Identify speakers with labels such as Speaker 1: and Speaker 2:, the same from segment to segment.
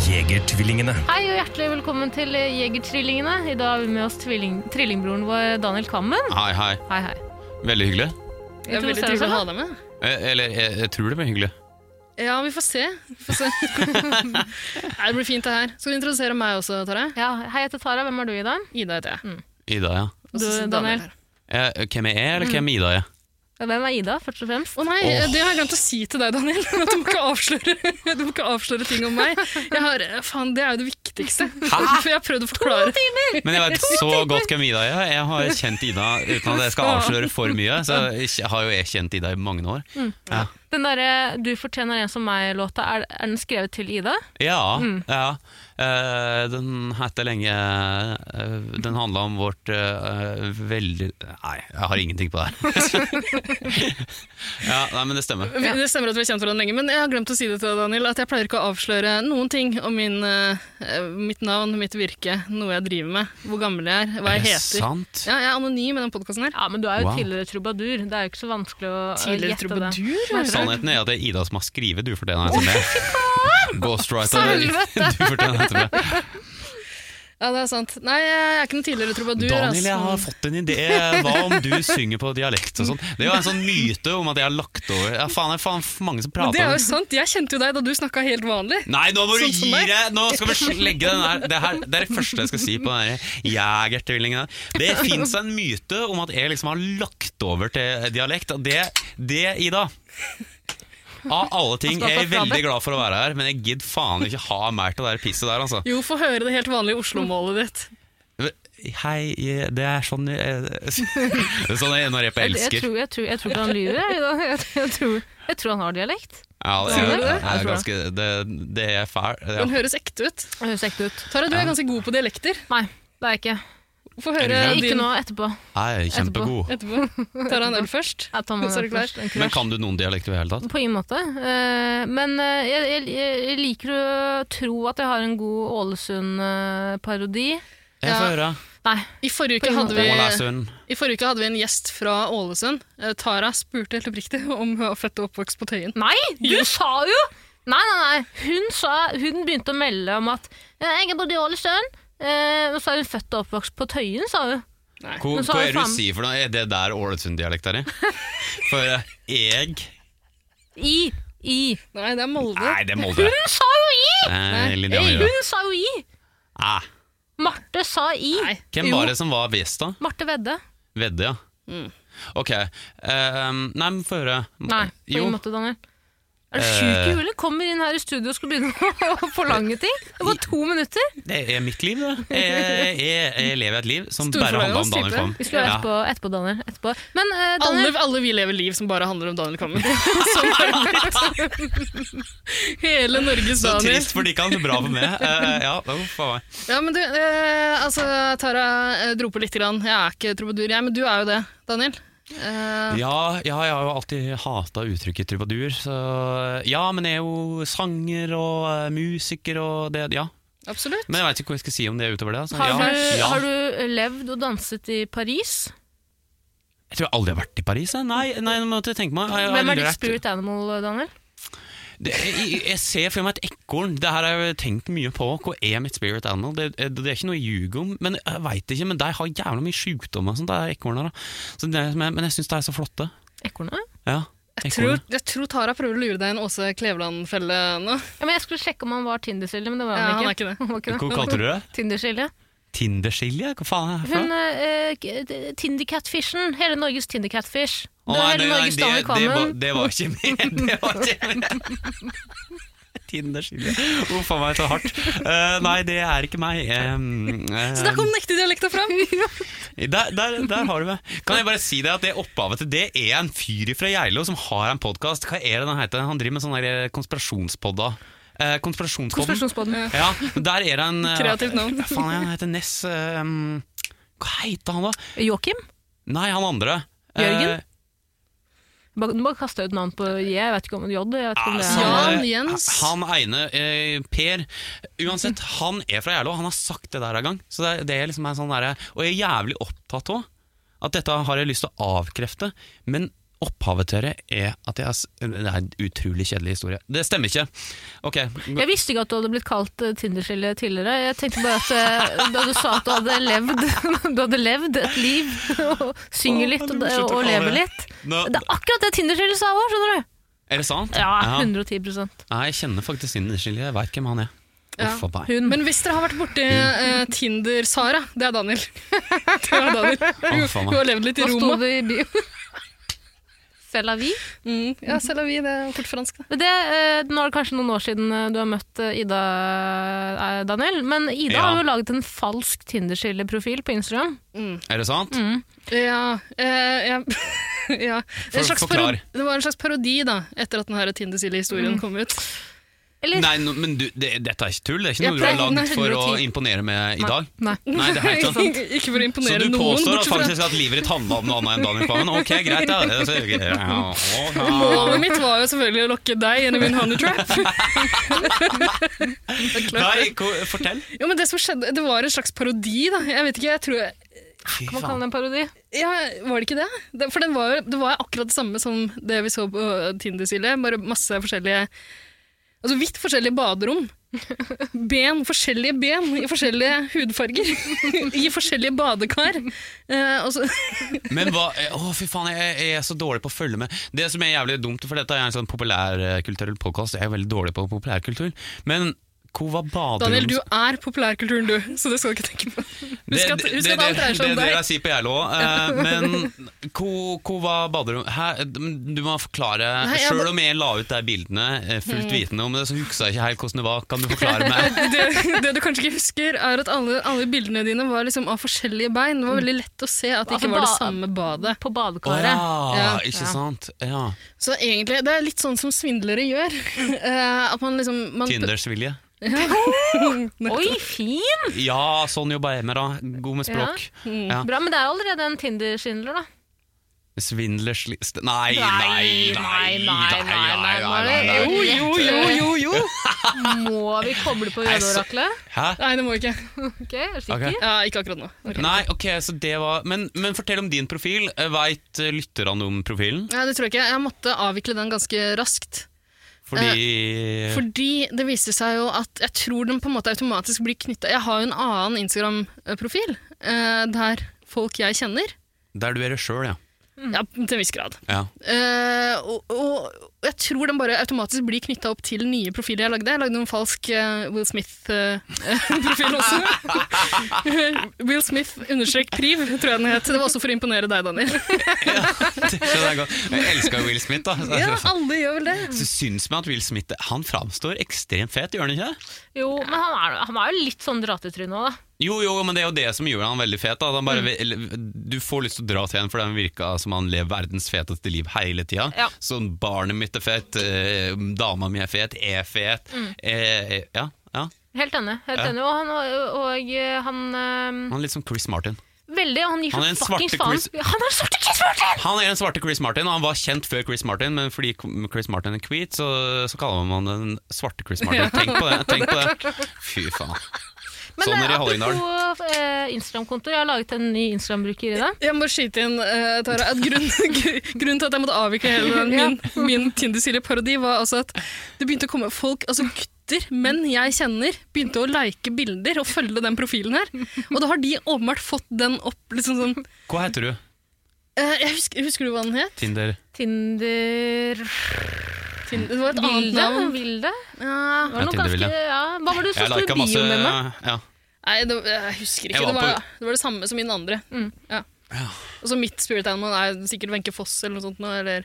Speaker 1: Jegertvillingene.
Speaker 2: Hei og hjertelig velkommen til Jegertvillingene. I dag har vi med oss tvilling, trillingbroren vår Daniel Kammen.
Speaker 3: Hei, hei.
Speaker 2: Hei, hei.
Speaker 3: Veldig hyggelig.
Speaker 2: Vi
Speaker 4: Det er
Speaker 2: to ser
Speaker 4: veldig
Speaker 2: oss
Speaker 4: trivelig å ha
Speaker 2: sånn,
Speaker 4: deg med.
Speaker 3: Eh, Eller jeg, jeg tror det blir hyggelig.
Speaker 4: Ja, vi får se. Vi får se. Nei, det blir fint, det her. Skal du introdusere meg også, Tara?
Speaker 2: Ja, hei, jeg heter Tara. Hvem er du, Ida?
Speaker 4: Ida heter jeg.
Speaker 3: Ida, ja.
Speaker 4: Og
Speaker 2: Du,
Speaker 4: så sitter
Speaker 2: Daniel.
Speaker 4: her.
Speaker 3: Eh, hvem er jeg, eller hvem Ida er?
Speaker 2: Hvem er Ida, først og fremst?
Speaker 4: Å nei, det har jeg glemt å si til deg, Daniel. At du må ikke avsløre, du må ikke avsløre ting om meg. Jeg har, faen, det er jo det viktigste. For jeg har prøvd å forklare.
Speaker 3: Men jeg vet så godt hvem Ida er. Jeg har kjent Ida uten at jeg skal avsløre for mye. Så jeg har jo jeg kjent Ida i mange år.
Speaker 4: Mm.
Speaker 3: Ja,
Speaker 2: Den derre 'Du fortjener en som meg'-låta, er, er den skrevet til Ida?
Speaker 3: ja.
Speaker 4: Mm.
Speaker 3: ja. Eh, den hette lenge eh, Den handla om vårt eh, veldig Nei, jeg har ingenting på det her. ja, nei, men det stemmer.
Speaker 4: Vi- Det stemmer at vi har kjent hverandre lenge, men jeg har glemt å si det til deg, Daniel, at jeg pleier ikke å avsløre noen ting om min, eh, mitt navn, mitt virke, noe jeg driver med, hvor gammel jeg er, hva jeg
Speaker 3: Er det
Speaker 4: heter.
Speaker 3: Sant?
Speaker 4: Ja, jeg er anonym i den podkasten her.
Speaker 2: Ja, men du er jo
Speaker 3: Wow.
Speaker 2: tidligere trubadur. Det er jo ikke så vanskelig å å
Speaker 4: Tidligere
Speaker 2: gjette det.
Speaker 4: trubadur?
Speaker 3: Sannheten er at det er Ida som har skrevet 'Du fortjener en SMB'. Ghostwriter.
Speaker 4: Helvete!
Speaker 3: Du fortjener en SMB.
Speaker 4: Ja, det er sant. Nei, jeg er ikke noen tidligere trubadur.
Speaker 3: Daniel, jeg
Speaker 4: altså.
Speaker 3: har fått en idé. Hva om du synger på dialekt og sånn? Det er jo en sånn myte om at jeg har lagt over Ja, faen, det er faen for mange som
Speaker 4: Men Det
Speaker 3: prater
Speaker 4: er
Speaker 3: om
Speaker 4: jo sant. Jeg kjente jo deg da du snakka helt vanlig.
Speaker 3: Nei, nå må du
Speaker 4: Sånn som
Speaker 3: gi
Speaker 4: meg.
Speaker 3: deg! Nå skal vi sl- legge den her. Det, her, det er det første jeg skal si på den her jegertvillingen. Det fins en myte om at jeg liksom har lagt over til dialekt. Og det, det Ida Av alle ting, jeg er veldig glad for å være her, men jeg gidder faen ikke ha mer til det der pisset der, altså.
Speaker 4: Jo, få høre det helt vanlige Oslo-målet ditt.
Speaker 3: Hei, jeg- det er sånn jeg, det er sånn jeg når jeg er på
Speaker 2: Jeg, jeg,
Speaker 3: elsker.
Speaker 2: tror, jeg, tror, jeg tror ikke han lyver. Jeg, Ida. jeg, jeg, tror, jeg tror han har dialekt.
Speaker 3: Ja, det, er,
Speaker 4: Tror du det?
Speaker 3: det,
Speaker 2: Jeg
Speaker 3: er
Speaker 2: tror
Speaker 3: ganske, det, det er fæl. Ja.
Speaker 4: Den høres ekte ut.
Speaker 2: Det høres ekte ut.
Speaker 4: Tara, du er ganske god på dialekter.
Speaker 2: Nei, det er jeg ikke.
Speaker 4: Få høre
Speaker 3: Er du
Speaker 2: Ikke
Speaker 4: din
Speaker 2: nå etterpå.
Speaker 3: Jeg er kjempegod.
Speaker 4: etterpå. Tara en øl først.
Speaker 2: Jeg tar meg
Speaker 4: Så er du
Speaker 2: den først. En
Speaker 3: Men
Speaker 2: crush.
Speaker 3: kan du noen dialekter i det hele tatt?
Speaker 2: På ingen måte. Eh, Men eh, jeg, jeg- jeg liker å tro at jeg har en god Ålesund-parodi.
Speaker 3: Jeg får høre.
Speaker 2: Nei.
Speaker 4: I forrige,
Speaker 2: På
Speaker 4: uke
Speaker 2: ingen
Speaker 4: hadde
Speaker 2: måte.
Speaker 3: Må
Speaker 4: vi,
Speaker 3: lese hun.
Speaker 4: I forrige uke hadde vi en gjest fra Ålesund. Eh, Tara spurte helt oppriktig om hun var født og oppvokst på Tøyen.
Speaker 2: Nei, du
Speaker 4: Jo.
Speaker 2: sa jo! Nei, nei, nei. Hun, sa, hun begynte å melde om at eh, jeg bodde i Ålesund. eh, Og så er hun født og oppvokst på Tøyen, sa hun.
Speaker 3: Hva,
Speaker 2: Men så
Speaker 3: hva
Speaker 2: har
Speaker 3: er
Speaker 2: jeg
Speaker 3: det
Speaker 2: faen-
Speaker 3: du sier for noe? Er det der Ålesund-dialekt er i? For eh, jeg
Speaker 2: I. I.
Speaker 4: Nei, det er Molde.
Speaker 3: Nei, det må du.
Speaker 2: Hun sa jo i!
Speaker 3: Eh, Lille
Speaker 4: Nei.
Speaker 3: Janne, ja.
Speaker 2: Hun sa jo i!
Speaker 3: Ah,
Speaker 2: Marte sa i.
Speaker 4: Nei.
Speaker 3: Hvem var det som var best, da?
Speaker 2: Marte Vedde.
Speaker 3: Vedde, ja. Ok. eh, nei, men få høre.
Speaker 2: Mm. Nei, på
Speaker 3: Jo. Eh.
Speaker 2: ingen måte, Daniel. Er du sjuk i huet? Kommer inn her i studio og skal begynne å forlange ting. Det var to minutter.
Speaker 3: Det er mitt liv, det. Jeg, jeg, jeg lever et liv som
Speaker 4: Stor
Speaker 3: bare handler om
Speaker 4: fornøyelse,
Speaker 3: Daniel
Speaker 4: type.
Speaker 3: Kvam.
Speaker 2: Vi skulle
Speaker 3: Ja.
Speaker 2: være etterpå, etterpå, Daniel. Etterpå. Men eh,
Speaker 4: Alle,
Speaker 2: Daniel,
Speaker 4: alle vi lever liv som bare handler om Daniel Kvammen. Hele Norges
Speaker 3: Så
Speaker 4: Daniel.
Speaker 3: trist for de ikke han, så bra for meg. Eh, ja, uff a meg.
Speaker 4: Ja, men du, eh, altså, Tara eh, dro på litt. Grann. Jeg er ikke trubadur, jeg, men du er jo det, Daniel. Eh,
Speaker 3: Ja, ja, jeg har jo alltid hata uttrykket trubadur. Så ja, men jeg er jo sanger og eh, musiker og det Ja.
Speaker 4: absolutt.
Speaker 3: Men jeg veit ikke hva jeg skal si om det utover det. Altså.
Speaker 2: har,
Speaker 3: ja,
Speaker 2: du,
Speaker 3: ja.
Speaker 2: har du levd og danset i Paris?
Speaker 3: Jeg tror jeg aldri har vært i Paris. jeg. Nei, nei, nå måtte jeg tenke meg jeg, har
Speaker 2: Hvem
Speaker 3: aldri
Speaker 2: er ditt
Speaker 3: vært-
Speaker 2: spirit animal, Daniel?
Speaker 3: Det, jeg, jeg ser for meg et ekorn. Det her har jeg tenkt mye på. Hva er mitt spirit animal? Det, det er ikke noe jeg ljuger om. Men jeg vet ikke, men de har jævla mye sjukdommer, sånn, de ekornene. da. Så det er- Men men jeg syns de er så flotte.
Speaker 2: Ekornet?
Speaker 3: Ja,
Speaker 4: Jeg tror, jeg tror Tara prøver å lure deg i en Åse Kleveland-felle nå.
Speaker 2: Ja, men jeg skulle sjekke om han var Tinder-skilje, men det var
Speaker 4: Ja,
Speaker 2: han
Speaker 4: han er
Speaker 2: ikke.
Speaker 4: ikke det.
Speaker 2: Han var ikke
Speaker 3: Hva kalte du det?
Speaker 2: Tinder-skilje.
Speaker 3: Tinderskilje? Hva faen er det for
Speaker 2: Hun
Speaker 3: noe?
Speaker 2: eh, k- d- Tinder-catfishen. Hele Norges Tinder-catfish.
Speaker 3: Å,
Speaker 2: Det er
Speaker 3: nei,
Speaker 2: hele
Speaker 3: nei, nei,
Speaker 2: Norges
Speaker 3: det-
Speaker 2: Daniel
Speaker 3: det var-
Speaker 2: Kvammen.
Speaker 3: Det var ikke med! Det var ikke med. Tinderskilje. Uff a meg, så hardt. Eh, nei, det er ikke meg. Um,
Speaker 4: Så der kom nekterdialekta fram!
Speaker 3: Der, der, der har du meg. Kan jeg bare si deg at det opphavet til det er en fyr fra Geilo som har en podkast. Hva er det den heter? Han driver med sånne der eh, konspirasjonspodda. Eh, konspirasjonspodden.
Speaker 2: Konspirasjonspodden.
Speaker 3: Ja, der er det en eh,
Speaker 4: Kreativt navn.
Speaker 3: Faen, han heter Ness eh, um, Hva heter han, da?
Speaker 2: Joakim?
Speaker 3: Nei, han andre.
Speaker 2: Jørgen?
Speaker 3: Eh,
Speaker 2: Bare- Du bare kaster ut navn på J, jeg vet ikke om J, jeg vet ikke om det er
Speaker 3: altså,
Speaker 4: Ja.
Speaker 2: han.
Speaker 4: Jan,
Speaker 3: eh,
Speaker 4: Jens.
Speaker 3: Han ene, eh, Per Uansett, han er fra Gjerlo, han har sagt det der en gang. Så det, det er liksom er sånn der, og jeg er jævlig opptatt òg. At dette har jeg lyst til å avkrefte. Men opphavet til det er at jeg har s- Det er en utrolig kjedelig historie. Det stemmer ikke. Ok,
Speaker 2: Jeg visste ikke at du hadde blitt kalt eh, Tinderskille tidligere. Jeg tenkte bare at eh, da du sa at du hadde levd, du hadde levd et liv, og
Speaker 3: Å,
Speaker 2: synger litt
Speaker 3: du
Speaker 2: og,
Speaker 3: må
Speaker 2: og
Speaker 3: slutte å kalle
Speaker 2: lever
Speaker 3: det.
Speaker 2: litt
Speaker 3: nå,
Speaker 2: Det er akkurat det Tinderskille sa òg, skjønner du.
Speaker 3: er det sant?
Speaker 2: Ja, 110
Speaker 3: Nei, Jeg kjenner faktisk Inderskilje, jeg veit hvem han er.
Speaker 4: Ja.
Speaker 3: Uff a meg.
Speaker 2: Hun.
Speaker 4: Men hvis dere har vært borti eh, Tinder-Sara, det er Daniel. det er Daniel.
Speaker 3: Uff a
Speaker 4: Hun
Speaker 3: meg.
Speaker 4: har levd litt i
Speaker 2: Hva sto
Speaker 4: Roma.
Speaker 2: det i bio? C'est la vie.
Speaker 4: Mm, ja, selv vi, det er fort fransk. Det.
Speaker 2: Men Det, eh, nå er det kanskje noen år siden eh, du har møtt eh, Ida, eh, Daniel, men Ida
Speaker 3: Ja.
Speaker 2: har jo laget en falsk Tinderskille-profil på Instagram.
Speaker 3: Er det sant?
Speaker 4: Mm. Ja, eh, jeg- ja. En slags
Speaker 3: forklar.
Speaker 4: paro- det var en slags parodi da, etter at den Tinder-historien kom ut.
Speaker 2: Eller
Speaker 3: Nei, nå- men du, det, dette er ikke tull. Det er ikke
Speaker 2: Jeg
Speaker 3: noe du har
Speaker 4: pleier- nei,
Speaker 3: lagd for å
Speaker 4: 110.
Speaker 3: imponere med i dag.
Speaker 2: Nei.
Speaker 3: Nei, det er helt sant.
Speaker 4: Ikke for å
Speaker 3: Så
Speaker 4: imponere
Speaker 3: du
Speaker 4: noen.
Speaker 3: påstår at,
Speaker 4: bortsett fra-
Speaker 3: faktisk at livet ditt handla om noe annet enn Daniel Kvammen? Ok, greit, da. Det, så, ja, ja.
Speaker 4: Målet mitt var jo selvfølgelig å lokke deg gjennom min honey trap. Det er klart.
Speaker 3: Nei, ko- fortell.
Speaker 4: Jo, men det som skjedde, det var en slags parodi, da. Jeg vet ikke, jeg tror
Speaker 3: Fy
Speaker 2: Kan man kalle det en parodi?
Speaker 4: ja, Var det ikke det? det for den var, jo- det var akkurat det samme som det vi så på Tinder, Silje. Bare masse forskjellige Altså vidt forskjellige baderom. Ben, forskjellige ben i forskjellige hudfarger. I forskjellige badekar. Eh, og så,
Speaker 3: Men hva eh, Å, fy faen, jeg, jeg er så dårlig på å følge med. Det som er jævlig dumt, for dette er en sånn populærkulturell podkast, jeg er veldig dårlig på populærkultur, men hvor var baderommet
Speaker 4: Daniel, du er populærkulturen, du, så det skal du ikke tenke på. Husk at, husk at alt dreier seg om
Speaker 3: Det er det
Speaker 4: deg.
Speaker 3: jeg sier på Gjerlo òg, men hvor hvor var baderommet Hæ? Du må forklare.
Speaker 4: Nei, jeg Mm.
Speaker 3: Sjøl
Speaker 4: må-
Speaker 3: om jeg la ut de bildene eh, fullt vitende om det, så huska jeg ikke helt hvordan det var. Kan du forklare meg?
Speaker 4: det, det du kanskje ikke husker, er at alle, alle bildene dine var liksom av forskjellige bein. Det var veldig lett å se at det
Speaker 2: Altså,
Speaker 4: ikke var det
Speaker 2: ba-
Speaker 4: samme badet.
Speaker 2: På
Speaker 3: Å
Speaker 2: badekaret.
Speaker 3: ja,
Speaker 4: Ja.
Speaker 3: ikke
Speaker 2: Ja.
Speaker 3: sant. Ja.
Speaker 4: Så egentlig, det er litt sånn som svindlere gjør. Eh, at man liksom man,
Speaker 3: Tinders vilje.
Speaker 2: Oi, fin!
Speaker 3: Ja, sånn jobber jeg med, da. God med språk. Ja.
Speaker 2: Bra, men det er allerede en Tinder-svindler, da.
Speaker 3: Svindlers liste Nei, nei, nei, nei, nei, nei, nei, nei,
Speaker 4: Jo, jo, jo, jo, jo!
Speaker 2: Må vi koble på
Speaker 3: Nei, så-
Speaker 2: jødeoraklet?
Speaker 3: Hæ?
Speaker 4: Nei, det må vi ikke.
Speaker 2: Ok, er du sikker?
Speaker 3: Ok.
Speaker 4: Ja, ikke akkurat nå. Ok.
Speaker 3: Nei, ok, så det var Men, men fortell om din profil. Eh, Veit lytterne om profilen?
Speaker 4: Nei, det tror jeg ikke. Jeg måtte avvikle den ganske raskt.
Speaker 3: Fordi
Speaker 4: Fordi det viser seg jo at jeg tror den på en måte automatisk blir knytta Jeg har jo en annen Instagram-profil eh, der folk jeg kjenner.
Speaker 3: Der du er det sjøl, ja.
Speaker 2: Mm.
Speaker 4: Ja, til en viss grad.
Speaker 3: ja.
Speaker 4: Eh, og, og jeg tror den bare automatisk blir knytta opp til nye profiler jeg lagde. Jeg lagde en falsk eh, Will Smith-profil også. Will Smith understrek priv, tror jeg den het. Det var også for å imponere deg, Daniel.
Speaker 3: Så det er godt. Jeg elsker Will Smith, da. Så,
Speaker 4: Ja, alle gjør vel det.
Speaker 3: så syns vi at Will Smith Han framstår ekstremt fet, gjør han ikke det?
Speaker 2: Jo, men han er, han er jo litt sånn dratetryne òg, da.
Speaker 3: Jo, jo, men det er jo det som gjør han veldig fet. Da. At Han
Speaker 2: Mm.
Speaker 3: bare, eller, Du får lyst til å dra til ham, for han virka som han lever verdens feteste liv hele tida.
Speaker 2: Ja.
Speaker 3: Sånn barnet mitt er fett, eh, dama mi er fet, er fet.
Speaker 2: Mm.
Speaker 3: Eh, ja, ja.
Speaker 2: Helt enig. helt
Speaker 3: Ja.
Speaker 2: enig. Og han, og, og, eh, han eh,
Speaker 3: Han er litt som Chris Martin.
Speaker 2: Veldig, og han gir
Speaker 3: Han er
Speaker 2: så
Speaker 3: en
Speaker 2: fuckings
Speaker 3: svarte
Speaker 2: faen.
Speaker 3: Chris-
Speaker 2: Han er en svarte Chris Martin!
Speaker 3: Han er den svarte Chris Martin, og han var kjent før Chris Martin, men fordi Chris Martin er hvit, så, så kaller man han den svarte Chris Martin. Tenk på det! tenk på det Fy faen.
Speaker 2: Men
Speaker 3: Sånn er det
Speaker 2: eh,
Speaker 3: i Hallingdal.
Speaker 2: apropos eh, Instagram-konto, jeg har laget en ny Instagram-bruker i det.
Speaker 4: Jeg må skyte inn, eh, Tara, at grunn, gr- grunnen til at jeg måtte avvikle hele den, min, min Tinder-Silje-parodi, var altså at det begynte å komme folk, altså gutter, menn jeg kjenner, begynte å like bilder og følge den profilen her. Og da har de åpenbart fått den opp liksom sånn
Speaker 3: Hva heter du?
Speaker 4: eh, jeg husker, husker du hva den het?
Speaker 3: Tinder?
Speaker 2: Tinder
Speaker 4: Tin- Det var et annet
Speaker 2: Vilde?
Speaker 4: navn.
Speaker 2: Vilde?
Speaker 4: Ja.
Speaker 2: Var det
Speaker 3: Ja,
Speaker 2: noe ganske,
Speaker 3: Tinder-Vilde.
Speaker 2: ja. Hva var det du så
Speaker 3: Jeg
Speaker 2: sto i
Speaker 3: liker masse
Speaker 2: bioen din, da?
Speaker 3: ja.
Speaker 4: Nei, det, jeg husker ikke.
Speaker 3: Jeg var
Speaker 4: det, var,
Speaker 3: på-
Speaker 4: det var det samme som i den andre.
Speaker 2: Mm.
Speaker 4: Ja.
Speaker 3: Ja.
Speaker 4: Og så mitt spirit animal er sikkert Wenche Foss eller noe sånt. nå, Eller...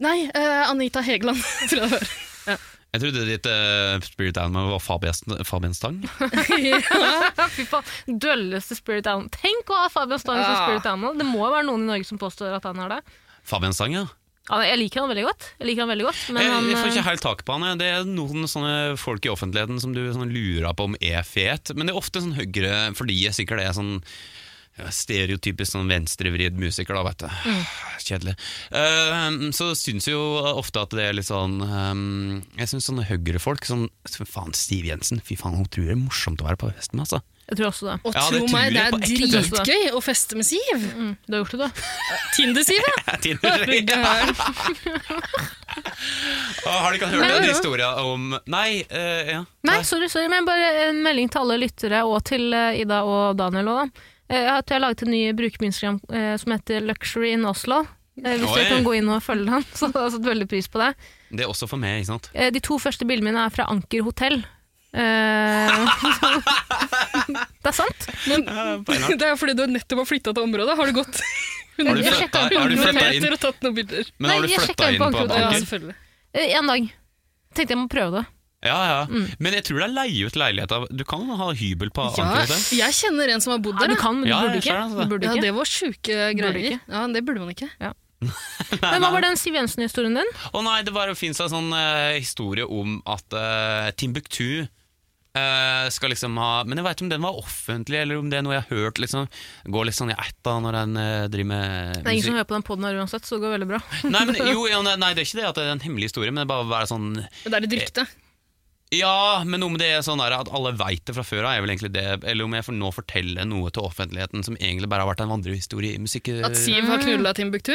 Speaker 4: Nei, eh, Anita Hegeland, tror jeg det var.
Speaker 3: Jeg trodde ditt eh, spirit animal var Fabian, Fabian Stang.
Speaker 2: Ja, Fy faen, Dølleste Spirit Animal. Tenk å ha Fabian Stang som
Speaker 4: Ah.
Speaker 2: Spirit Animal. Det må jo være noen i Norge som påstår at han er det.
Speaker 3: Fabian Stang, ja.
Speaker 2: Ja, Jeg liker han veldig godt. Jeg liker han veldig godt
Speaker 3: Jeg,
Speaker 2: men han,
Speaker 3: jeg får ikke
Speaker 2: eh,
Speaker 3: helt tak på han. jeg. Det er noen sånne folk i offentligheten som du sånn lurer på om er fet, men det er ofte sånn høyre fordi jeg sikkert er sånn ja, stereotypisk sånn venstrevridd musiker, da, vet
Speaker 2: Mm.
Speaker 3: du. Kjedelig. Eh, så syns jo ofte at det er litt sånn eh, Jeg syns sånne høyrefolk sånn, Faen, Siv Jensen. Fy faen, hun tror det er morsomt å være på fest med, altså.
Speaker 2: Jeg tror også det.
Speaker 4: Og
Speaker 3: Ja,
Speaker 4: tro
Speaker 3: det tror
Speaker 4: meg, det
Speaker 3: jeg
Speaker 4: er
Speaker 3: på
Speaker 2: ekte.
Speaker 4: dritgøy å feste med Siv!
Speaker 2: Mm, du har gjort det, da.
Speaker 4: Tinder-Siv, ja!
Speaker 3: Jeg
Speaker 4: Er
Speaker 3: tidligere-
Speaker 4: du gæren?
Speaker 3: Å, Ah, Har du ikke hørt
Speaker 4: Nei,
Speaker 3: den
Speaker 4: jo.
Speaker 3: historien om Nei, eh, ja.
Speaker 2: Nei, sorry, sorry, men bare en melding til alle lyttere, og til eh, Ida og Daniel òg, da. Eh, at jeg har laget en ny bruker på Instagram eh, som heter Luxury in Oslo. Eh, hvis
Speaker 3: Oi.
Speaker 2: dere kan gå inn og følge den, så har jeg satt veldig pris på det.
Speaker 3: Det er også for meg, ikke sant?
Speaker 2: Eh, de to første bildene mine er fra Anker hotell. Eh, det er sant.
Speaker 4: Men
Speaker 3: Ja, på en eller annen.
Speaker 4: det er fordi du nettopp har flytta til området. Har du gått
Speaker 3: Har du
Speaker 4: 100
Speaker 3: flyttet- har du flyttet inn?
Speaker 4: meter og tatt noen bilder?
Speaker 3: Men har
Speaker 2: Nei,
Speaker 3: du
Speaker 2: jeg
Speaker 3: flytta
Speaker 2: sjekket
Speaker 3: inn
Speaker 2: på
Speaker 3: på
Speaker 2: Ankerud,
Speaker 4: Ja,
Speaker 3: banken?
Speaker 4: selvfølgelig.
Speaker 2: Eh, en dag. Tenkte jeg må prøve det.
Speaker 3: Ja, ja. Men jeg tror det er leie ut leiligheter. Du kan ha hybel på
Speaker 4: Ja,
Speaker 3: Ankerhotell.
Speaker 4: jeg kjenner en som har bodd
Speaker 2: Ja,
Speaker 4: der.
Speaker 2: du kan, men du
Speaker 3: Ja, altså.
Speaker 2: burde
Speaker 3: jeg
Speaker 2: ikke.
Speaker 3: skjønner det.
Speaker 2: Du burde
Speaker 4: Ja,
Speaker 2: ikke.
Speaker 4: det var sjuke greier.
Speaker 2: ikke.
Speaker 4: Ja, Det burde man ikke.
Speaker 2: Men hva var den Siv Jensen-historien din?
Speaker 3: Å nei, det bare finnes en sånn eh, historie om at eh, Timbuktu eh, skal liksom ha Men jeg veit om den var offentlig, eller om det er noe jeg har hørt. liksom Går litt sånn i ætta når en eh, driver med
Speaker 2: Det er ingen som
Speaker 3: musikk.
Speaker 2: hører på den poden her uansett, så det går veldig bra.
Speaker 3: Nei, men, jo, ja, nei, det er ikke det at det er en hemmelig historie, men det er bare å være sånn
Speaker 4: Men det er et rykte.
Speaker 3: Eh, Ja, men om det er sånn der at alle veit det fra før av, er vel egentlig det Eller om jeg får nå forteller noe til offentligheten som egentlig bare har vært en vandrehistorie i musikk...
Speaker 4: At Siv har knulla Timbuktu.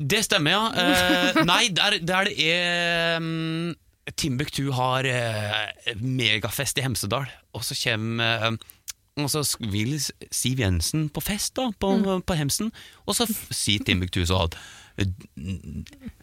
Speaker 3: Det stemmer, ja. Eh, nei, der, der det er mm, Timbuktu har eh, megafest i Hemsedal, og så kommer eh, og så sk- vil S- Siv Jensen på fest da, på,
Speaker 2: Mm.
Speaker 3: på Hemsen, og så f- sier Timbuktu sånn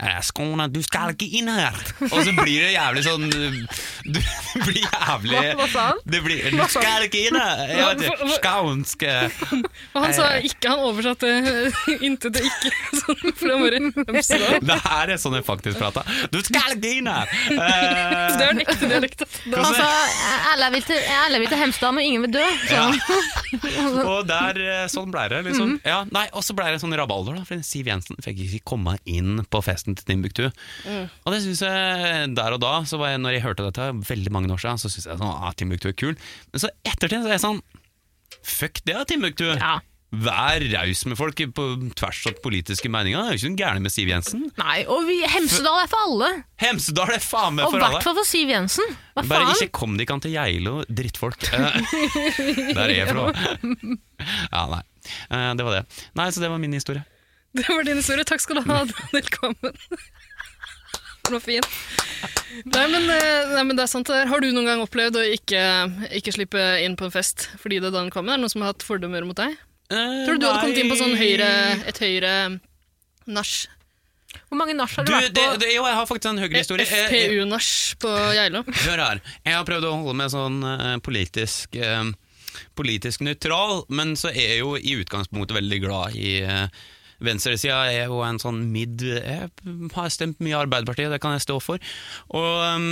Speaker 3: «Eh, Skåne, du skal ikke inn her! Og så blir det jævlig sånn eh, du, Det blir jævlig
Speaker 2: Hva- hva sa han?
Speaker 3: Det blir, du skal ikke inn her! Jeg vet ikke, Skånsk eh,
Speaker 4: Og han sa ikke han oversatte eh, intet til ikke. Sånn, for han bare ømset av.
Speaker 3: Det her er sånn jeg faktisk prater. Du skal ikke inn her! Eh,
Speaker 4: Det er en ekte dialekt. ass.
Speaker 3: Hvordan-
Speaker 2: Altså, alle vil til, alle vil til Hemsedal, men ingen vil dø. Så.
Speaker 3: Og der, eh, sånn ble det liksom
Speaker 2: Mhm.
Speaker 3: ja, Nei, og så ble det sånn rabalder da For Siv Jensen fikk ikke komme inn på festen til Timbuktu
Speaker 2: Mm.
Speaker 3: Og det synes jeg der og da Så var jeg, når jeg hørte dette veldig mange år siden Så synes jeg sånn, ah, Timbuktu er kul Men så ettertid så er jeg sånn Fuck det da, Timbuktu
Speaker 2: Ja.
Speaker 3: Vær raus med folk på tvers av politiske meninger Det er jo ikke noen gærne med Siv Jensen
Speaker 2: Nei, og vi, Hemsedal er for alle.
Speaker 3: Hemsedal er faen meg
Speaker 2: Og i
Speaker 3: for alle
Speaker 2: hvert fall for Siv Jensen. Hva
Speaker 3: Bare
Speaker 2: faen?
Speaker 3: ikke kom de ikke an til Geilo, drittfolk. Eh, Der er jeg fra. Ja, nei. Eh, Det var det. Nei, så det var min historie.
Speaker 4: Det var din historie. Takk skal du ha, Daniel Kvammen. Den var fin. Nei men, eh, nei, men det er sant. det der. Har du noen gang opplevd å ikke, ikke slippe inn på en fest fordi det er Daniel Kvammen? Er det noen som har hatt fordommer mot deg? Tror du du hadde kommet
Speaker 3: Eh,
Speaker 4: inn på sånn høyre, et høyre nach?
Speaker 2: Hvor mange nach har
Speaker 3: Du,
Speaker 2: du vært
Speaker 3: det,
Speaker 2: på?
Speaker 3: det, jo, jeg har faktisk en
Speaker 4: E-
Speaker 3: høyere historie. Eh, eh,
Speaker 4: FPU-nach på Geilo.
Speaker 3: Hør her. Jeg har prøvd å holde meg sånn eh, politisk eh, Politisk nøytral, men så er jeg jo i utgangspunktet veldig glad i eh, Venstresida er jo en sånn midd Jeg har stemt mye Arbeiderpartiet, det kan jeg stå for. Og um,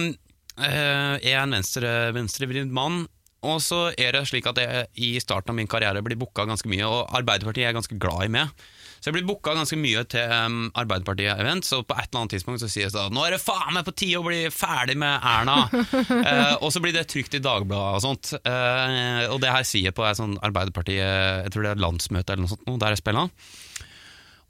Speaker 3: eh, jeg er en venstre, venstrevridd mann. Og så er det slik at jeg i starten av min karriere blir booka ganske mye, og Arbeiderpartiet er jeg ganske glad i med. Så jeg blir booka ganske mye til um, Arbeiderpartiet-event, så på et eller annet tidspunkt så sies det at nå er det faen meg på tide å bli ferdig med Erna! Eh, og så blir det trykt i Dagbladet og sånt. Eh, og det her sier jeg på et sånn Arbeiderpartiet, jeg tror det er landsmøte eller noe sånt, nå, der jeg spiller.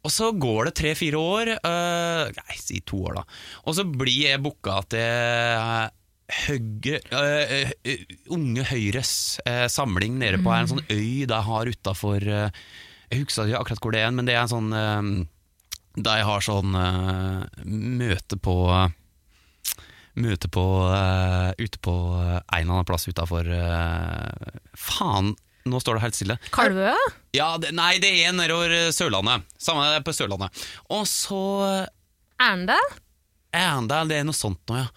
Speaker 3: Og så går det tre-fire år, øh, nei, si to år da, og så blir jeg booka til øh, Høyre, øh, øh, Unge Høyres øh, samling nede på en sånn øy de har utafor Jeg husker ikke akkurat hvor det er, men det er en sånn øh, De har sånn øh, møte på Møte på øh, ute på øh, en eller annen plass utafor Faen, nå står det helt stille.
Speaker 2: Kalvøya?
Speaker 3: Ja, det, nei, det er nedover eh, Sørlandet. Samme det er på Sørlandet. Og så
Speaker 2: Arendal?
Speaker 3: Arendal, det er noe sånt nå, ja.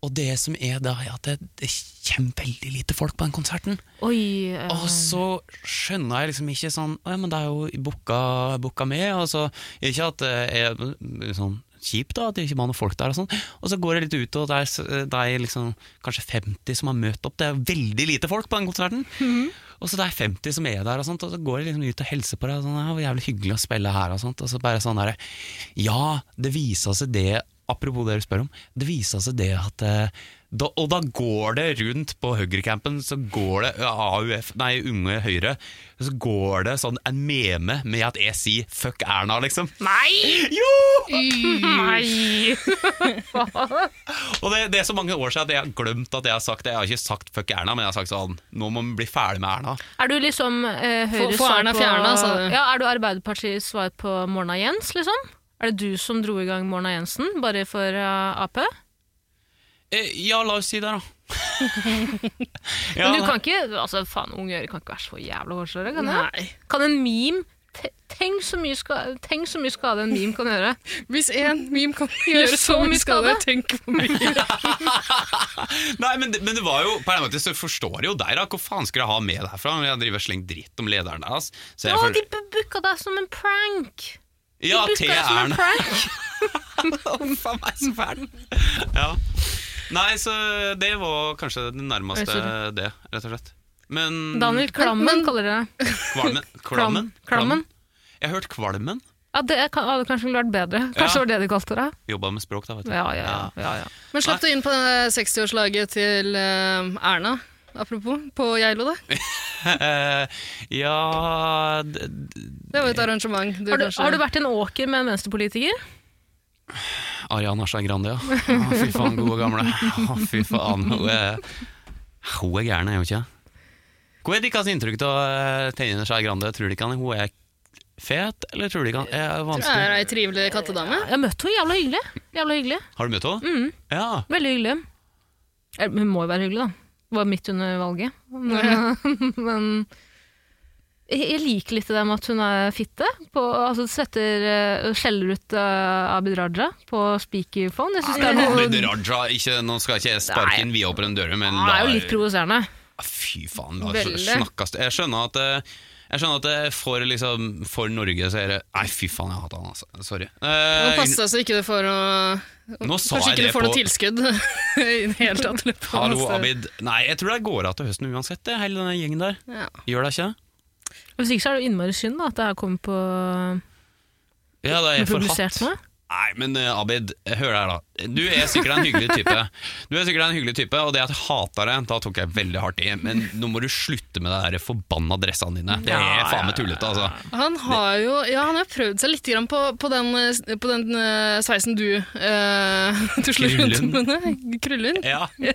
Speaker 3: Og det som er da, er at det, det kommer veldig lite folk på den konserten.
Speaker 2: Oi. eh,
Speaker 3: Og så skjønner jeg liksom ikke sånn «Å, ja, men det er jo booka, booka med, og så Ikke at det er sånn kjipt, da, at det ikke var noen folk der og sånn. Og så går jeg litt ut, og det er, s- det er liksom kanskje 50 som har møtt opp. Det er veldig lite folk på den konserten. Og så det er 50 som er der, og sånt, og så går jeg liksom ut og hilser på deg. Og sånn, «Ja, hvor jævlig hyggelig å spille her, og sånt. Og så bare sånn derre Ja, det viser seg det Apropos det du spør om, det viser seg det at eh, Da, og da går det rundt på høyrecampen, så går det ja, AUF, nei, Unge Høyre, så går det sånn en meme med at jeg sier 'fuck Erna', liksom.
Speaker 2: Nei!
Speaker 3: Jo!
Speaker 2: Nei!
Speaker 3: Og det, det er så mange år siden at jeg har glemt at jeg har sagt det. Jeg har ikke sagt 'fuck Erna', men jeg har sagt sånn 'nå må vi bli ferdig med Erna'.
Speaker 2: Er du liksom eh, Høyres
Speaker 4: Få- få
Speaker 2: svar
Speaker 4: Erna
Speaker 2: på
Speaker 4: fjerna, sa du.
Speaker 2: Ja, er du Arbeiderpartiets svar på Morna Jens, liksom? Er det du som dro i gang Morna Jensen, bare for eh, Ap?
Speaker 3: Eh, ja, la oss si det, da.
Speaker 2: Men du kan ikke altså faen, Unge Øre kan ikke være så jævla hårslåre, kan det?
Speaker 4: Nei.
Speaker 2: Kan en meme te- Tenk så, mye ska, tenk så mye skade en meme kan gjøre.
Speaker 4: Hvis én meme kan gjøre så mye skade, tenk hvor mye.
Speaker 3: Nei, men, det- men det var jo På en måte så forstår jeg jo deg, da. Hvor faen skal jeg ha med deg fra? Jeg driver og slenger dritt om lederen deres. Så jeg
Speaker 2: Å,
Speaker 3: føler-
Speaker 2: de bu- booka deg som en prank! De
Speaker 3: ja,
Speaker 2: booka
Speaker 3: til
Speaker 2: deg som en
Speaker 3: Erna.
Speaker 2: prank.
Speaker 3: Uff a meg, så fæl. Ja. Nei, så det var kanskje det
Speaker 2: Oi, sorry.
Speaker 3: nærmeste det, rett og slett. Men
Speaker 2: Daniel Klammen
Speaker 4: Men-
Speaker 2: kaller det det.
Speaker 3: Kvalmen? Klammen?
Speaker 2: Klammen.
Speaker 3: Jeg har hørt Kvalmen.
Speaker 2: Ja, det kan- hadde kanskje vært bedre. Kanskje
Speaker 3: Ja.
Speaker 2: det var det de kalte det?
Speaker 3: Jobba med språk, da, vet du.
Speaker 2: Ja, ja, ja. ja, ja.
Speaker 4: Men slapp du inn på det 60-årslaget til eh, Erna, apropos, på Geilo, da?
Speaker 3: Eh, ja d- d-
Speaker 4: Det var jo et arrangement. Du,
Speaker 2: Har, du,
Speaker 4: kanskje-
Speaker 2: har du vært i en åker med en venstrepolitiker?
Speaker 3: Ariana Skei Grande, ja. Å, fy faen, gode gamle. Å, fy faen. Hun er, hun er gæren, er hun ikke? Hva er deres inntrykk av eh, Tegnine Skei Grande? Tror de ikke han- hun er fet, eller tror de ikke han er
Speaker 4: Er
Speaker 3: vanskelig?
Speaker 4: ei trivelig kattedame?
Speaker 2: Jeg møtte henne jævla hyggelig. Jævla hyggelig.
Speaker 3: Har du møtt henne?
Speaker 2: Mm,
Speaker 3: Ja.
Speaker 2: veldig hyggelig. Eh, Hun må jo være hyggelig, da. Det var midt under valget. Men, men jeg jeg liker litt det der med at hun er fitte. På, altså setter, eh, skjeller ut eh, Abid Raja på speakerphone. Jeg synes det er noe
Speaker 3: Abid Raja, ikke, nå skal ikke jeg sparke inn vi åpner en dør, men
Speaker 2: Han er jo litt provoserende.
Speaker 3: Ja, Fy faen, la
Speaker 4: Veldig.
Speaker 3: oss snakkes Jeg skjønner at eh, jeg skjønner at eh, for, liksom, for Norge så er det Nei, fy faen, jeg hater han, altså. Sorry.
Speaker 4: Nå
Speaker 3: Eh,
Speaker 4: passer det så ikke du får noe
Speaker 3: nå sa
Speaker 4: Kanskje
Speaker 3: jeg
Speaker 4: ikke
Speaker 3: det
Speaker 4: du får
Speaker 3: på-
Speaker 4: noe tilskudd i det hele tatt. eller på
Speaker 3: Hallo,
Speaker 4: masse-
Speaker 3: Abid. Nei, jeg tror det går av til høsten uansett, det, hele denne gjengen der.
Speaker 4: Ja.
Speaker 3: Gjør det ikke?
Speaker 2: Hvis ikke så er det jo innmari synd da, at det her kommer på
Speaker 3: Ja, det er
Speaker 2: blir
Speaker 3: jeg
Speaker 2: publisert
Speaker 3: forhatt.
Speaker 2: nå.
Speaker 3: Nei, men eh, Abid, hør her, da. Du er sikkert en hyggelig type. Du er sikkert en hyggelig type, Og det at jeg hater deg, da tok jeg veldig hardt i. Men nå må du slutte med de der forbanna dressene dine. Det er faen meg tullete, altså.
Speaker 4: Han har jo ja, han har prøvd seg litt grann på, på den, eh, på den eh, sveisen du uh, tusler rundt
Speaker 3: Krullen.
Speaker 4: med. nei, Krullen.
Speaker 3: Ja. ja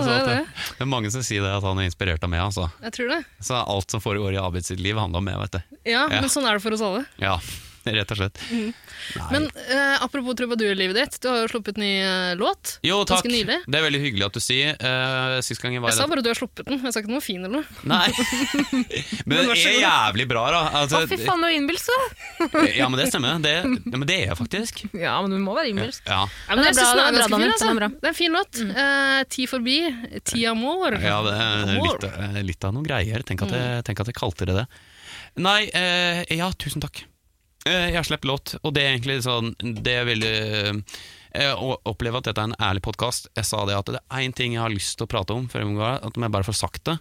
Speaker 3: så
Speaker 4: er
Speaker 3: at det,
Speaker 4: det?
Speaker 3: det er mange som sier det, at han er inspirert av meg, altså.
Speaker 4: Jeg tror det.
Speaker 3: Så alt som foregår i Abid sitt liv, handler om meg, vet du.
Speaker 4: Ja,
Speaker 3: Ja.
Speaker 4: men sånn er det for oss alle.
Speaker 3: Ja, rett og slett. Nei.
Speaker 4: Men eh, apropos trubadurlivet ditt, du har jo sluppet ny eh, låt.
Speaker 3: jo, takk.
Speaker 4: ganske nylig.
Speaker 3: Det er veldig hyggelig at du sier. Uh, sist gang jeg var i
Speaker 4: Jeg sa
Speaker 3: dette-
Speaker 4: bare du har sluppet den, jeg sa ikke noe fin eller noe.
Speaker 3: Nei. Men
Speaker 4: Men vær
Speaker 3: det
Speaker 4: så
Speaker 3: er
Speaker 4: god.
Speaker 3: jævlig bra, da.
Speaker 2: Å,
Speaker 3: Altså,
Speaker 2: fy faen, det var innbilsk, da!
Speaker 3: ja, men det stemmer. Det, ja, men det er jeg faktisk.
Speaker 2: Ja, men du må være innbilsk.
Speaker 3: Ja,
Speaker 4: Ja,
Speaker 2: men det
Speaker 4: jeg
Speaker 2: er
Speaker 4: synes
Speaker 2: bra,
Speaker 4: den
Speaker 2: det er
Speaker 4: ganske
Speaker 2: bra,
Speaker 4: fin,
Speaker 2: Daniel,
Speaker 4: altså.
Speaker 2: den er bra. Mm.
Speaker 4: Det er en fin låt. Eh, ti forbi, ti amor.
Speaker 3: ja det er
Speaker 4: Amor.
Speaker 3: litt, av- litt av noen greier. Tenk
Speaker 2: Mm.
Speaker 3: at jeg, tenk at jeg kalte det det. Nei, eh, ja, tusen takk. Eh, jeg har sluppet låt, og det er egentlig sånn Det er veldig eh, Å oppleve at dette er en ærlig podkast. Jeg sa det at det er én ting jeg har lyst til å prate om, før jeg må gå, at om jeg bare får sagt det.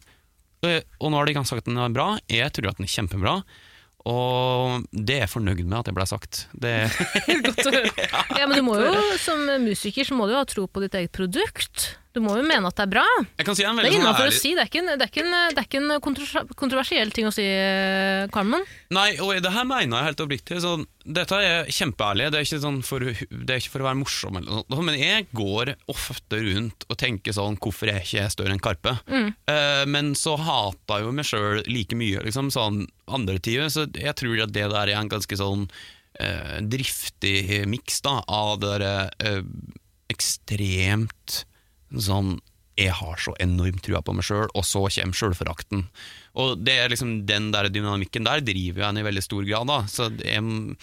Speaker 3: Eh, Og nå har de gang sagt at den er bra. Jeg tror at den er kjempebra. Og det er jeg fornøyd med at det ble sagt. Det
Speaker 4: Godt å høre.
Speaker 2: Ja, men du må jo, som musiker så må du jo ha tro på ditt eget produkt. Du må jo mene at det er bra.
Speaker 3: Jeg kan si en
Speaker 2: Det
Speaker 3: veldig
Speaker 2: liksom, er
Speaker 3: sånn
Speaker 2: innafor å
Speaker 3: ærlig-
Speaker 2: si. Det er ikke en, det er ikke en, det er ikke en kontro- kontroversiell ting å si, eh, Carmen.
Speaker 3: Nei, og det her mener jeg helt oppriktig. Sånn, dette er kjempeærlig. Det er, ikke sånn for, det er ikke for å være morsom, eller noe, sånt, men jeg går ofte rundt og tenker sånn Hvorfor er ikke jeg større enn Karpe? Eh, men så hater jeg jo meg sjøl like mye, liksom, sånn andre tider. Så jeg tror at det der er en ganske sånn eh, driftig miks da, av det derre eh, ekstremt sånn jeg har så enormt trua på meg sjøl, og så kommer sjølforakten. Og det er liksom den der dynamikken der driver jo en i veldig stor grad, da. Så jeg,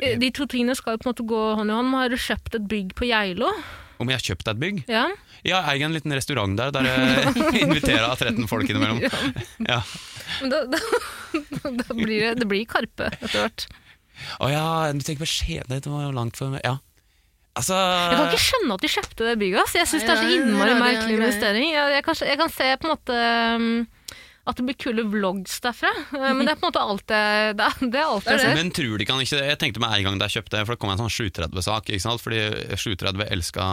Speaker 2: Eh, De to tingene skal jo på en måte gå hånd i hånd. Har du kjøpt et bygg på Geilo?
Speaker 3: om jeg har kjøpt et bygg
Speaker 2: Ja.
Speaker 3: Jeg eier en liten restaurant der, der jeg inviterer 13 folk innimellom. Ja.
Speaker 2: Men da, da, da blir det, det blir Karpe etter hvert.
Speaker 3: Å ja, du tenker på Skjede, det var jo langt for meg. Ja. Altså
Speaker 2: Jeg kan ikke skjønne at de kjøpte det bygget. ass. Jeg syns
Speaker 4: Nei,
Speaker 2: det er så
Speaker 4: det er
Speaker 2: innmari
Speaker 4: rare
Speaker 2: merkelig
Speaker 4: greier.
Speaker 2: investering. Jeg, jeg, kan, jeg kan se på en måte um, at det blir kule vlogs derfra. Eh, Men det er på en måte alt jeg, det er, det er alt jeg ser.
Speaker 3: Men tror de kan ikke det? Jeg tenkte med en gang da jeg kjøpte, for det kom en sånn 730-sak, ikke sant? Fordi 730 elska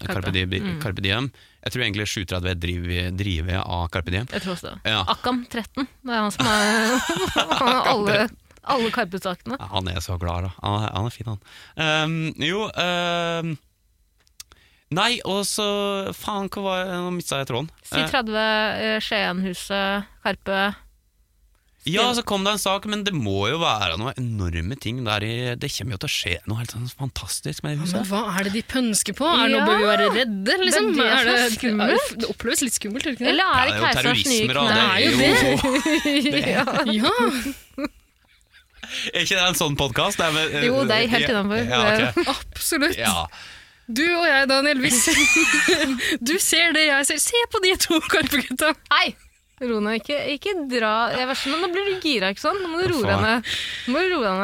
Speaker 3: Carpe, Diem-
Speaker 2: Mm.
Speaker 3: Carpe Diem. Jeg tror egentlig 730 er driv- drivet av Carpe Diem.
Speaker 2: Jeg tror også det.
Speaker 3: Ja.
Speaker 2: Akkam 13, det er han som er han har alle, alle Karpe-sakene.
Speaker 3: Ja, han er så glad, da. Han er, han er fin, han. Ehm, jo ehm, Nei, og så Faen, hva var Nå mista jeg tråden.
Speaker 2: Si
Speaker 3: Eh,
Speaker 2: 30, eh, Skienhuset, Karpe.
Speaker 3: Eh, ja, så kom det en sak, men det må jo være noen enorme ting der i Det kommer jo til å skje noe helt sånn fantastisk med det
Speaker 4: Men
Speaker 3: huset.
Speaker 4: hva er det de pønsker på? Er det
Speaker 2: Ja.
Speaker 4: Nå bør vi være redde, liksom.
Speaker 2: Det er det som er
Speaker 4: det, det oppleves litt skummelt, gjør det ikke det?
Speaker 2: Eller
Speaker 3: Ja,
Speaker 2: er det Keisers nye
Speaker 3: da.
Speaker 2: knær?
Speaker 4: Det er jo
Speaker 2: Ja.
Speaker 4: Ja,
Speaker 3: Er ikke det en sånn podkast?
Speaker 2: Jo, det er helt innenfor.
Speaker 3: eh, Ja, ok.
Speaker 4: absolutt.
Speaker 3: ja.
Speaker 4: Du og jeg, Daniel, vi ser- du ser det jeg ser. Se på de to Karpe-gutta!
Speaker 2: Hei! Ro nå, ikke, ikke dra. Jeg vær så snill, nå blir du gira, ikke sant? Nå må du
Speaker 3: Hva
Speaker 2: roe deg
Speaker 3: faen?
Speaker 2: ned. Nå må du roe deg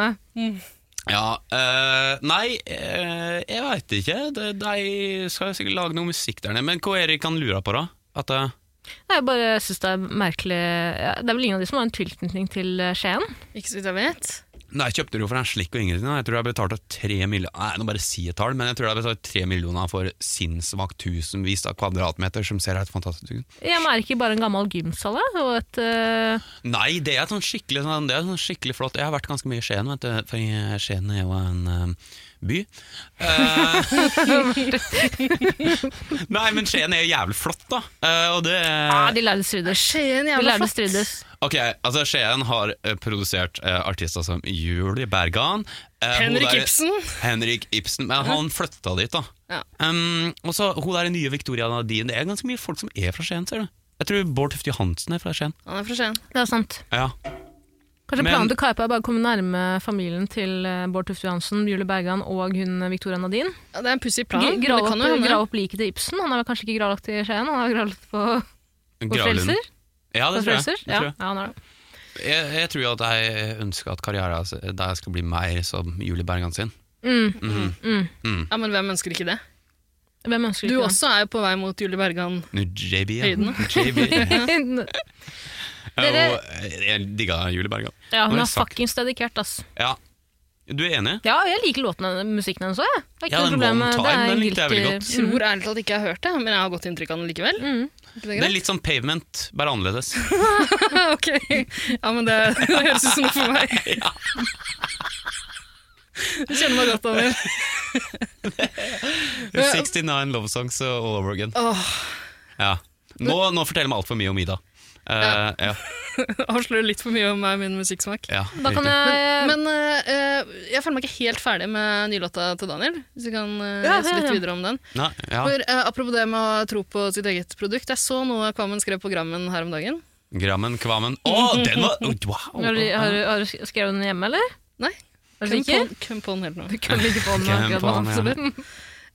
Speaker 2: ned.
Speaker 3: Ja, eh, Nei, eh, jeg veit ikke. De, de skal jo sikkert lage noe musikk der nede. Men hva er det han lurer på, da? At eh,
Speaker 2: Nei, Jeg bare syns det er merkelig ja, Det er vel ingen av de som har en tilknytning til eh, Skien?
Speaker 4: Ikke så vidt jeg vet.
Speaker 3: Nei, jeg kjøpte det jo for en slikk og ingenting. da. Jeg tror jeg betalte tre millioner Nei, nå bare si et tall, men jeg tror jeg betalte tre millioner for sinnssvakt tusenvis av kvadratmeter som ser helt fantastisk ut.
Speaker 2: Jeg er ikke bare en gammel gymsal jeg, og et eh,
Speaker 3: Nei, det er sånn skikkelig, sånn, det er sånn skikkelig flott. Jeg har vært ganske mye i Skien, vet du, for jeg- Skien er jo en eh, by. Eh, nei, men Skien er jo jævlig flott, da. Eh, og det
Speaker 2: ah, De lærde strides.
Speaker 4: Skien
Speaker 2: De
Speaker 4: jævla
Speaker 2: lærde
Speaker 4: flott.
Speaker 2: strides.
Speaker 3: Ok, altså Skien har eh, produsert eh, artister som Julie Bergan. eh, hun
Speaker 4: Henrik
Speaker 3: der-
Speaker 4: Ibsen.
Speaker 3: Henrik Ibsen, men han flytta dit da.
Speaker 4: Ja.
Speaker 3: Um, og så hun der nye Victoria Nadine, det er ganske mye folk som er fra Skien, ser du. Jeg tror Bård Tufte Johansen er fra Skien.
Speaker 4: Han er fra Skien.
Speaker 2: Det er sant.
Speaker 3: Ja.
Speaker 2: Kanskje
Speaker 3: Men-
Speaker 2: planen til Karpe er bare å komme nærme familien til eh, Bård Tufte Johansen, Julie Bergan og hun eh, Victoria Nadine.
Speaker 4: Ja, det er en pussig plan.
Speaker 2: Gra-
Speaker 4: men
Speaker 2: Grave
Speaker 4: det kan jo
Speaker 2: opp,
Speaker 4: hende.
Speaker 2: grave opp liket til Ibsen. Han er vel kanskje ikke gravlagt i Skien, han er gravlagt på, på
Speaker 3: Gravlund.
Speaker 2: Frelser?
Speaker 3: Ja, det
Speaker 2: På
Speaker 3: tror jeg.
Speaker 2: Frelser?
Speaker 3: Det
Speaker 2: Ja.
Speaker 3: tror jeg.
Speaker 2: ja, han er det.
Speaker 3: Jeg, jeg tror jo at jeg ønsker at karrieren altså, der skal bli mer som Julie Bergan sin.
Speaker 2: Mm.
Speaker 3: Mhm.
Speaker 4: Ja, men hvem ønsker ikke det?
Speaker 2: Hvem ønsker
Speaker 4: Du
Speaker 2: ikke det?
Speaker 4: også er jo på vei mot Julie Bergan.
Speaker 3: Nå, JB, ja.
Speaker 4: Høyden,
Speaker 3: JB. ja.
Speaker 2: Dere-
Speaker 3: Og jeg digga Julie Bergan.
Speaker 2: Ja,
Speaker 3: Nå
Speaker 2: hun er
Speaker 3: har jeg sagt-
Speaker 2: fuckings dedikert, ass.
Speaker 3: Ja. Du er enig?
Speaker 2: Ja, jeg liker låtene, musikken hennes òg, jeg. Det er ikke
Speaker 3: Ja,
Speaker 2: noe
Speaker 3: den
Speaker 2: problem.
Speaker 3: One Time,
Speaker 2: det er
Speaker 3: den likte jeg veldig
Speaker 2: guilty-
Speaker 4: Tror ærlig talt ikke jeg har hørt det, men jeg har godt inntrykk av den likevel.
Speaker 2: Mm.
Speaker 4: Ikke det
Speaker 3: Det er
Speaker 4: greit?
Speaker 3: litt sånn pavement, bare annerledes.
Speaker 4: ok. Ja, men det, det høres ut som noe for meg. Du kjenner meg godt, Daniel.
Speaker 3: 69 love songs uh, all over again.
Speaker 4: Åh,
Speaker 3: Ja. Nå, nå forteller meg altfor mye om Ida. Eh, ja.
Speaker 4: avslører litt for mye om meg og min musikksmak.
Speaker 3: Ja,
Speaker 2: Da kan
Speaker 3: riktig.
Speaker 2: jeg
Speaker 4: Men eh, eh, jeg føler meg ikke helt ferdig med nylåta til Daniel, hvis vi kan eh,
Speaker 2: Ja,
Speaker 4: lese
Speaker 2: ja,
Speaker 4: litt
Speaker 2: ja.
Speaker 4: videre om den.
Speaker 3: Nei, ja.
Speaker 4: For, eh, apropos det med å tro på sitt eget produkt, jeg så noe Kvammen skrev på Grammen her om dagen.
Speaker 3: Grammen, Kvammen Å, den var oh, Wow!
Speaker 2: har, du- har, du- har du skrevet den hjemme, eller?
Speaker 4: Nei,
Speaker 2: Er du
Speaker 4: Hvem
Speaker 2: sikker?
Speaker 4: på, hvem på den helt nå?
Speaker 2: Du kan ikke få den
Speaker 3: Hvem
Speaker 2: akkurat nå,
Speaker 3: faen, ja.
Speaker 2: absolutt.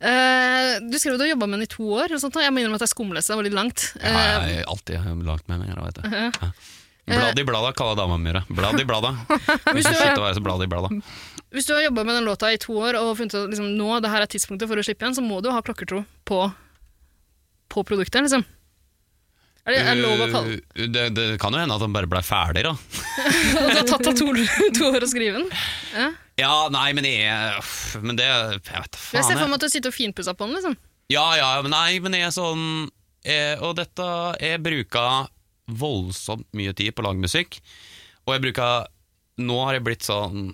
Speaker 4: Eh, du skrev jo du har jobba med den i to år. Og sånt, og jeg må innrømme at jeg skumleste. Det var litt langt.
Speaker 3: Ja,
Speaker 4: Eh,
Speaker 3: jeg har alltid lagt meg med vet du. Ja. Blad i blada, kaller dama mi det. Blad i blada. Hvis du slutter å være så blad i blada.
Speaker 4: hvis du har jobba med den låta i to år og funnet ut at liksom, nå det her er tidspunktet for å slippe igjen, så må du jo ha klokkertro på, på produktet. liksom. Er det er det lov å kalle
Speaker 3: Uh, Det, det kan jo hende at den bare ble ferdig, da. Eh.
Speaker 4: Og det har Altså, tatt deg to, to år å skrive den? Ja.
Speaker 3: Ja, nei, men jeg uff, Men det Jeg vet da
Speaker 4: Jeg ser for
Speaker 3: faen. jeg.
Speaker 4: meg at du har sittet og finpussa på den. liksom.
Speaker 3: Ja, ja, men nei, men jeg er sånn jeg, Og dette Jeg bruker voldsomt mye tid på å lage musikk, og jeg bruker Nå har jeg blitt sånn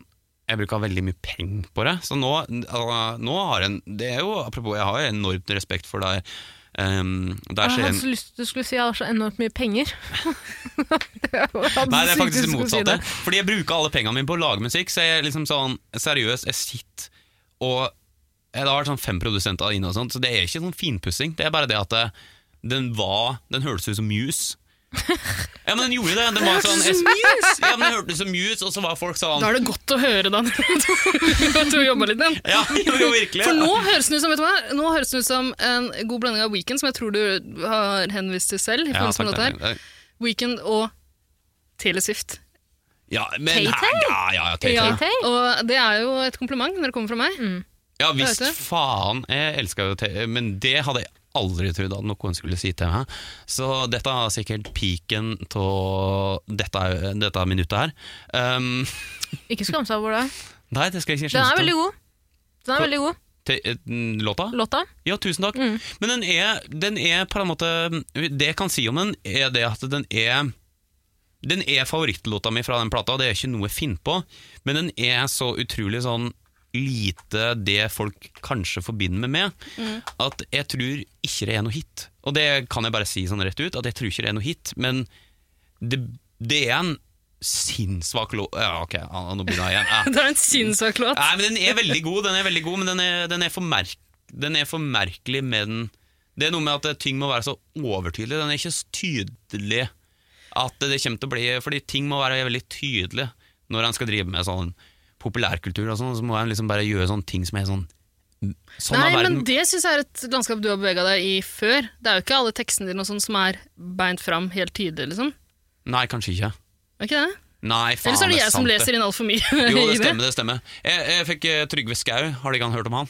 Speaker 3: jeg bruker veldig mye penger på det. Så nå, altså, nå har jeg en Det er jo, apropos, jeg har jo enormt respekt for deg. Um, der
Speaker 2: Jeg
Speaker 3: skjer
Speaker 2: hadde
Speaker 3: en
Speaker 2: så lyst til du skulle si jeg har så enormt mye penger. Det er jo- jeg hadde
Speaker 3: Nei, det er
Speaker 2: sykt
Speaker 3: faktisk
Speaker 2: lyst
Speaker 3: det
Speaker 2: til å si
Speaker 3: motsatte. Fordi jeg bruker alle pengene mine på å lage musikk, så jeg er liksom sånn seriøs, jeg sitter og jeg, Det har vært sånn fem produsenter inne og sånt, så det er ikke sånn finpussing. Det er bare det at det, den var Den hørtes ut som Muse. Ja, men den gjorde det. Den var sånn, jeg, ja, men den hørtes ut som Muse, og så var folk sånn
Speaker 4: Da er det godt å høre, Daniel, at du har jobba litt med den.
Speaker 3: Ja, jo, jo, virkelig.
Speaker 4: For nå høres den ut som vet du hva? Nå høres den ut som en god blanding av Weekend, som jeg tror du har henvist til selv.
Speaker 3: ja,
Speaker 4: i forbindelse med
Speaker 3: takk,
Speaker 4: dette
Speaker 3: takk,
Speaker 4: her.
Speaker 3: takk.
Speaker 4: Weekend og Taylor Swift.
Speaker 3: ja, men her, ja, ja, ja, Tay-Tay.
Speaker 4: Ja,
Speaker 2: Tay-Tay?
Speaker 4: og det er jo Mm. et kompliment når det kommer fra meg.
Speaker 3: Ja visst
Speaker 4: Vet du?
Speaker 3: faen. Jeg elska jo Tay, men det hadde jeg aldri trodd at noen skulle si til meg. Så dette er sikkert piken av dette, er- dette er minuttet her. Um,
Speaker 2: Ikke skam seg over det.
Speaker 3: nei, det skal jeg ikke
Speaker 2: Den
Speaker 3: skjønne.
Speaker 2: er veldig god. Den er veldig god,
Speaker 3: Te- eh, Låta?
Speaker 2: låta.
Speaker 3: Ja, tusen takk.
Speaker 2: Mm.
Speaker 3: Men den er, den er på en måte Det jeg kan si om den, er det at den er Den er favorittlåta mi fra den plata, og det er ikke noe jeg finner på, men den er så utrolig sånn lite det folk kanskje forbinder meg med, at jeg tror ikke det er noe hit. Og det kan jeg bare si sånn rett ut, at jeg tror ikke det er noe hit, men det, det er en sinnssvak låt Ja, ok, ah, nå begynner jeg igjen. Ah.
Speaker 4: Det er en sinnssyk låt.
Speaker 3: Nei, men den er veldig god, den er veldig god men den er, den er, for, merk, den er for merkelig med den Det er noe med at eh, ting må være så overtydelig. Den er ikke så tydelig at det kommer til å bli Fordi ting må være veldig tydelig når en skal drive med sånn populærkultur og sånn, så må en liksom bare gjøre sånne ting som er sånn Sånn
Speaker 4: Nei,
Speaker 3: er verden.
Speaker 4: men det syns jeg er et landskap du har bevega deg i før. Det er jo ikke alle tekstene dine og sånn som er beint fram helt tydelig, liksom.
Speaker 3: Nei, kanskje ikke.
Speaker 4: Er ikke det?
Speaker 3: Nei, faen,
Speaker 4: Eller så er det
Speaker 3: er
Speaker 4: jeg
Speaker 3: sant
Speaker 4: som leser inn altfor mye.
Speaker 3: Jo, det
Speaker 4: i
Speaker 3: stemmer. det stemmer Jeg, jeg fikk eh, Trygve Skau. Har du ikke han hørt om han?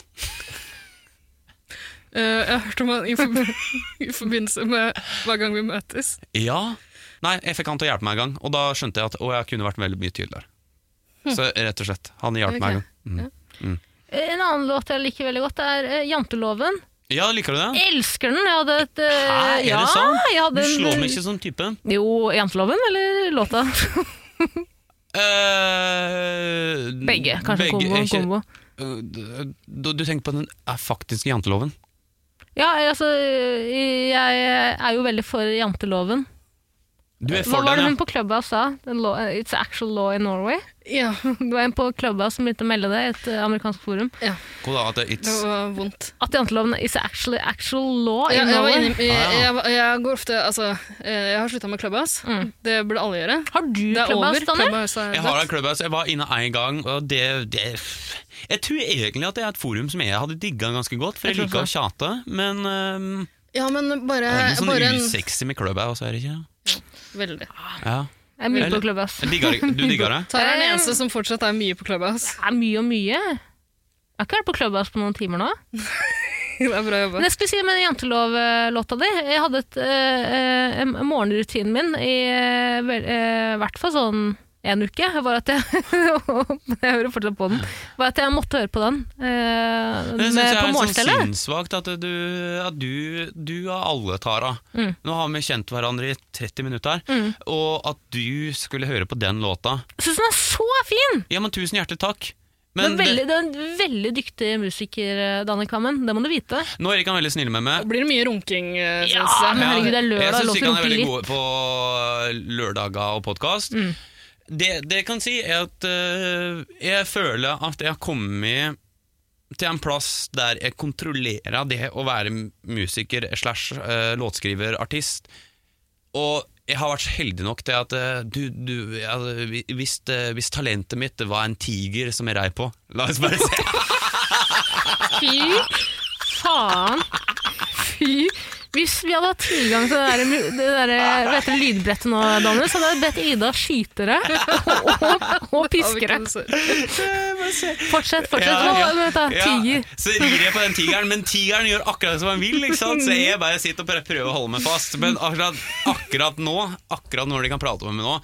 Speaker 4: Eh, jeg har hørt om han i, forb i forbindelse med hver gang vi møtes.
Speaker 3: Ja. Nei, jeg fikk han til å hjelpe meg en gang, og da skjønte jeg at å, jeg kunne vært veldig mye tydeligere.
Speaker 2: Hm.
Speaker 3: Så rett og slett, han hjalp meg en gang. Mm.
Speaker 2: En annen låt jeg liker veldig godt, er eh, Janteloven.
Speaker 3: Ja, liker du det?
Speaker 2: Elsker den! Jeg hadde et eh,
Speaker 3: Hæ, er
Speaker 2: ja,
Speaker 3: det sant?
Speaker 2: Jeg
Speaker 3: Du
Speaker 2: hadde en-
Speaker 3: slår meg ikke som typen.
Speaker 2: Jo, Janteloven eller låta?
Speaker 3: Eh,
Speaker 2: Begge. Kanskje
Speaker 3: begge,
Speaker 2: kombo.
Speaker 3: er ikke-
Speaker 2: kombo.
Speaker 3: Eh, Du, du tenker på den er faktiske janteloven?
Speaker 2: Ja, altså, jeg er jo veldig for janteloven.
Speaker 3: Du er
Speaker 2: Hva
Speaker 3: for
Speaker 2: var det
Speaker 3: den,
Speaker 2: hun på klubba sa? Den law, uh, it's actual law in Norway.
Speaker 4: Ja,
Speaker 2: Det var en på klubba som begynte å melde det i et eh, amerikansk forum.
Speaker 3: ja. God dag, at det-
Speaker 4: det
Speaker 3: it's-
Speaker 4: var vondt.
Speaker 2: At janteloven is actually actual law
Speaker 4: Ja,
Speaker 2: in
Speaker 4: jeg, var
Speaker 2: Norway.
Speaker 4: inne, jeg,
Speaker 3: Ah, ja.
Speaker 4: jeg, var- jeg går ofte Altså, eh, jeg har slutta med Clubhouse.
Speaker 2: Mm.
Speaker 4: Det burde alle gjøre.
Speaker 2: Har du
Speaker 4: Det er
Speaker 2: klubba,
Speaker 4: over.
Speaker 2: Daniel?
Speaker 4: Clubhouse er
Speaker 3: Jeg har
Speaker 4: dødt.
Speaker 3: en klubbhaus, jeg var inne en gang, og det, det Jeg tror egentlig at det er et forum som jeg hadde digga ganske godt, for jeg,
Speaker 2: Jeg tror Eh,
Speaker 3: liker å tjate, men ehm,
Speaker 4: Ja, men bare,
Speaker 3: det er noe
Speaker 4: bare
Speaker 3: sånn
Speaker 4: en
Speaker 3: usexy med klubbhaus, er det ikke?
Speaker 4: Veldig.
Speaker 3: Ja.
Speaker 2: Jeg er mye
Speaker 3: Eller-
Speaker 2: på klubba. ass.
Speaker 3: Jeg digger det. Du digger det?
Speaker 4: Tara er den
Speaker 2: Eh,
Speaker 4: eneste som fortsatt er mye på Clubhouse.
Speaker 2: Det er mye og mye. Jeg har ikke vært på klubba på noen timer nå.
Speaker 4: Det er bra jobba.
Speaker 2: Men jeg skulle si med jantelov-låta di Jeg hadde et, eh, eh, morgenrutinen min i eh, vel- eh, hvert fall sånn en uke, var at jeg Jeg hører fortsatt på den. Var at jeg måtte høre på den eh,
Speaker 3: Det syns
Speaker 2: med,
Speaker 3: jeg
Speaker 2: på
Speaker 3: er sånn
Speaker 2: morgenstellet.
Speaker 3: sinnssvakt at du, at du, du av alle, Tara
Speaker 2: Mm.
Speaker 3: Nå har vi kjent hverandre i 30 minutter,
Speaker 2: Mm.
Speaker 3: og at du skulle høre på den låta
Speaker 2: Syns den er så fin!
Speaker 3: Ja, men tusen hjertelig takk!
Speaker 2: Men
Speaker 3: Men
Speaker 2: det, er veldig, det er en veldig dyktig musiker, eh, Danny Kammen. Det må du vite.
Speaker 3: det, nå er Erik han veldig snill med meg.
Speaker 4: Blir det mye runking? eh,
Speaker 2: Ja,
Speaker 4: synes jeg.
Speaker 2: men
Speaker 3: Ja,
Speaker 2: herregud, det er lørdag,
Speaker 3: jeg
Speaker 2: lov
Speaker 3: syns
Speaker 2: til
Speaker 3: ikke
Speaker 2: å
Speaker 3: han
Speaker 2: runke
Speaker 3: er veldig
Speaker 2: litt.
Speaker 3: god på eh, lørdager og podkast.
Speaker 2: Mm.
Speaker 3: Det, det jeg kan si, er at øh, jeg føler at jeg har kommet til en plass der jeg kontrollerer det å være musiker slash øh, låtskriver, artist. Og jeg har vært så heldig nok til at eh, du, du ja, hvi- hvis, eh, hvis talentet mitt var en tiger som jeg rei på La oss bare se.
Speaker 2: Fy faen. Fy. Hvis vi hadde hatt tilgang til det der, mu- det der vet dere, lydbrettet nå, Daniel, så hadde jeg bedt Ida skyte det og, og, og piske det. Fortsett, fortsett.
Speaker 3: Ja, ja.
Speaker 2: Nå, vent da, Tiger.
Speaker 3: Ja, så rir jeg på den tigeren, men tigeren gjør akkurat som han vil, ikke sant? så jeg bare sitter og bare prøver å holde meg fast. Men akkurat, akkurat nå, akkurat når de kan prate med meg nå,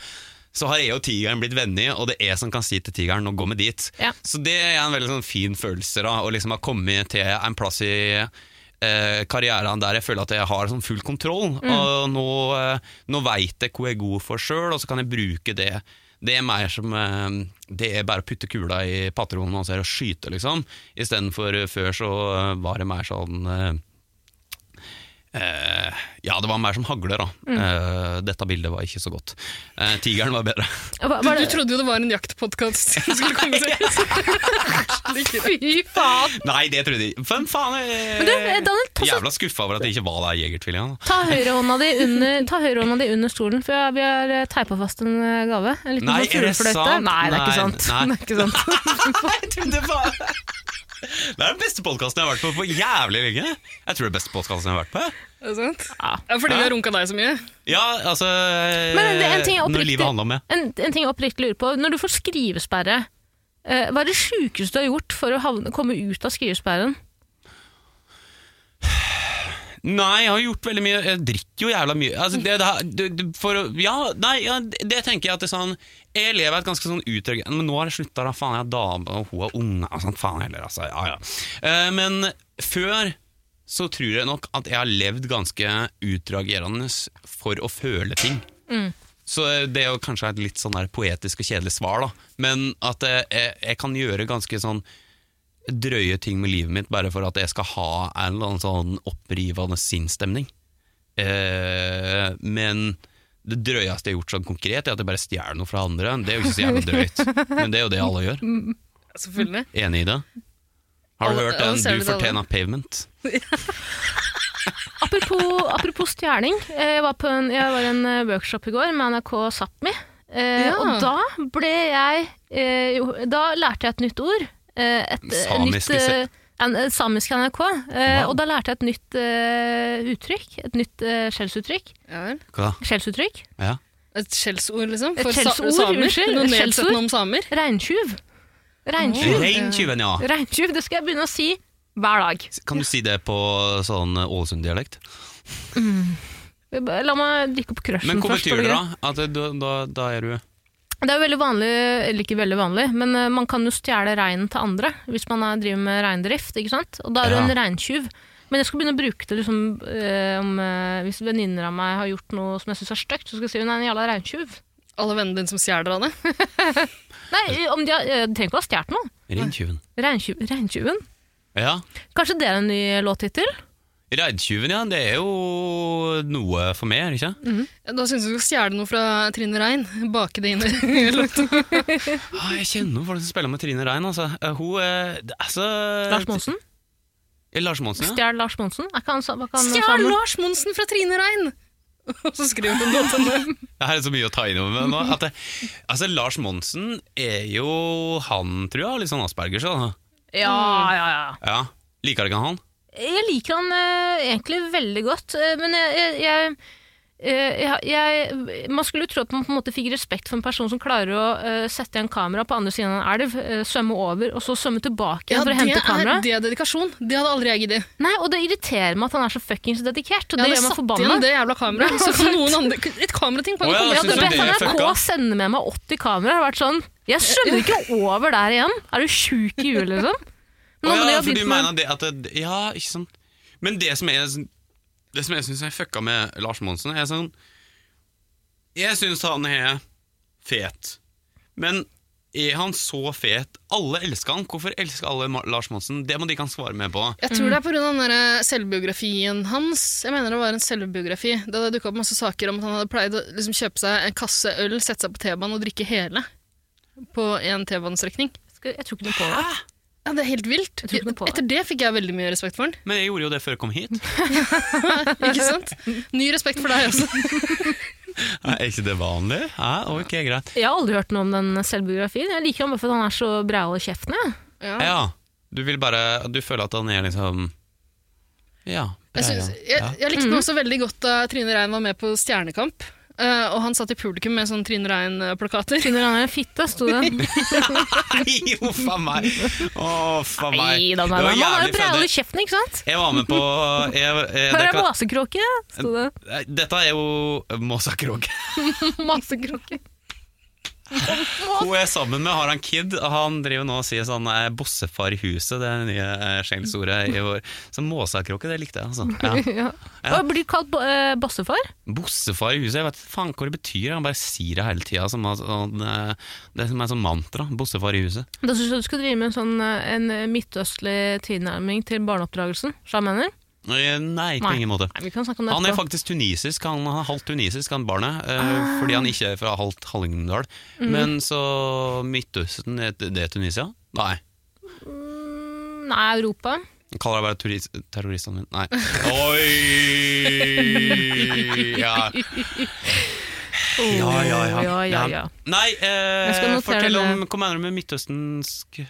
Speaker 3: så har jeg og tigeren blitt venner, og det er jeg som kan si til tigeren nå gå med dit.
Speaker 2: Ja.
Speaker 3: Så det er en veldig sånn fin følelse da, å liksom ha kommet til en plass i eh, karrieren der jeg føler at jeg har sånn full kontroll.
Speaker 2: Mm.
Speaker 3: Og nå, eh, nå veit jeg hvor jeg er god for sjøl, og så kan jeg bruke det. Det er mer som eh, Det er bare å putte kula i patronen og så er det å skyte, liksom. Istedenfor eh, før så eh, var det mer sånn eh, eh, ja, det var mer som hagler, da.
Speaker 2: Mm.
Speaker 3: Eh, dette bildet var ikke så godt. Eh, tigeren var bedre.
Speaker 2: Hva,
Speaker 4: Du,
Speaker 2: hva er
Speaker 4: du
Speaker 2: det?
Speaker 4: trodde jo det var en jaktpodkast som skulle komme seg
Speaker 2: Fy faen.
Speaker 3: Nei, det trodde jeg ikke. Hvem faen eh,
Speaker 2: Men du, eh, Daniel, ta, så,
Speaker 3: Jævla skuffa over at det ikke var der Jegertvillingene.
Speaker 2: ta høyrehånda di under, ta høyrehånda di under stolen, for jeg- vi har teipa fast en eh, gave. En liten
Speaker 3: Nei,
Speaker 2: sånn
Speaker 3: er det
Speaker 2: fuglefløyte.
Speaker 3: sant?
Speaker 2: Nei, det er ikke
Speaker 3: Nei,
Speaker 2: sant. Det er
Speaker 3: nei.
Speaker 2: ikke sant.
Speaker 3: det var Det er den beste podkasten jeg har vært på på jævlig lenge. Jeg tror det er beste podcasten jeg har vært på. jeg.
Speaker 4: Er det sant?
Speaker 2: Ja.
Speaker 4: Ja, fordi vi har runka deg så mye?
Speaker 3: Ja, altså eh,
Speaker 2: Men det er en ting jeg
Speaker 3: Når
Speaker 2: oppriktig-
Speaker 3: livet handler om det.
Speaker 2: En, en ting jeg oppriktig lurer på. Når du får skrivesperre, eh, hva er det sjukeste du har gjort for å havne, komme ut av skrivesperren?
Speaker 3: Nei, jeg har gjort veldig mye. Jeg drikker jo jævla mye. Altså, det, det, her- du- du- for, å- ja, nei, ja, det det tenker jeg at det er sånn Jeg lever et ganske sånn utrygt Men nå har det slutta, da. Faen, jeg har dame, og hun har unge. og sånt, faen heller, altså. Ja, ja. Eh, men før så tror jeg nok at jeg har levd ganske utreagerende for å føle ting. Så eh, det er jo kanskje et litt sånn der poetisk og kjedelig svar, da. Men at eh, jeg, jeg kan gjøre ganske sånn drøye ting med livet mitt bare for at jeg skal ha en eller annen sånn opprivende sinnsstemning. Eh, men det drøyeste jeg har gjort sånn konkret, er at jeg bare stjeler noe fra andre. Det er jo ikke så jævla drøyt, men det er jo det alle gjør.
Speaker 4: Selvfølgelig.
Speaker 3: Enig i det? Har du
Speaker 4: Alle-
Speaker 3: hørt
Speaker 4: alle
Speaker 3: den
Speaker 4: ser det
Speaker 3: 'Du
Speaker 4: til alle.
Speaker 3: fortjener pavement'?
Speaker 2: Apropos, apropos stjerning. eh, Jeg var på en, jeg var i en eh, workshop i går med NRK Sápmi. Eh,
Speaker 4: Ja.
Speaker 2: Og da ble jeg eh, jo, Da lærte jeg et nytt ord. Eh, et, eh,
Speaker 3: Samisk,
Speaker 2: nytt,
Speaker 3: disse-
Speaker 2: eh, en, eh, samisk NRK. Eh,
Speaker 3: Wow.
Speaker 2: Og da lærte jeg et nytt eh, uttrykk. Et nytt eh, skjellsuttrykk.
Speaker 4: Ja vel.
Speaker 3: Hva da?
Speaker 2: Skjellsuttrykk.
Speaker 3: Ja.
Speaker 4: Et skjellsord, liksom?
Speaker 2: Et
Speaker 4: For sa
Speaker 2: skjellsord,
Speaker 4: samer?
Speaker 2: unnskyld,
Speaker 4: Noe
Speaker 2: et skjellsord.
Speaker 4: nedsettende om samer?
Speaker 2: Regntjuv. Regntjuv.
Speaker 3: Reintyven, ja.
Speaker 2: Regntjuv, det skal jeg begynne å si hver dag.
Speaker 3: Kan du si det på sånn Ålesund-dialekt?
Speaker 2: La meg drikke opp crushen
Speaker 3: Men hva
Speaker 2: først. er
Speaker 3: betyr det,
Speaker 2: greit?
Speaker 3: da? At da, da, da er du
Speaker 2: Det er jo veldig vanlig, eller ikke veldig vanlig, men eh, man kan jo stjele reinen til andre hvis man er, driver med reindrift, ikke sant? Og da er du
Speaker 3: Ja.
Speaker 2: en reintyv. Men jeg skal begynne å bruke det liksom, eh, om, eh, hvis venninner av meg har gjort noe som jeg syns er stygt, så skal jeg si hun er en jævla reintyv.
Speaker 4: Alle vennene dine som stjeler av det?
Speaker 2: Nei, om de, har, eh, de trenger ikke å ha stjålet noe.
Speaker 3: Reintyven.
Speaker 2: Reintyv, reintyven.
Speaker 3: Ja.
Speaker 2: Kanskje det er en ny låttittel?
Speaker 3: Reintyven, ja. Det er jo noe for meg, er det ikke?
Speaker 4: Da syns jeg du skal stjele noe fra Trine Rein. Bake det inn i låta.
Speaker 3: Ah, jeg kjenner noen folk som spiller med Trine Rein, altså. Eh, Hun er det- altså,
Speaker 2: Lars Monsen?
Speaker 3: Ja, Lars Monsen, ja.
Speaker 2: Stjel Lars Monsen? Er ikke han, sa- hva kan han
Speaker 4: Stjel Lars Monsen fra Trine Rein! Og så skriver hun noe til henne.
Speaker 3: Det her er så mye å ta innover med nå. At det, altså, Lars Monsen er jo han, tror jeg. har Litt sånn Aspergers, da.
Speaker 2: Ja, ja, ja.
Speaker 3: Ja. Liker ikke han?
Speaker 2: Jeg liker han eh, egentlig veldig godt, eh, men jeg, jeg, jeg eh, jeg, jeg, man skulle jo tro at man på en måte fikk respekt for en person som klarer å eh, sette igjen kamera på andre siden av en elv, eh, svømme over, og så svømme tilbake igjen
Speaker 4: Ja,
Speaker 2: for
Speaker 4: det
Speaker 2: å hente
Speaker 4: er,
Speaker 2: kameraet.
Speaker 4: det er dedikasjon. Det hadde aldri jeg giddet.
Speaker 2: Nei, og det irriterer meg at han er så fuckings dedikert, og
Speaker 4: Jeg
Speaker 2: det
Speaker 4: hadde
Speaker 2: gjør meg
Speaker 4: satt
Speaker 2: forbanna.
Speaker 4: igjen det jævla kameraet. Så kan noen andre Et kamerating
Speaker 3: Å,
Speaker 4: kan
Speaker 3: ja,
Speaker 4: jo komme
Speaker 2: Jeg
Speaker 3: synes
Speaker 2: hadde
Speaker 3: du
Speaker 2: bedt
Speaker 3: det
Speaker 4: igjen.
Speaker 2: NRK
Speaker 3: er fucka?
Speaker 2: sende med meg 80 kameraer og vært sånn Jeg svømmer ikke over der igjen! Er du sjuk i huet, liksom? Men nå
Speaker 3: Å
Speaker 2: må de
Speaker 3: ja,
Speaker 2: ha
Speaker 3: for du
Speaker 2: begynt med-
Speaker 3: mener det at det, Ja, ikke sant. Men det som jeg, det som jeg syns jeg fucka med Lars Monsen, er sånn Jeg syns han er fet, men er han så fet? Alle elsker han. Hvorfor elsker alle Ma- Lars Monsen? Det må de kan svare med på.
Speaker 4: Jeg tror det er pga. den
Speaker 3: Mm.
Speaker 4: der eh, selvbiografien hans. Jeg mener det var en selvbiografi. Da det dukka opp masse saker om at han hadde pleid å liksom kjøpe seg en kasse øl, sette seg på T-banen og drikke hele på en T-banestrekning.
Speaker 2: Skal- Jeg tror ikke noe på det.
Speaker 4: Ja, det er helt vilt.
Speaker 2: Jeg tror ikke noe på det.
Speaker 4: Etter det fikk jeg veldig mye respekt for han.
Speaker 3: Men jeg gjorde jo det før jeg kom hit.
Speaker 4: Ikke sant? Ny respekt for deg også.
Speaker 3: Er ikke det vanlig? Ja, ok, greit.
Speaker 2: Jeg har aldri hørt noe om den selvbiografien. Jeg liker ham bare fordi han er så breial i kjeften. Jeg.
Speaker 4: Ja.
Speaker 3: Ja, du vil bare Du føler at han er liksom Ja. bra,
Speaker 4: Jeg, synes,
Speaker 3: ja.
Speaker 4: jeg, jeg likte
Speaker 2: Mhm.
Speaker 4: meg også veldig godt da Trine Rein var med på Stjernekamp. eh, og han satt i publikum med sånne Trine Rein-plakater.
Speaker 2: Finner han en fitte, sto det.
Speaker 3: Nei, huff a meg! Å, faen
Speaker 2: Nei da, nei,
Speaker 3: meg. Det
Speaker 2: da.
Speaker 3: var
Speaker 2: Man er
Speaker 3: jævlig
Speaker 2: jo breial
Speaker 3: fødig.
Speaker 2: i kjeften, ikke sant?
Speaker 3: Jeg var med på jeg, jeg,
Speaker 2: Her
Speaker 3: det
Speaker 2: er
Speaker 3: kan,
Speaker 2: masekråke, sto det.
Speaker 3: Nei, Dette er jo Måsa Krog.
Speaker 2: Masekråke.
Speaker 3: Hun er sammen med har han kid. og Han driver nå og sier sånn eh, 'bossefar i huset', det er det nye eh, skjellsordet i år. Så Måsa Krog, det likte jeg, altså. Ja.
Speaker 2: Ja. Og blir kalt bo- eh, bossefar.
Speaker 3: Bossefar i huset, jeg vet faen hva det betyr. Han bare sier det hele tida. Som, at- sånn, eh, det som er sånn mantra. Bossefar i huset.
Speaker 2: Da syns jeg du skal drive med en, sånn, eh, en midtøstlig tilnærming til barneoppdragelsen. Sjamener.
Speaker 3: Eh, Nei, på
Speaker 2: Nei.
Speaker 3: ingen måte.
Speaker 2: Nei, vi kan snakke om det
Speaker 3: Han er
Speaker 2: etterpå.
Speaker 3: faktisk tunisisk, han er halvt tunisisk, han barnet. eh,
Speaker 2: Ah.
Speaker 3: Fordi han ikke er fra halvt Hallingdal.
Speaker 2: Mm.
Speaker 3: Men så Midtøsten, er det det Tunisia? Nei.
Speaker 2: Mm, Nei, Europa.
Speaker 3: Jeg kaller deg bare turis- terroristene mine. Nei. Oi! Ja, ja, ja. ja.
Speaker 2: ja, ja, ja.
Speaker 3: Nei,
Speaker 2: Jeg skal
Speaker 3: eh,
Speaker 2: notere
Speaker 3: fortell om
Speaker 2: det.
Speaker 3: Hva mener du med midtøstensk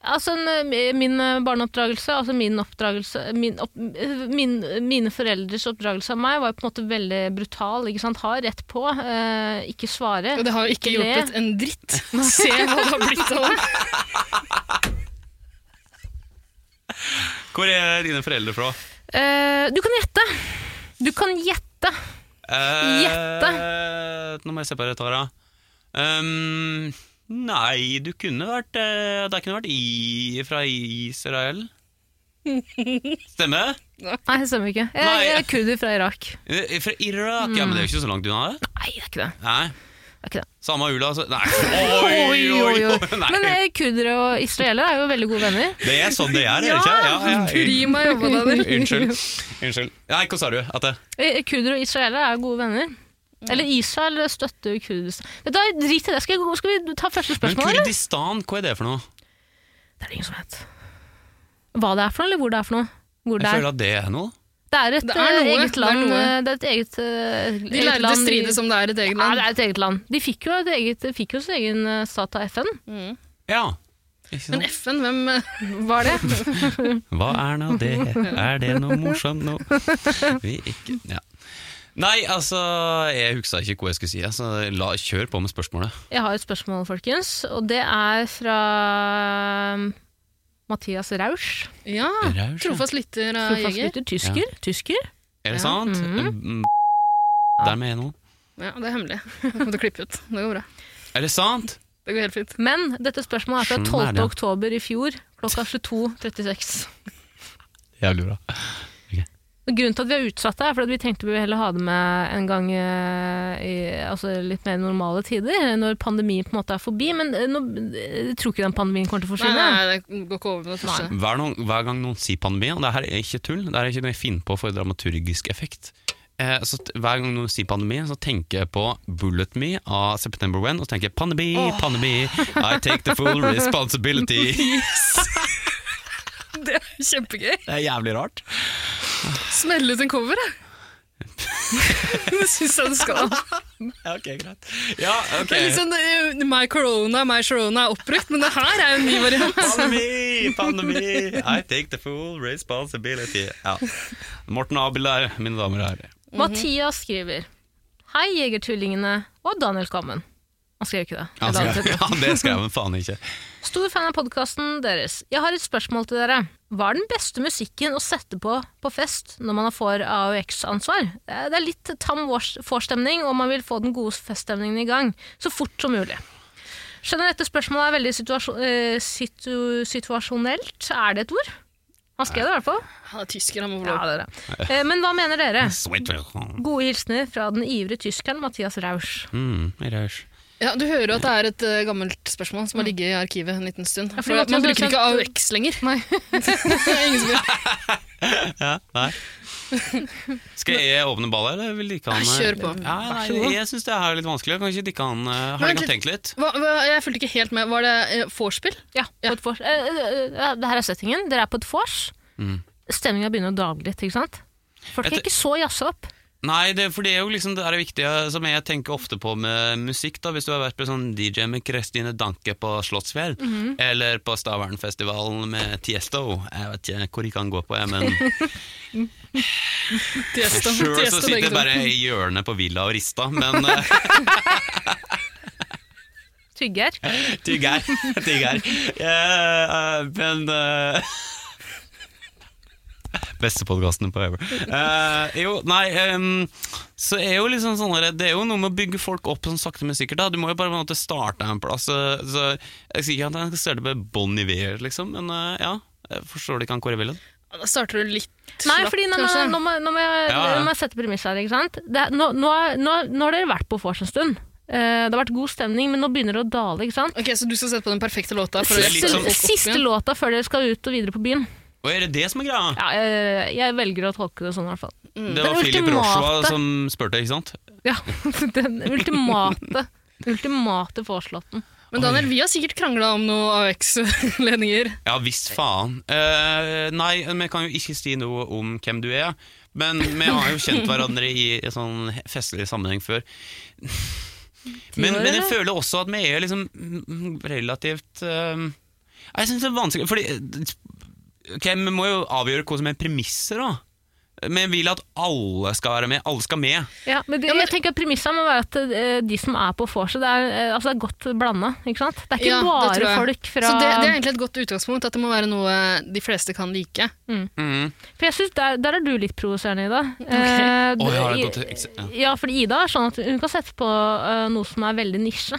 Speaker 2: Altså, en, eh, min eh, barneoppdragelse, altså min oppdragelse min, opp, eh, min, Mine foreldres oppdragelse av meg var jo på en måte veldig brutal. ikke sant? Hard, rett på, eh, ikke svare.
Speaker 4: Og det har jo
Speaker 2: le.
Speaker 4: ikke hjulpet en dritt. Se hva det har blitt av ham.
Speaker 3: Hvor er dine foreldre fra?
Speaker 2: Eh, du kan gjette. Du kan gjette.
Speaker 3: Eh,
Speaker 2: Gjette.
Speaker 3: Nå må jeg se på det, Tara. Um, nei, du kunne vært eh, Det kunne vært i, fra Israel. Stemmer?
Speaker 2: Nei, det stemmer ikke. Jeg,
Speaker 3: Nei.
Speaker 2: jeg er kurder fra Irak.
Speaker 3: Eh, Fra Irak? Ja, men det er jo ikke så langt unna. det.
Speaker 2: Nei, det er ikke det.
Speaker 3: Nei.
Speaker 2: det, er ikke det.
Speaker 3: Samme ula, altså. Nei. Oi, oi, oi!
Speaker 2: Men
Speaker 3: Nei.
Speaker 2: eh, kurdere og israelere er jo veldig gode venner.
Speaker 3: Det er sånn det er, er det ikke?
Speaker 4: Gi meg jobba, Daniel.
Speaker 3: Unnskyld. Unnskyld. Nei, hva sa du? At det?
Speaker 2: Eh, Kurdere og israelere er gode venner. Eller Israel støtter jo Kurdistan. Vet du, hva, Drit i det. Skal, jeg gå- skal vi ta første
Speaker 3: Men
Speaker 2: spørsmål, eller?
Speaker 3: Kurdistan, hva er det for noe?
Speaker 2: Det er det ingen som vet. Hva det er for noe, eller hvor det er for noe. Hvor
Speaker 3: Jeg
Speaker 2: det, er.
Speaker 3: føler at det er noe.
Speaker 2: det er et
Speaker 4: Det er
Speaker 2: eh,
Speaker 4: noe,
Speaker 2: eget
Speaker 4: det er
Speaker 2: land.
Speaker 4: noe.
Speaker 2: eh, Det er et eget, eh,
Speaker 4: De
Speaker 2: eget
Speaker 4: lærde
Speaker 2: land i-
Speaker 4: strides om det er et eget
Speaker 2: Ja, det
Speaker 4: land.
Speaker 2: er et eget land. De fikk jo, et eget, de fikk jo sin egen eh, stat av FN.
Speaker 4: Mm.
Speaker 3: Ja. Ikke sant?
Speaker 4: Men FN, hvem eh,
Speaker 2: Var det?
Speaker 3: Hva er nå det? Er det noe morsomt nå? Vi ikke ja. Nei, altså, jeg huska ikke hva jeg skulle si, så la, kjør på med spørsmålet.
Speaker 2: Jeg har et spørsmål, folkens. Og det er fra um, Mathias Rausch.
Speaker 4: Ja,
Speaker 3: Raus, ja.
Speaker 4: trofast lytter av
Speaker 2: Trofast
Speaker 4: Jeger.
Speaker 2: lytter. Tysker. Tysker.
Speaker 3: Er det
Speaker 4: Ja.
Speaker 3: sant?
Speaker 2: Mhm.
Speaker 3: Mm. Der med nå.
Speaker 4: Ja, det er hemmelig. Det kommer til å klippe ut. Det går bra.
Speaker 3: Er det sant?
Speaker 4: Det går helt fint.
Speaker 2: Men dette spørsmålet er fra
Speaker 3: Sånn er
Speaker 2: 12.
Speaker 3: det.
Speaker 2: oktober i fjor klokka 22.36.
Speaker 3: Jævlig bra.
Speaker 2: Og Grunnen til at vi har utsatt det, er fordi at vi tenkte vi ville heller ha det med en gang eh, i altså litt mer normale tider, når pandemien på en måte er forbi. Men eh, nå, jeg tror ikke den pandemien kommer til å
Speaker 4: Nei,
Speaker 2: forsvinne.
Speaker 4: nei, det går ikke over med det første.
Speaker 3: Hver, noen, hver gang noen sier pandemi, og det her er ikke tull, det her er ikke noe jeg finner på for dramaturgisk effekt eh, så t- Hver gang noen sier pandemi, så tenker jeg på Bullet Me av September When, og så tenker jeg pandemi, pandemi, I take the full responsibility.
Speaker 4: Det er kjempegøy.
Speaker 3: Det er jævlig rart.
Speaker 4: Smell ut en cover, da. det syns jeg du skal.
Speaker 3: Ja, ok, greit. Ja, ok.
Speaker 4: Det er litt sånn eh, My corona, my corona er oppbrukt, men det her er jo en ny variant.
Speaker 3: Pandemi, pandemi, I take the full responsibility. Ja. Morten Abel der, mine damer og herrer.
Speaker 2: Mathias skriver Hei, Jegertvillingene og Daniel Kammen. Han skrev ikke det.
Speaker 3: Han
Speaker 2: Eller han
Speaker 3: skrev-
Speaker 2: skrev det.
Speaker 3: Ja, det skrev han faen ikke.
Speaker 2: Stor fan av podkasten deres. Jeg har et spørsmål til dere. Hva er den beste musikken å sette på på fest når man får AUX-ansvar? Eh, Det er litt tam vors- vorstemning, og man vil få den gode feststemningen i gang så fort som mulig. Skjønner dette spørsmålet er veldig situasjon, eh, situ, situasjonelt. Er det et ord? Han skrev det i hvert fall.
Speaker 4: Han er tysker, han må få
Speaker 2: Ja,
Speaker 4: lov.
Speaker 2: det er det. Eh, Men hva mener dere?
Speaker 3: Sweet welcome.
Speaker 2: Gode hilsener fra den ivrige tyskeren Mathias Rausch.
Speaker 3: Mm, jeg rørs.
Speaker 4: Ja, du hører jo at det er et eh, gammelt spørsmål som har ligget i arkivet en liten stund.
Speaker 2: Ja, for
Speaker 4: For
Speaker 2: det måtte
Speaker 4: man
Speaker 2: jo
Speaker 4: bruker
Speaker 2: sendt-
Speaker 4: ikke AUX lenger.
Speaker 2: Nei.
Speaker 4: Det er ingen som gjør.
Speaker 3: Ja, nei. Skal jeg åpne ballet, eller vil ikke han eh,
Speaker 4: Nei, kjør på.
Speaker 3: Ja,
Speaker 2: Vær så
Speaker 3: nei,
Speaker 2: god.
Speaker 3: jeg syns det her er litt vanskelig. Kan ikke dikke han eh, Har
Speaker 4: Vent
Speaker 3: dere
Speaker 4: litt.
Speaker 3: tenkt litt?
Speaker 4: Hva, hva, jeg fulgte ikke helt med. Var det eh, vorspiel?
Speaker 2: Ja, på et vors. Eh, eh, eh, det her er settingen. Dere er på et vors.
Speaker 3: Mm.
Speaker 2: Stemninga begynner å dale litt, ikke sant? Folk er
Speaker 3: Etter-
Speaker 2: ikke så jazza opp.
Speaker 3: Nei, det, for det er jo liksom det er det viktige som jeg tenker ofte på med musikk. da Hvis du har vært på sånn DJ med Kristine Danke på Slottsfjell,
Speaker 4: Mhm.
Speaker 3: eller på Stavernfestivalen med Tiesto Jeg vet ikke hvor de kan gå på, jeg, men
Speaker 4: Tiesto,
Speaker 3: Sure, så
Speaker 4: Tiesto,
Speaker 3: sitter jeg
Speaker 4: begge to.
Speaker 3: bare i hjørnet på Villa og rista, men eh,
Speaker 2: Trygger.
Speaker 3: Tygg her. Tygg her. Eh, eh, men eh, Beste podkasten på ever. Eh, jo, nei ehm, Så er jo liksom sånn her, Det er jo noe med å bygge folk opp sånn sakte, men sikkert. Da. Du må jo bare på en måte starte en plass. eh, så Jeg sier ikke at jeg skal starte med Bon Iver, liksom, men eh, ja. Jeg forstår ikke han hvor jeg vil hen.
Speaker 4: Da starter du litt
Speaker 2: Nei,
Speaker 4: slapp,
Speaker 2: fordi nå, må-
Speaker 4: kanskje.
Speaker 2: nå, må, nå, må jeg,
Speaker 3: Ja, ja.
Speaker 2: nå må jeg sette premiss her, ikke sant. Det, er- nå, nå, er- nå, nå har dere vært på vors en stund. Eh, det har vært god stemning, men nå begynner det å dale, ikke sant.
Speaker 4: Ok, Så du skal sette på den perfekte låta? For å
Speaker 3: Det er litt sånn-
Speaker 2: Siste,
Speaker 3: som-
Speaker 4: hjelpe folk opp
Speaker 2: siste
Speaker 4: igjen?
Speaker 2: låta før dere skal ut og videre på byen.
Speaker 3: Og er det det som er greia?
Speaker 2: Ja, jeg, jeg velger å tolke det sånn, i hvert fall.
Speaker 3: Det
Speaker 2: Det
Speaker 3: var Philip
Speaker 2: ultimate.
Speaker 3: Roshua som spurte, ikke sant?
Speaker 2: Ja, Den ultimate, ultimate vorslåten.
Speaker 4: Men Daniel, vi har sikkert krangla om noe AX-ledninger.
Speaker 3: Ja visst faen. Eh, nei, vi kan jo ikke si noe om hvem du er, men vi har jo kjent hverandre i en sånn festlig sammenheng før. Men, men jeg føler også at vi er liksom mm, relativt eh, Jeg syns det er vanskelig Fordi eh, ok, vi må jo avgjøre hva som er premisser, da. men vil at alle skal være med. Alle skal med.
Speaker 2: Ja, men det,
Speaker 4: Ja, men-
Speaker 2: jeg tenker at Premisset må være at eh, de som er på vorset, det, er, eh, altså det er godt blanda. Ikke sant? Det er ikke
Speaker 4: Ja, det tror
Speaker 2: bare
Speaker 4: jeg.
Speaker 2: folk fra
Speaker 4: Så det, det er egentlig et godt utgangspunkt, at det må være noe de fleste kan like.
Speaker 3: Mhm.
Speaker 2: For jeg synes der, der er du litt provoserende, Ida.
Speaker 3: Å, jeg har et
Speaker 2: Eh,
Speaker 3: godt ekse- ja.
Speaker 2: Ja, fordi Ida er sånn at hun kan sette på øh, noe som er veldig nisje.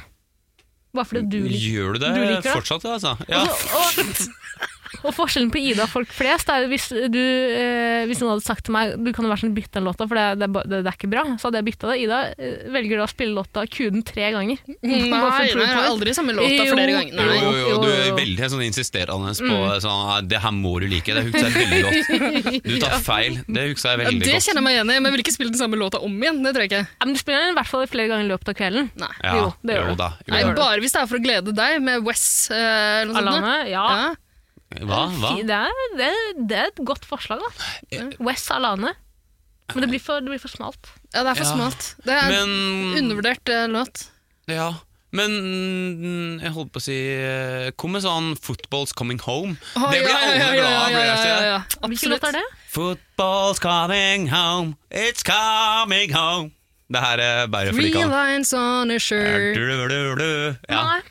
Speaker 2: Bare fordi du liker
Speaker 3: Gjør du det
Speaker 2: Du liker det?
Speaker 3: fortsatt, altså? Ja.
Speaker 2: og, og, og forskjellen på Ida og folk flest er hvis du øh, Hvis noen hadde sagt til meg Du kan jo være sånn bytte den låta, for det, det, er ba- det, det er ikke bra, så hadde jeg bytta det. Ida øh, velger da å spille låta Kuden tre ganger.
Speaker 4: Nei,
Speaker 2: Bare for å
Speaker 4: Mm, nei,
Speaker 2: prove
Speaker 4: jeg har
Speaker 2: på det.
Speaker 4: aldri samme låta flere
Speaker 2: Jo.
Speaker 4: ganger.
Speaker 3: Jo,
Speaker 4: Nei.
Speaker 3: jo, jo, du
Speaker 2: Jo,
Speaker 3: er
Speaker 2: jo.
Speaker 3: veldig sånn insisterende på
Speaker 4: Mm.
Speaker 3: sånn, «Ah, det her må du like. Det husker jeg veldig godt. Du tar feil. Det husker jeg
Speaker 4: Ja,
Speaker 3: veldig
Speaker 4: det
Speaker 3: godt.
Speaker 4: kjenner jeg meg igjen i, men jeg vil ikke spille den samme låta om igjen. Det tror jeg ikke.
Speaker 2: Ja, men du spiller den i hvert fall flere ganger i løpet av kvelden.
Speaker 4: Nei.
Speaker 3: Ja,
Speaker 2: Jo, det gjør
Speaker 3: jo
Speaker 2: du.
Speaker 3: da. Jo,
Speaker 4: Nei,
Speaker 3: da.
Speaker 4: bare hvis det er for å glede deg med Wes eh, eller noe sånt.
Speaker 2: Alane,
Speaker 4: da.
Speaker 2: ja.
Speaker 4: Ja.
Speaker 3: Hva? Hva?
Speaker 2: Fi- Det, er, det, det er et godt forslag, da. Wes Alane. Men det blir for, det blir for smalt.
Speaker 4: ja, det er for
Speaker 3: Ja.
Speaker 4: smalt. Det er en
Speaker 3: Men
Speaker 4: undervurdert eh, låt.
Speaker 3: Ja. Men mm, jeg holdt på å si eh, Kom med sånn 'Football's Coming Home'.
Speaker 4: Å,
Speaker 3: det blir
Speaker 4: ja,
Speaker 3: alle
Speaker 4: ja, ja,
Speaker 3: glad av.
Speaker 4: ja,
Speaker 3: blir jeg
Speaker 4: ja, ja,
Speaker 3: ikke det?
Speaker 4: ja.
Speaker 2: Hvilken låt
Speaker 4: Absolutt.
Speaker 2: er det?
Speaker 3: Football's coming home, it's coming home. Det her eh, bærer for
Speaker 4: Three
Speaker 3: ikke alle.
Speaker 4: lines on a shirt,
Speaker 3: Ja.
Speaker 2: Nei.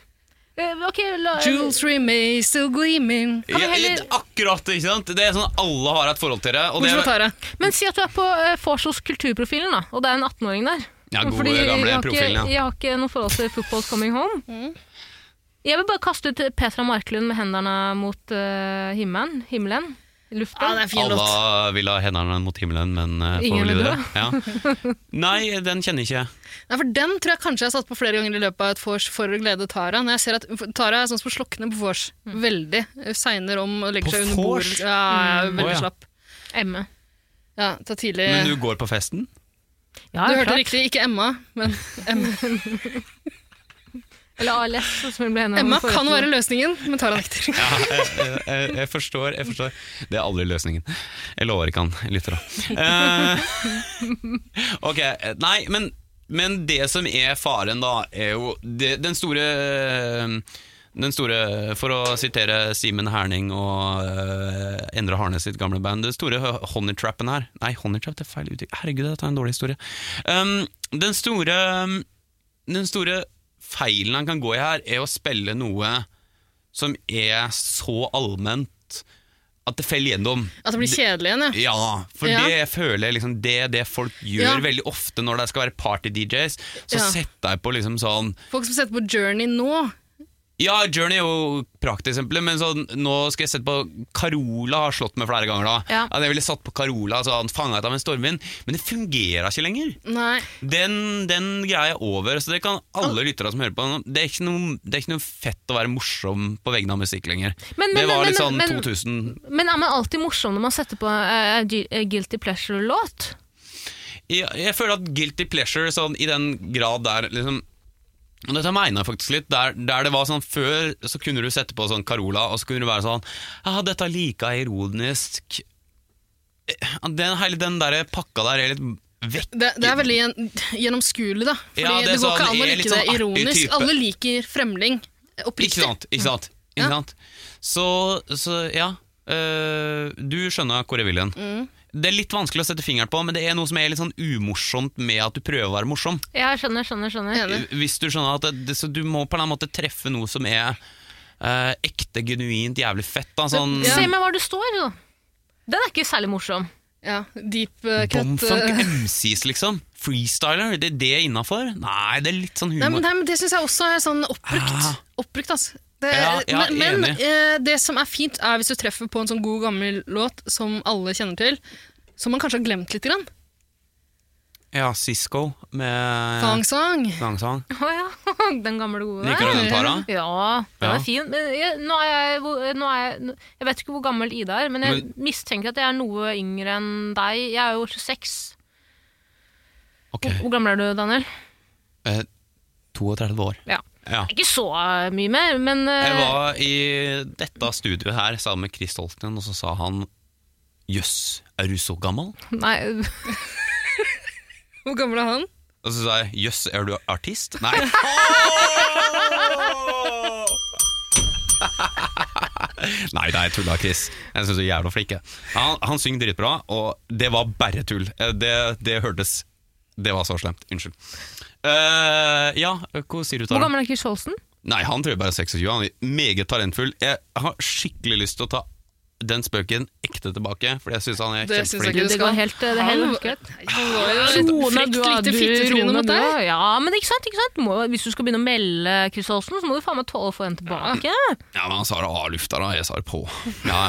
Speaker 2: Eh, Ok, la,
Speaker 4: jewelry may still gleaming.
Speaker 2: Kan vi
Speaker 3: Ja,
Speaker 2: heller-
Speaker 3: akkurat, ikke sant? Det er sånn alle har et forhold til det. Og det
Speaker 4: Bortsett fra Tara.
Speaker 2: Men si at du er på uh, Forsos kulturprofilen, da, og det er en 18-åring der.
Speaker 3: ja, gode,
Speaker 2: Fordi jeg,
Speaker 3: gamle
Speaker 2: har ikke,
Speaker 3: profilen, ja.
Speaker 2: jeg har ikke noe forhold til Football's Coming Home.
Speaker 4: Mm.
Speaker 2: Jeg vil bare kaste ut Petra Marklund med hendene mot eh, himmelen. himmelen luften.
Speaker 4: Ja, det er en fin låt.
Speaker 3: Alle vil ha hendene mot himmelen, men eh,
Speaker 2: Ingen
Speaker 3: får vel
Speaker 2: vil
Speaker 3: det. Ja. Nei, den kjenner ikke jeg.
Speaker 4: Nei, for Den tror jeg kanskje jeg har satt på flere ganger i løpet av et vors for å glede Tara. Når jeg ser at for Tara er sånn som slukner på vors.
Speaker 2: Mm.
Speaker 4: Veldig. eh, Segner om og legger
Speaker 3: På
Speaker 4: seg under bord.
Speaker 3: vors?
Speaker 4: Ja, ja,
Speaker 3: Mm. Å,
Speaker 4: veldig
Speaker 3: ja.
Speaker 4: slapp.
Speaker 2: Emme.
Speaker 4: Ja, ta tidlig
Speaker 2: Eh.
Speaker 3: Men
Speaker 4: du,
Speaker 3: du går på festen?
Speaker 2: Ja,
Speaker 4: hørte
Speaker 2: klart.
Speaker 4: riktig, ikke Emma. Men Emma,
Speaker 2: Eller ALS, som hun ble henne.
Speaker 4: Emma kan være løsningen, men Tara nekter.
Speaker 3: Ja, jeg, jeg- jeg, jeg forstår, jeg forstår. Det er aldri løsningen. Jeg lover ikke han lytter, da. Eh, ok, nei, men, men det som er faren, da, er jo det, den store den store, For å sitere Simen Herning og eh, Endre Harnes sitt gamle band Den store hø- honeytrappen her Nei, honeytrap det er feil uttrykk. Herregud, dette er en dårlig historie. Um, den store Den store feilen han kan gå i her, er å spille noe som er så allment at det faller gjennom.
Speaker 4: At det blir kjedelig igjen, ja.
Speaker 3: Ja, for
Speaker 4: Ja.
Speaker 3: det føler jeg liksom Det er det folk gjør
Speaker 4: Ja.
Speaker 3: veldig ofte når det skal være party-DJs. Så
Speaker 4: Ja.
Speaker 3: setter jeg på liksom sånn
Speaker 4: Folk som setter på Journey nå.
Speaker 3: Ja, Journey er jo prakteksempelet, men sånn, nå skal jeg sette på Carola har slått meg flere ganger. da
Speaker 2: Ja.
Speaker 3: At Jeg ville satt på Carola, så han fanget av en stormvind, men det fungerer ikke lenger.
Speaker 4: Nei.
Speaker 3: Den, den greia er over, så det kan alle lyttere som hører på. nå, Det er, ikke noe, det er ikke noe fett å være morsom på vegne av musikk lenger.
Speaker 2: Men-
Speaker 3: det
Speaker 2: men-
Speaker 3: var
Speaker 2: men-
Speaker 3: litt sånn
Speaker 2: men-
Speaker 3: 2000
Speaker 2: Men er man alltid morsom når man setter på eh, gu- eh, Guilty Pleasure-låt?
Speaker 3: jeg, jeg føler at guilty pleasure sånn, i den grad der liksom og dette mener jeg faktisk litt der, der det var sånn Før så kunne du sette på sånn Carola Og så kunne du være sånn Ja, dette er like ironisk Eh, den, Hele den der pakka der er litt vekk
Speaker 4: Det, det er veldig gjen- gjennomskuelig, da. Fordi
Speaker 3: Ja, det
Speaker 4: det,
Speaker 3: er
Speaker 4: går
Speaker 3: sånn-
Speaker 4: ikke an å
Speaker 3: jeg er
Speaker 4: like
Speaker 3: litt sånn
Speaker 4: det
Speaker 3: artig
Speaker 4: ironisk.
Speaker 3: type.
Speaker 4: Alle liker fremling. Oppriktig.
Speaker 3: Ikke sant, ikke sant, ikke
Speaker 4: Ja.
Speaker 3: sant? Så, så ja eh, Du skjønner hvor jeg vil hen. Det er litt vanskelig å sette fingeren på Men det er noe som er litt sånn umorsomt Med at du prøver å være morsom
Speaker 2: Ja, skjønner, skjønner. skjønner.
Speaker 4: Enig.
Speaker 3: Eh, Hvis du skjønner at det, det, så Du må på en eller annen måte treffe noe som er eh, ekte, genuint, jævlig fett. Da, sånn
Speaker 4: Ja.
Speaker 2: Se meg hvor du står, da. Den er ikke særlig morsom.
Speaker 4: Ja, deep uh, cut.
Speaker 3: Bomfunk
Speaker 4: uh,
Speaker 3: MCs, liksom. Freestyler, det er det innafor? Nei, det er litt sånn
Speaker 4: Nei,
Speaker 3: humor.
Speaker 4: men, nei, men Det syns jeg også er sånn oppbrukt.
Speaker 3: Ah.
Speaker 4: Oppbrukt, altså. Det,
Speaker 3: Ja, ja,
Speaker 4: men men
Speaker 3: enig.
Speaker 4: eh, det som er fint, er hvis du treffer på en sånn god, gammel låt som alle kjenner til, som man kanskje har glemt litt. Grann.
Speaker 3: Ja, Sisko med
Speaker 4: Thong Song.
Speaker 3: Fangsang.
Speaker 2: Å ja, den gamle gode
Speaker 3: Liker du den, Tara?
Speaker 2: Ja, den
Speaker 3: Ja.
Speaker 2: er fin. Men jeg, nå er jeg, hvor- nå er jeg, jeg vet ikke hvor gammel Ida er, men jeg mistenker at jeg er noe yngre enn deg. Jeg er jo 26.
Speaker 3: Ok,
Speaker 2: Hvor, hvor gammel er du, Daniel?
Speaker 3: eh, 32 år.
Speaker 2: Ja.
Speaker 3: Ja.
Speaker 2: Ikke så mye mer, men eh,
Speaker 3: Jeg var i dette studioet her sammen med Chris Holten, og så sa han Jøss, er du så gammel?
Speaker 2: Nei,
Speaker 4: Hvor gammel er han?
Speaker 3: Og så sa jeg jøss, er du artist? Nei. Nei, nei, tulla, Chris. Jeg syns du er jævla flink. jeg. Han, han synger dritbra, og det var bare tull. Eh, Det, det hørtes Det var så slemt. Unnskyld. Eh, ja, hva sier du til
Speaker 2: Hvor gammel er Chris Holsten?
Speaker 3: Nei, han tror jeg bare er 26. Han er meget talentfull. Jeg har skikkelig lyst til å ta den spøken ekte tilbake, for jeg syns han er
Speaker 4: Det syns jeg
Speaker 3: kjempeflink.
Speaker 4: ikke
Speaker 2: Det går helt, eh, det er helt greit.
Speaker 4: Han var jo et
Speaker 2: Rona,
Speaker 4: frekt
Speaker 2: du har
Speaker 4: lite
Speaker 2: du,
Speaker 4: fittetryne
Speaker 2: Rona,
Speaker 4: mot
Speaker 2: du
Speaker 4: deg.
Speaker 2: har Ja, men ikke sant? Ikke sant? Du Må, hvis du skal begynne å melde Chris Holsten, så må du faen meg tåle å få en tilbake.
Speaker 3: Ja, men han sa det avlufta, da. Jeg sa det på. Ja.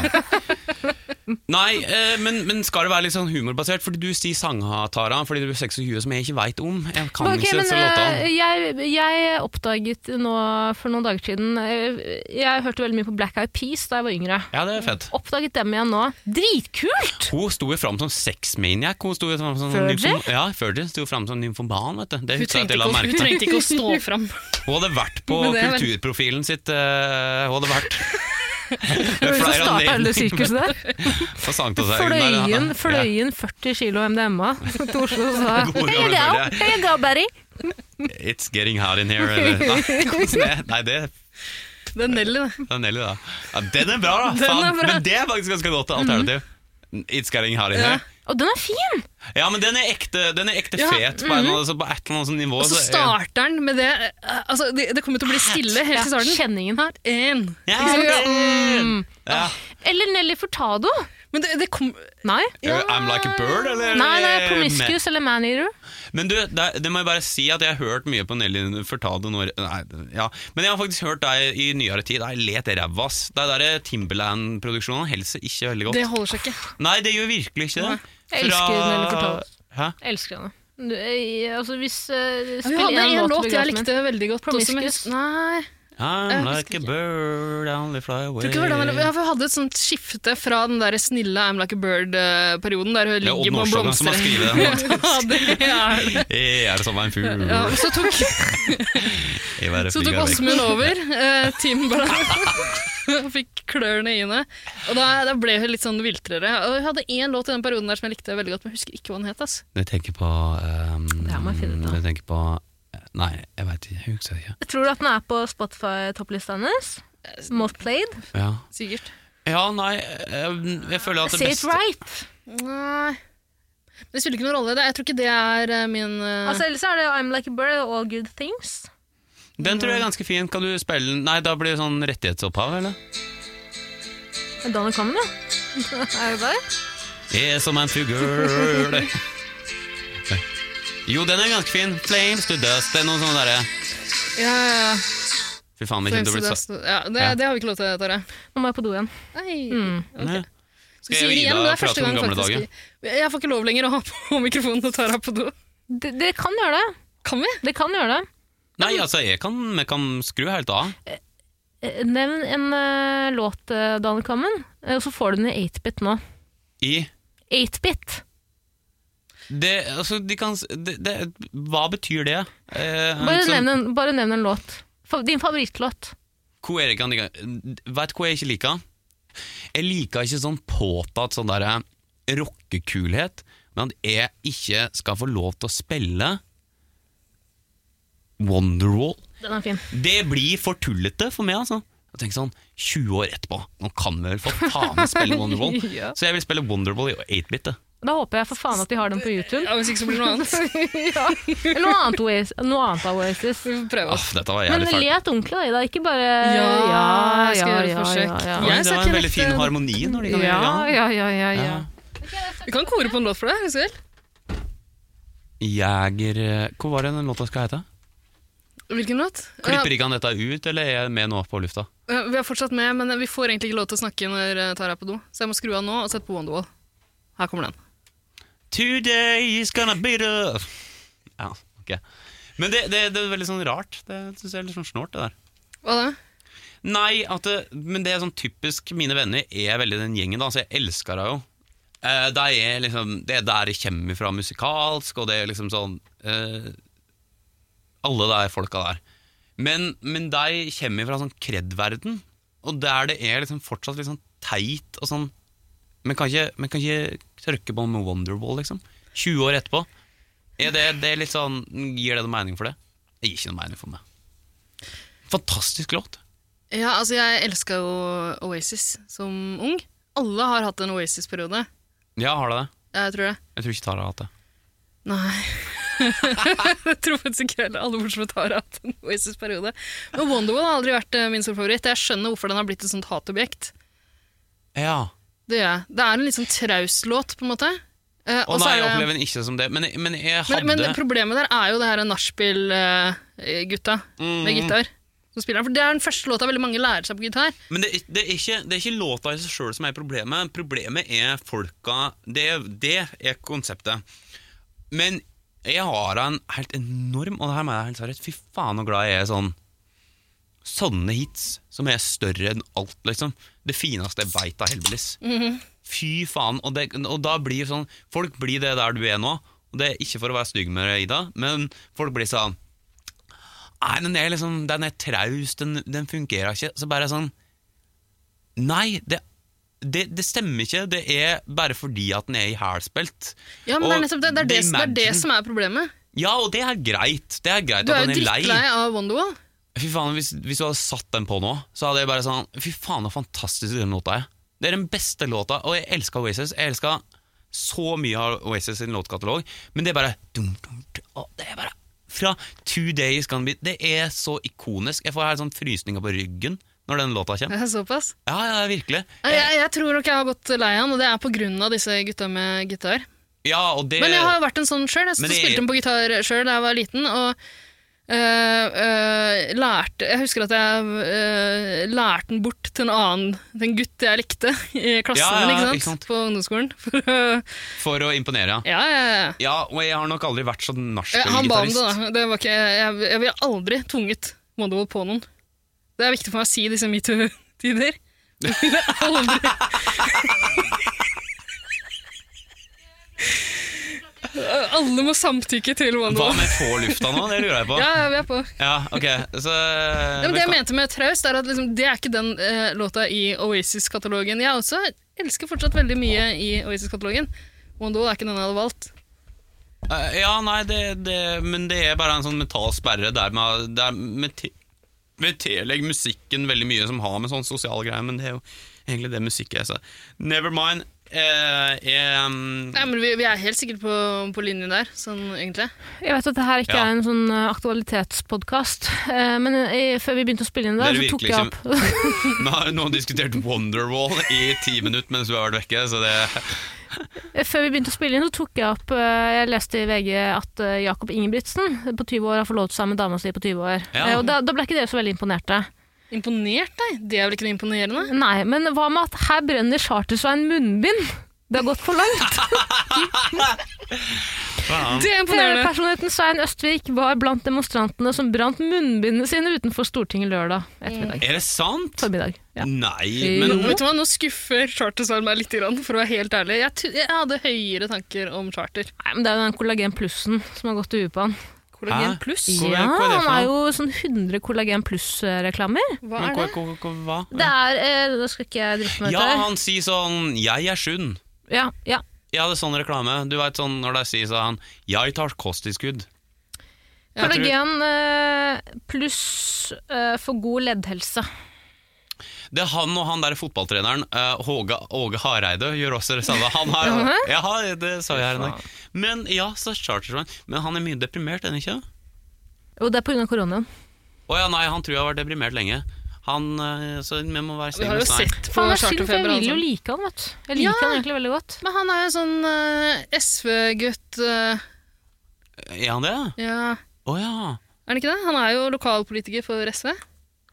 Speaker 3: Nei, eh, men, men skal det være litt sånn humorbasert? Fordi du sier sanga, Tara, fordi du er 26 som jeg ikke veit om. Jeg kan
Speaker 2: Ok,
Speaker 3: ikke
Speaker 2: men
Speaker 3: disse låtene.
Speaker 2: eh, jeg, jeg oppdaget nå for noen dager siden eh, Jeg hørte veldig mye på Black Eyed Peas da jeg var yngre.
Speaker 3: Ja, det er fett.
Speaker 2: Oppdaget dem igjen nå. Dritkult!
Speaker 3: Hun sto jo fram som sexmaniac. Hun sto jo fram som
Speaker 2: Fergie?
Speaker 3: nymfom- Ja, Fergie sto jo fram som nymfomban, vet du. Det husker
Speaker 4: Hun
Speaker 3: jeg at
Speaker 4: trengte,
Speaker 3: jeg la
Speaker 4: ikke, å-
Speaker 3: merke
Speaker 4: hun
Speaker 3: til.
Speaker 4: trengte ikke å stå fram.
Speaker 3: Hun hadde vært på
Speaker 4: Men det er vel-
Speaker 3: kulturprofilen sitt. eh, hun hadde vært
Speaker 2: Det var jo som
Speaker 3: Flere
Speaker 2: startet hele
Speaker 3: anledninger. Altså,
Speaker 2: sirkuset der.
Speaker 3: på Sankta
Speaker 2: Fløyen, fløyen 40 kilo MDMA til Oslo og sa
Speaker 3: God
Speaker 2: Here you go,
Speaker 3: gammel Børre.
Speaker 2: here you go, buddy.
Speaker 3: It's getting hot in here. Eller, nei, nei, det
Speaker 4: Det er Nelly, det.
Speaker 3: Den Nelly, da. Ja, den er bra, da!
Speaker 4: Den
Speaker 3: faen.
Speaker 4: er bra. Mhm.
Speaker 3: Men det er faktisk ganske godt alternativ. It's getting hard in
Speaker 4: Ja.
Speaker 3: here.
Speaker 2: Og den er fin!
Speaker 3: Ja, men den er ekte, den er ekte
Speaker 4: Ja, mhm.
Speaker 3: fet på, en, eller annen- så på et eller annet sånt nivå.
Speaker 4: Og så starter han med det eh, Altså, det, det kommer til å bli stille helt til starten.
Speaker 2: Kjenningen her.
Speaker 4: En.
Speaker 3: ja,
Speaker 4: sant?
Speaker 3: mm. ja.
Speaker 2: Eller Nelly Furtado.
Speaker 4: Men det, det kom
Speaker 2: Nei.
Speaker 4: Ja.
Speaker 3: I'm like a bird, eller?
Speaker 2: Nei, nei, Promiscuous eller Maneater.
Speaker 3: Men du, det, det må jeg bare si at jeg har hørt mye på Nelly Furtado når, nei, ja. Men jeg har faktisk hørt deg i nyere tid. Jeg let ræva, ass. De der Timberland-produksjonene holder ikke veldig godt.
Speaker 4: Det holder seg ikke.
Speaker 3: Nei, det gjør virkelig ikke det.
Speaker 2: Jeg elsker Nelly Furtado.
Speaker 3: Hæ?
Speaker 2: Elsker henne. Du, eh, altså hvis uh,
Speaker 4: Vi
Speaker 2: Spill
Speaker 4: hadde
Speaker 2: én
Speaker 4: en
Speaker 2: låt
Speaker 4: låt
Speaker 2: til begravelsen min.
Speaker 4: jeg likte veldig godt. også, men jeg-
Speaker 2: Promiscuous?
Speaker 4: Nei.
Speaker 3: I'm
Speaker 4: Jeg
Speaker 3: like
Speaker 4: husker
Speaker 3: a bird, I only fly away.
Speaker 4: Tror ikke det var den, eller- ja, for Vi hadde et sånt skifte fra den der snille I'm like a bird-perioden, der hun
Speaker 3: Ja, Odd
Speaker 4: ligger på en
Speaker 3: Nordstoga som har
Speaker 4: blomstereng.
Speaker 3: skrevet den,
Speaker 4: ja, det er det.
Speaker 3: Jeg er som en fugl.
Speaker 4: Ja, så tok,
Speaker 3: Jeg bare
Speaker 4: så
Speaker 3: flyger
Speaker 4: tok
Speaker 3: vekk.
Speaker 4: Åsmund over. Eh, Team Ballard. Fikk klørne i henne. Og da, da ble hun litt sånn viltrere. Og Hun hadde én låt i den perioden der som jeg likte veldig godt, men jeg husker ikke hva den het. ass.
Speaker 3: Når jeg tenker på um,
Speaker 2: Det her må jeg finne ut av.
Speaker 3: Når jeg tenker på eh, Nei, jeg veit ikke. Jeg husker ikke.
Speaker 2: Tror du at den er på Spotify-topplista hennes? Most played?
Speaker 3: Ja,
Speaker 4: Sikkert.
Speaker 3: ja nei Jeg, jeg føler at det
Speaker 2: Say it
Speaker 3: beste
Speaker 2: right!
Speaker 4: Nei. Men det spiller ikke noen rolle. det- Jeg tror ikke det er eh, min eh,
Speaker 2: Altså, ellers er det jo I'm like a bird og All good things.
Speaker 3: Den tror jeg er ganske fin. Kan du spille den Nei, da blir det sånn rettighetsopphav, eller?
Speaker 2: Men Donald Common, ja. er det der?
Speaker 3: Jeg er som en fugl Jo, den er ganske fin. Flames to dust. Det er noen sånne derre
Speaker 4: ja, ja, ja.
Speaker 3: Fy faen, det kommer
Speaker 4: Ja,
Speaker 3: til å bli så
Speaker 4: det,
Speaker 3: Ja.
Speaker 4: det har vi ikke lov til, Tare.
Speaker 2: Nå må jeg på do igjen.
Speaker 4: Nei.
Speaker 3: Nei.
Speaker 4: Skal
Speaker 3: Skal jeg og Ida prate om gamle dager?
Speaker 4: Jeg får ikke lov lenger å ha på mikrofonen og Tara på do.
Speaker 2: Det, det kan gjøre det.
Speaker 4: Kan vi?
Speaker 2: Det kan gjøre det.
Speaker 3: Nei, altså, jeg kan, jeg kan skru helt av.
Speaker 2: Eh, Nevn en eh, låt, uh, Daniel Kammen, eh, og så får du den i 8-bit nå.
Speaker 3: I
Speaker 2: 8-bit!
Speaker 3: det, altså, de kan, s- det, det, Hva betyr det? Eh,
Speaker 2: Bare,
Speaker 3: sånn-
Speaker 2: nevn en- bare nevn en låt. Fa- Din favorittlåt.
Speaker 3: Hvor er det ikke han liker? Vet du hva jeg ikke liker? Jeg liker ikke sånn påtatt sånn der eh, rockekulhet, men at jeg ikke skal få lov til å spille Wonderwall.
Speaker 2: Den er fin.
Speaker 3: Det blir for tullete for meg, altså. Jeg tenker sånn, 20 år etterpå, nå kan vi vel for faen meg spille Wonderwall.
Speaker 2: Ja.
Speaker 3: Så jeg vil spille Wonderwall i 8-bit. det.
Speaker 2: Da håper jeg for faen at de har den på YouTube.
Speaker 4: Ja, Hvis ikke så blir det noe annet.
Speaker 2: Eller noe annet, Oas noe annet av Oasis.
Speaker 4: Vi får prøve oss.
Speaker 3: Åh, dette var
Speaker 2: Men
Speaker 3: jævlig fælt.
Speaker 2: let ordentlig, da, Ida. Ikke bare
Speaker 4: jeg skal gjøre et forsøk.
Speaker 2: Ja,
Speaker 3: Oi,
Speaker 4: Jeg
Speaker 3: Det
Speaker 4: skal
Speaker 3: var en
Speaker 4: ikke
Speaker 3: veldig
Speaker 4: nekte-
Speaker 3: fin harmoni når de
Speaker 2: eh, ja,
Speaker 3: kan
Speaker 2: ja.
Speaker 3: gjøre det.
Speaker 2: ja, ja, ja, ja.
Speaker 3: Ja.
Speaker 4: Vi kan kore på en låt for deg. hvis du vil.
Speaker 3: Jæger eh, Hva var det den låta skal hete?
Speaker 4: Hvilken låt?
Speaker 3: Klipper ikke han dette ut, eller er jeg med nå på lufta?
Speaker 4: Ja, vi er fortsatt med, men vi får egentlig ikke lov til å snakke når eh, Tara er på do. Så jeg må skru av nå og sette på Wonderwall. Her kommer den.
Speaker 3: Today is gonna be the Ja, ok. Men det, det, det er veldig sånn rart. Det synes jeg er litt sånn snålt, det der.
Speaker 4: Hva da?
Speaker 3: Nei, at det, men det er sånn typisk Mine venner er veldig den gjengen, da, så jeg elsker det jo. Eh, det, er liksom, det er der jeg kommer fra musikalsk, og det er liksom sånn eh, Alle de folka der. Men, men de kommer fra sånn kred-verden, og der det er liksom fortsatt litt sånn teit og sånn Men kan ikke, men kan ikke trykke på med Wonderwall, liksom. 20 år etterpå. Er det, det er litt sånn, Gir det noe mening for det? Det gir ikke noe mening for meg. Fantastisk låt.
Speaker 4: Ja, altså jeg elska jo Oasis som ung. Alle har hatt en Oasis-periode.
Speaker 3: Ja, har du det?
Speaker 4: Jeg tror det.
Speaker 3: Jeg tror ikke Tara har hatt det.
Speaker 4: Nei. jeg tror faktisk ikke heller alle bortsett fra Tara har hatt en Oasis-periode. Men Wonderwall har aldri vært eh, min storfavoritt. Jeg skjønner hvorfor den har blitt et sånt hatobjekt.
Speaker 3: Ja.
Speaker 4: Det gjør jeg. Det er en litt sånn traus låt, på en måte. Eh,
Speaker 3: Å
Speaker 4: og
Speaker 3: nei,
Speaker 4: så er
Speaker 3: jeg
Speaker 4: det-
Speaker 3: opplever den ikke som det. Men, men jeg hadde
Speaker 4: men, men det problemet der er jo det her nachspiel-gutta med
Speaker 3: Mm.
Speaker 4: gitar. Som spiller. den, For Det er den første låta veldig mange lærer seg på gitar.
Speaker 3: Men det, det, er ikke, det er ikke låta i seg sjøl som er problemet. Problemet er folka. Det, det er konseptet. Men jeg har en helt enorm Og det her må jeg helt seriøst Fy faen så glad jeg er i sånn Sånne hits som er større enn alt, liksom. Det fineste jeg veit av Helvelis.
Speaker 4: Mhm.
Speaker 3: Fy faen. Og, det, og da blir sånn Folk blir det der du er nå. Og det er ikke for å være stygg med deg, Ida, men folk blir sånn Nei, den er liksom Den er traus, den, den fungerer ikke. Så bare sånn Nei, det, det, det stemmer ikke. Det er bare fordi at den er i hælspilt.
Speaker 4: Ja, men det er,
Speaker 3: Og
Speaker 4: nettopp, det, det, er det, som- det er det
Speaker 3: Imagine-
Speaker 4: som er problemet.
Speaker 3: Ja, og det er greit. Det er greit
Speaker 4: Du
Speaker 3: at
Speaker 4: er jo
Speaker 3: den er lei.
Speaker 4: drittlei av Wonderwall.
Speaker 3: Fy faen, hvis, hvis du hadde satt den på nå, så hadde jeg bare sånn Fy faen, så fantastisk den låta er. Det er den beste låta, og jeg elsker Oasis. Jeg elsker så mye av Oasis sin låtkatalog, men det er bare dum, dum, dum, og Det er bare Fra Two Days Gone Beat Det er så ikonisk. Jeg får helt sånn frysninger på ryggen når den låta kommer.
Speaker 4: Det er Såpass.
Speaker 3: Ja, ja, virkelig. Eh,
Speaker 4: Jeg, jeg, jeg tror nok jeg har gått lei av den, og det er på grunn av disse gutta med gitar.
Speaker 3: Ja, og det
Speaker 4: Men jeg har jo vært en sånn sjøl. Jeg
Speaker 3: Eh, Men
Speaker 4: spilte
Speaker 3: det-
Speaker 4: den på gitar sjøl da jeg var liten. og øh, øh, lærte Jeg husker at jeg øh, lærte den bort til en annen til en gutt jeg likte i klassen
Speaker 3: Ja, ja,
Speaker 4: min,
Speaker 3: ikke
Speaker 4: ikke
Speaker 3: sant?
Speaker 4: sant? på ungdomsskolen. For, å-
Speaker 3: For å imponere, ja.
Speaker 4: ja, ja, ja.
Speaker 3: Ja, og jeg har nok aldri vært sånn
Speaker 4: Eh, Han ba om det,
Speaker 3: nachspiel-gitarist.
Speaker 4: da. Det var ikke, jeg, jeg ville aldri tvunget Wonderwall på noen. Det er viktig for meg å si i disse metoo-tider. Jeg ville aldri Alle må samtykke til
Speaker 3: Hva
Speaker 4: Wonderwall.
Speaker 3: med få lufta nå? Det lurer jeg på.
Speaker 4: Ja, ja, vi er på.
Speaker 3: Ja, ok. Så
Speaker 4: Ja, men det jeg mente med traust, er at liksom, det er ikke den eh, låta i Oasis-katalogen. Jeg også elsker fortsatt veldig mye i Oasis-katalogen. Wonderwall er ikke den jeg hadde valgt.
Speaker 3: Eh, Ja, nei, det, det, men det er bare en sånn mental sperre der med, der med, te, med telegg musikken veldig mye som har med sånn sosiale greier, men det er jo egentlig det musikk er, så never mind. Eh, eh, um,
Speaker 4: Nei, men vi, vi er helt sikkert på, på linjen der, sånn egentlig.
Speaker 2: Jeg vet at det her ikke
Speaker 3: Ja.
Speaker 2: er en sånn eh, aktualitetspodkast, eh, men eh, før vi begynte å spille inn det,
Speaker 3: Det er
Speaker 2: så tok jeg opp
Speaker 3: nå har vi nå diskutert Wonderwall i ti minutter mens vi har vært vekke, så det
Speaker 2: Før vi begynte å spille inn, så tok jeg opp eh, Jeg leste i VG at eh, Jakob Ingebrigtsen eh, på 20 år har forlovet seg med dama si på 20 år.
Speaker 3: Ja.
Speaker 2: Eh, Og da, da ble ikke dere så veldig imponerte.
Speaker 4: Imponert, nei. Det er vel ikke noe imponerende?
Speaker 2: Nei, men hva med at her brenner Chartersveien munnbind? Det har gått for langt.
Speaker 3: Faen.
Speaker 4: Det er imponerende.
Speaker 2: Personligheten Svein Østvik var blant demonstrantene som brant munnbindene sine utenfor Stortinget lørdag ettermiddag.
Speaker 3: Er det sant?
Speaker 2: Formiddag. Ja.
Speaker 3: Nei, men
Speaker 4: Vet du hva, Nå skuffer Chartersvall meg litt, grann, for å være helt ærlig. Jeg, tu- jeg hadde høyere tanker om Charter.
Speaker 2: Nei, men det er jo den kollagen plussen som har gått i huet på han.
Speaker 4: Kollagen
Speaker 3: Hæ?
Speaker 4: pluss?
Speaker 3: Hvor-
Speaker 2: Ja,
Speaker 3: hva er det for
Speaker 2: han
Speaker 3: noe?
Speaker 2: er jo sånn 100 kollagen pluss-reklamer.
Speaker 4: Hva
Speaker 3: men
Speaker 4: er
Speaker 3: hva,
Speaker 4: det?
Speaker 3: hva, hva, hva?
Speaker 2: Det er eh, Nå skal ikke jeg drifte meg ut
Speaker 3: Ja,
Speaker 2: her.
Speaker 3: han sier sånn 'jeg er sunn'.
Speaker 2: Ja, ja.
Speaker 3: Jeg hadde sånn reklame. Du vet sånn når de sier sånn 'jeg tar kosttilskudd'. Jeg tror-
Speaker 2: Kollagen eh, pluss eh, for god leddhelse.
Speaker 3: Det er han og han der fotballtreneren, eh, Håge, Åge Hareide, gjør også det samme. Han har, ja, det sa jeg her en dag. Men ja, så Chartersveien. Men han er mye deprimert, er han ikke?
Speaker 2: Og det er pga. koronaen.
Speaker 3: Å ja, nei, han tror jeg har vært deprimert lenge. Han, eh, så vi må være
Speaker 4: Vi
Speaker 3: snille
Speaker 4: har
Speaker 3: med
Speaker 4: jo
Speaker 3: Svein.
Speaker 4: sett på
Speaker 2: Faen, det er synd, for jeg
Speaker 4: Charterfeber.
Speaker 2: vil jo
Speaker 4: Altså.
Speaker 2: like han, vet du. Jeg liker
Speaker 4: Ja.
Speaker 2: han egentlig veldig godt.
Speaker 4: Men han er jo sånn eh, SV-gutt eh,
Speaker 3: Er han det?
Speaker 4: Ja,
Speaker 3: Å ja.
Speaker 4: er han ikke det? Han er jo lokalpolitiker for SV.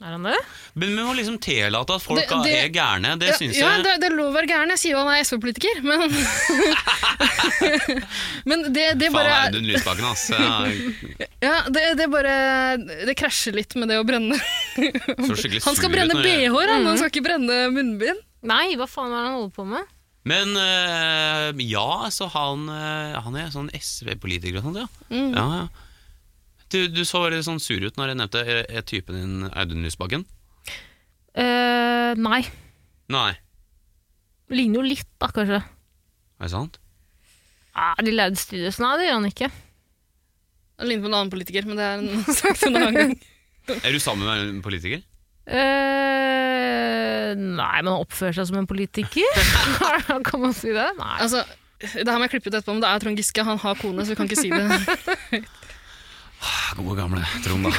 Speaker 2: Er han det?
Speaker 3: Men vi må liksom tillate at folk
Speaker 4: Det- det-
Speaker 3: er gærne. Det
Speaker 4: Ja,
Speaker 3: syns
Speaker 4: ja,
Speaker 3: jeg.
Speaker 4: det, det er lov å være gæren. Jeg sier jo han er SV-politiker, men Men det, det
Speaker 3: Faen,
Speaker 4: bare
Speaker 3: Audun Lysbakken, ass. Ja,
Speaker 4: Ja, det, det bare Det krasjer litt med det å brenne.
Speaker 3: så skikkelig
Speaker 4: Han skal
Speaker 3: sur ut
Speaker 4: brenne
Speaker 3: når jeg- Mm.
Speaker 4: BH-er, han, han skal ikke brenne munnbind.
Speaker 2: Nei, hva faen er det han holder på med?
Speaker 3: Men eh, ja, så han, eh, han er sånn SV-politiker og sånt, ja.
Speaker 4: Mm.
Speaker 3: ja, ja. Du, du så veldig sånn sur ut når jeg nevnte er, er typen din Audun Lysbakken.
Speaker 2: Eh, nei.
Speaker 3: Nei,
Speaker 2: Ligner jo litt, da, kanskje.
Speaker 3: er det sant?
Speaker 2: Ah, de lærde studios. Nei, det gjør han ikke.
Speaker 4: Han ligner på en annen politiker, men det er en sak for en annen gang.
Speaker 3: Er du sammen med en politiker?
Speaker 2: Eh, nei, men han oppfører seg som en politiker. kan man si det? Nei.
Speaker 4: Altså, det her må jeg klippe ut etterpå, men det er Trond Giske. Han har kone, så vi kan ikke si
Speaker 3: Mm.
Speaker 4: det.
Speaker 3: Ah, Gode gamle Trond, da.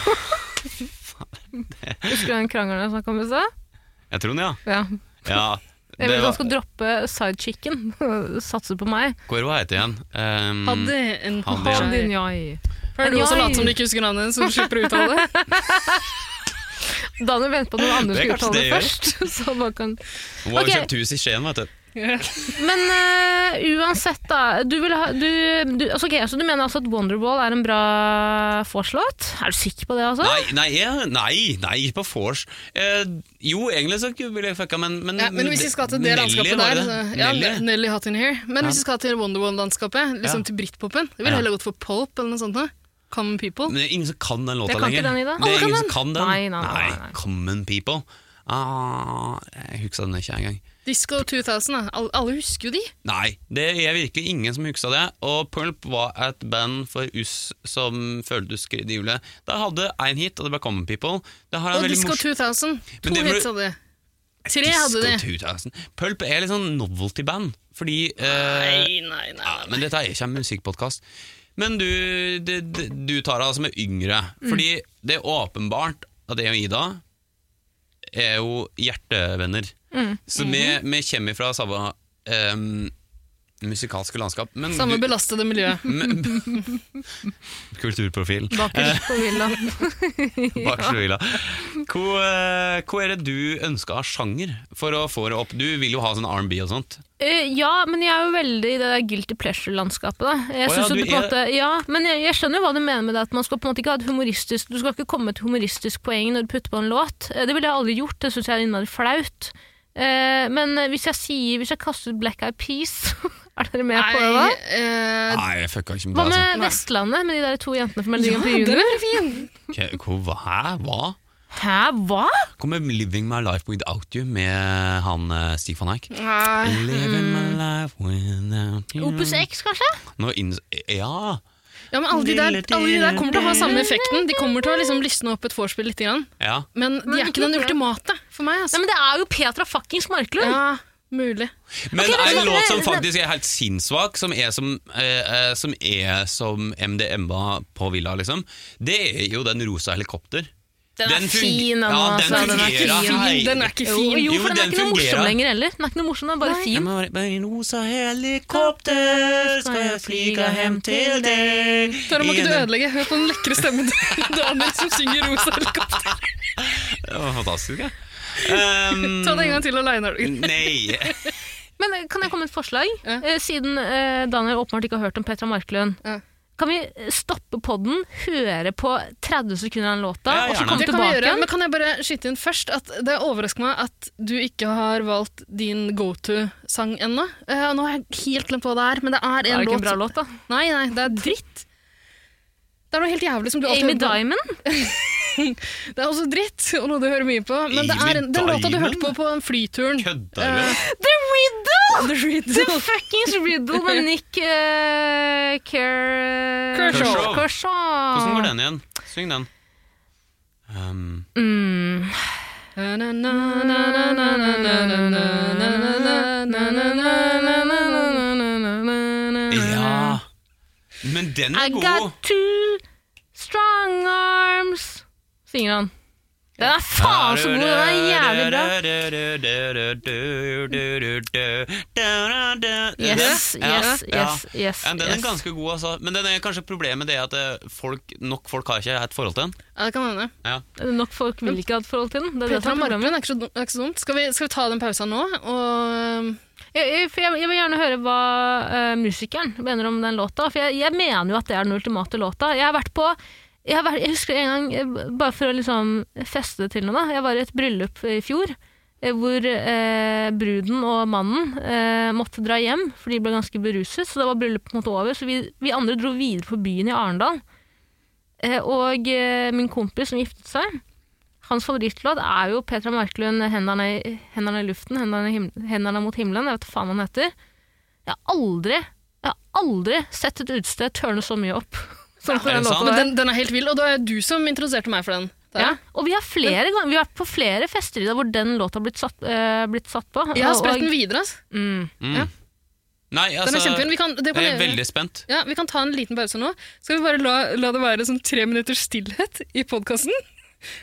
Speaker 2: Husker du den krangelen jeg snakka om i stad?
Speaker 3: Jeg Trond, ja.
Speaker 2: Ja.
Speaker 3: ja
Speaker 2: Jeg
Speaker 3: det
Speaker 2: vil at
Speaker 3: var-
Speaker 2: han skal droppe sidechicken. Satse på meg.
Speaker 3: Hva er det hun heter igjen? Um,
Speaker 4: Hadde en
Speaker 3: Hadde
Speaker 2: Ha
Speaker 3: Ja.
Speaker 2: din jai.
Speaker 4: Hører du også
Speaker 2: Jai.
Speaker 4: late som du ikke husker navnet hennes, så du slipper å uttale det?
Speaker 2: Daniel venter på at noen andre
Speaker 3: Det er
Speaker 2: skal
Speaker 3: kanskje
Speaker 2: uttale det
Speaker 3: det
Speaker 2: først. Så han bare kan...
Speaker 3: Hun har jo
Speaker 2: Ok.
Speaker 3: kjøpt hus i Skien, vet du.
Speaker 2: Men eh, uansett, da. Du, vil ha, du, du, altså, ok, så du mener altså at Wonderwall er en bra vorslåt? Er du sikker på det, altså?
Speaker 3: Nei, nei, jeg- nei, nei på vors. Eh, jo, egentlig så ville jeg fucka, men men,
Speaker 4: Ja, men hvis vi skal til det
Speaker 3: Nelly
Speaker 4: landskapet
Speaker 3: var
Speaker 4: der
Speaker 3: det.
Speaker 4: så, ja,
Speaker 3: Nelly.
Speaker 4: Nelly Hot In Here. Men hvis
Speaker 3: Ja.
Speaker 4: vi skal til Wonderwall-landskapet,
Speaker 3: Ja.
Speaker 4: liksom til britpopen Jeg ville
Speaker 3: Ja.
Speaker 4: heller gått for Pulp eller noe sånt. noe. Common People.
Speaker 3: Men det er ingen som kan den låta
Speaker 2: Jeg kan ikke
Speaker 3: lenger.
Speaker 2: den, Ida.
Speaker 3: Det
Speaker 2: Alle
Speaker 3: er
Speaker 2: kan
Speaker 3: ingen som
Speaker 2: den.
Speaker 3: kan den.
Speaker 2: Nei, nei, nei, nei.
Speaker 3: Common People. Ah, jeg husker den ikke engang.
Speaker 4: Disco 2000, da. Alle, alle husker jo de.
Speaker 3: Nei, det er virkelig ingen som husker det. Og Pulp var et band for oss som følte oss skridiule. Det hadde én hit, og det ble Common People. Det har en
Speaker 4: Og
Speaker 3: veldig
Speaker 4: Disco
Speaker 3: mors-
Speaker 4: 2000.
Speaker 3: Men
Speaker 4: To
Speaker 3: det må du-
Speaker 4: hits hadde de. Tre hadde de.
Speaker 3: Disco 2000. Pulp er litt sånn novelty-band, fordi eh,
Speaker 4: Nei, nei, nei.
Speaker 3: ja, Men dette er ikke en musikkpodkast. Men du, det- det- du tar deg som er yngre, fordi det er åpenbart at jeg og Ida er jo hjertevenner. Så vi, vi kommer fra samme em, musikalske landskap. Men
Speaker 4: Samme
Speaker 3: du,
Speaker 4: belastede miljø.
Speaker 3: men, kulturprofil.
Speaker 2: Bakerst på villaen.
Speaker 3: Bak sløyla. Hvor, eh, hvor er det du ønsker av sjanger for å få det opp? Du vil jo ha sånn R&B og sånt.
Speaker 2: Eh, ja, men jeg er jo veldig i det der guilty pleasure-landskapet. da. Jeg
Speaker 3: Å ja,
Speaker 2: synes jo
Speaker 3: du
Speaker 2: på en
Speaker 3: er-
Speaker 2: måte, ja, men jeg, jeg skjønner jo hva du mener med det, at man skal på en måte ikke ha et humoristisk, du skal ikke komme til humoristisk poeng når du putter på en låt. Eh, Det ville jeg aldri gjort, det syns jeg er innmari flaut. Eh, men hvis jeg sier, hvis jeg kaster ut Black Eyed Peas, er dere med på det? da?
Speaker 4: Nei, eh,
Speaker 3: Nei, jeg fucka ikke
Speaker 2: Hva
Speaker 3: med det.
Speaker 2: med
Speaker 4: altså, Nei.
Speaker 2: Vestlandet, med de der to jentene fra Melodi
Speaker 4: ja,
Speaker 2: Grand Prix
Speaker 4: den
Speaker 2: Junior?
Speaker 4: er fin!
Speaker 3: Altså. Hvor, hva- hæ? Hva?
Speaker 2: Hæ, hva?
Speaker 3: Kom med 'Living My Life Without You' med han eh, Stig van Eyck.
Speaker 4: Nei.
Speaker 3: Living my life without you
Speaker 2: Opus
Speaker 4: Mm.
Speaker 2: X, kanskje?
Speaker 3: Nå inns- Ja!
Speaker 4: Ja, men alle de, der, alle de der kommer til å ha samme effekten. De kommer til å liksom lysne opp et vorspiel litt, grann.
Speaker 3: ja.
Speaker 4: men de er ikke den ultimate for meg.
Speaker 2: Nei,
Speaker 4: Altså.
Speaker 2: men det er jo Petra fuckings Marklund!
Speaker 4: Ja, mulig.
Speaker 3: Men
Speaker 2: Ok, men-
Speaker 3: en låt som
Speaker 2: men-
Speaker 3: faktisk er helt sinnssvak, som er som, eh, eh, som, er som MDMA på Villa, liksom, det er jo den rosa helikopter.
Speaker 2: Den er
Speaker 3: fung-
Speaker 2: fin, den,
Speaker 3: ja, den
Speaker 2: altså, den er
Speaker 3: fungerer.
Speaker 2: fin.
Speaker 3: Hei.
Speaker 4: Den er ikke
Speaker 2: Jo,
Speaker 4: fin.
Speaker 2: jo,
Speaker 3: Jo,
Speaker 2: for den er
Speaker 3: den
Speaker 2: ikke noe morsom
Speaker 3: fungerer.
Speaker 2: lenger heller. Den er ikke noe morsom, den er bare
Speaker 3: Jeg
Speaker 2: fin.
Speaker 3: må bare- Med en rosa helikopter skal jeg flyge hjem til deg
Speaker 4: Tara, må ikke du
Speaker 3: I en-
Speaker 4: ødelegge? Hør på den lekre stemmen til Daniel som synger rosa helikopter.
Speaker 3: Det var fantastisk, ja.
Speaker 2: Mm.
Speaker 3: Um,
Speaker 4: Ta det en gang til og leie den.
Speaker 3: Nei.
Speaker 2: Men eh, kan jeg komme med et forslag?
Speaker 4: Ja.
Speaker 2: Eh, Siden eh, Daniel åpenbart ikke har hørt om Petra Marklund.
Speaker 4: Ja.
Speaker 2: Kan vi eh, stoppe podden, høre på 30 sekunder av den låta,
Speaker 3: Ja,
Speaker 2: og så komme
Speaker 3: gjerne.
Speaker 4: Det kan vi
Speaker 2: tilbake
Speaker 4: gjøre,
Speaker 2: igjen?
Speaker 4: men kan jeg bare skyte inn først at det overrasker meg at du ikke har valgt din go-to-sang ennå. Eh, nå har jeg helt glemt hva det er, men det er
Speaker 2: Det
Speaker 4: en
Speaker 2: er ikke en
Speaker 4: låt.
Speaker 2: bra låt, da.
Speaker 4: Nei, nei, det er dritt. Det er noe helt jævlig som du alltid
Speaker 2: Amy
Speaker 4: hører på.
Speaker 2: Diamond?
Speaker 4: Det er også dritt, og noe du hører mye på. Men det
Speaker 3: Amy
Speaker 4: er en- den låta du
Speaker 3: Diamond?
Speaker 4: hørte på på den flyturen.
Speaker 3: Kødder du?
Speaker 2: The Riddle!
Speaker 4: The
Speaker 2: The
Speaker 4: Riddle.
Speaker 2: fuckings Riddle med Nick eh, Ker...
Speaker 3: Kershaw.
Speaker 2: Kershaw.
Speaker 3: Hvordan går den igjen? Syng den. Um,
Speaker 2: Mm.
Speaker 3: ja Men den
Speaker 2: Mm. I
Speaker 3: er god!
Speaker 2: got two strong arms Synger han. Den er faen så god! Den er jævlig bra. Yes, yes,
Speaker 3: Ja, ja.
Speaker 2: yes. yes,
Speaker 3: Ja, den er
Speaker 2: yes.
Speaker 3: ganske god, altså. Men den er kanskje problemet det er at eh, folk, nok folk har ikke et forhold til den.
Speaker 4: Ja, det kan hende.
Speaker 2: Nok folk vil ikke ha et forhold til den. Det er det
Speaker 4: Petra
Speaker 2: som er problemet.
Speaker 4: Marklund er ikke så dum- er ikke så dumt. Skal vi, skal vi ta den pausen nå? Og
Speaker 2: Jeg, jeg, for jeg, jeg vil gjerne høre hva eh, musikeren mener om den låta. For jeg, jeg mener jo at det er den ultimate låta. Jeg har vært på jeg, har vært, jeg husker en gang, eh, bare for å liksom feste det til noe, da. Jeg var i et bryllup i fjor. eh, Hvor eh, bruden og mannen eh, måtte dra hjem, for de ble ganske beruset. Så da var bryllupet på en måte over. Så vi, vi andre dro videre på byen i Arendal. Eh, og eh, min kompis som giftet seg, hans favorittlåt er jo Petra Marklund 'Hendene, i- hendene i luften, hendene, i him- hendene mot himmelen'. Jeg vet hva faen han heter. Jeg har aldri, jeg har aldri sett et utested tørne så mye opp. Som på
Speaker 3: Er
Speaker 2: den
Speaker 3: det
Speaker 2: låta
Speaker 3: sant?
Speaker 2: der.
Speaker 4: men den, den er helt vill, og det er du som introduserte meg for den. Det er
Speaker 2: Ja.
Speaker 4: det.
Speaker 2: Og vi har, flere, ganger- vi har vært på flere fester i dag hvor den låta har blitt satt, eh, blitt satt på.
Speaker 4: Jeg har
Speaker 2: Og-
Speaker 4: spilt den videre. ass.
Speaker 2: og- mm.
Speaker 3: Mm.
Speaker 4: Ja.
Speaker 3: Nei,
Speaker 4: Den
Speaker 3: altså,
Speaker 4: er kjempefin. Vi kan, det kan
Speaker 3: jeg er
Speaker 4: gjøre-
Speaker 3: veldig spent.
Speaker 4: ja, vi kan ta en liten pause nå. Skal vi bare la, la det være sånn tre minutters stillhet i podkasten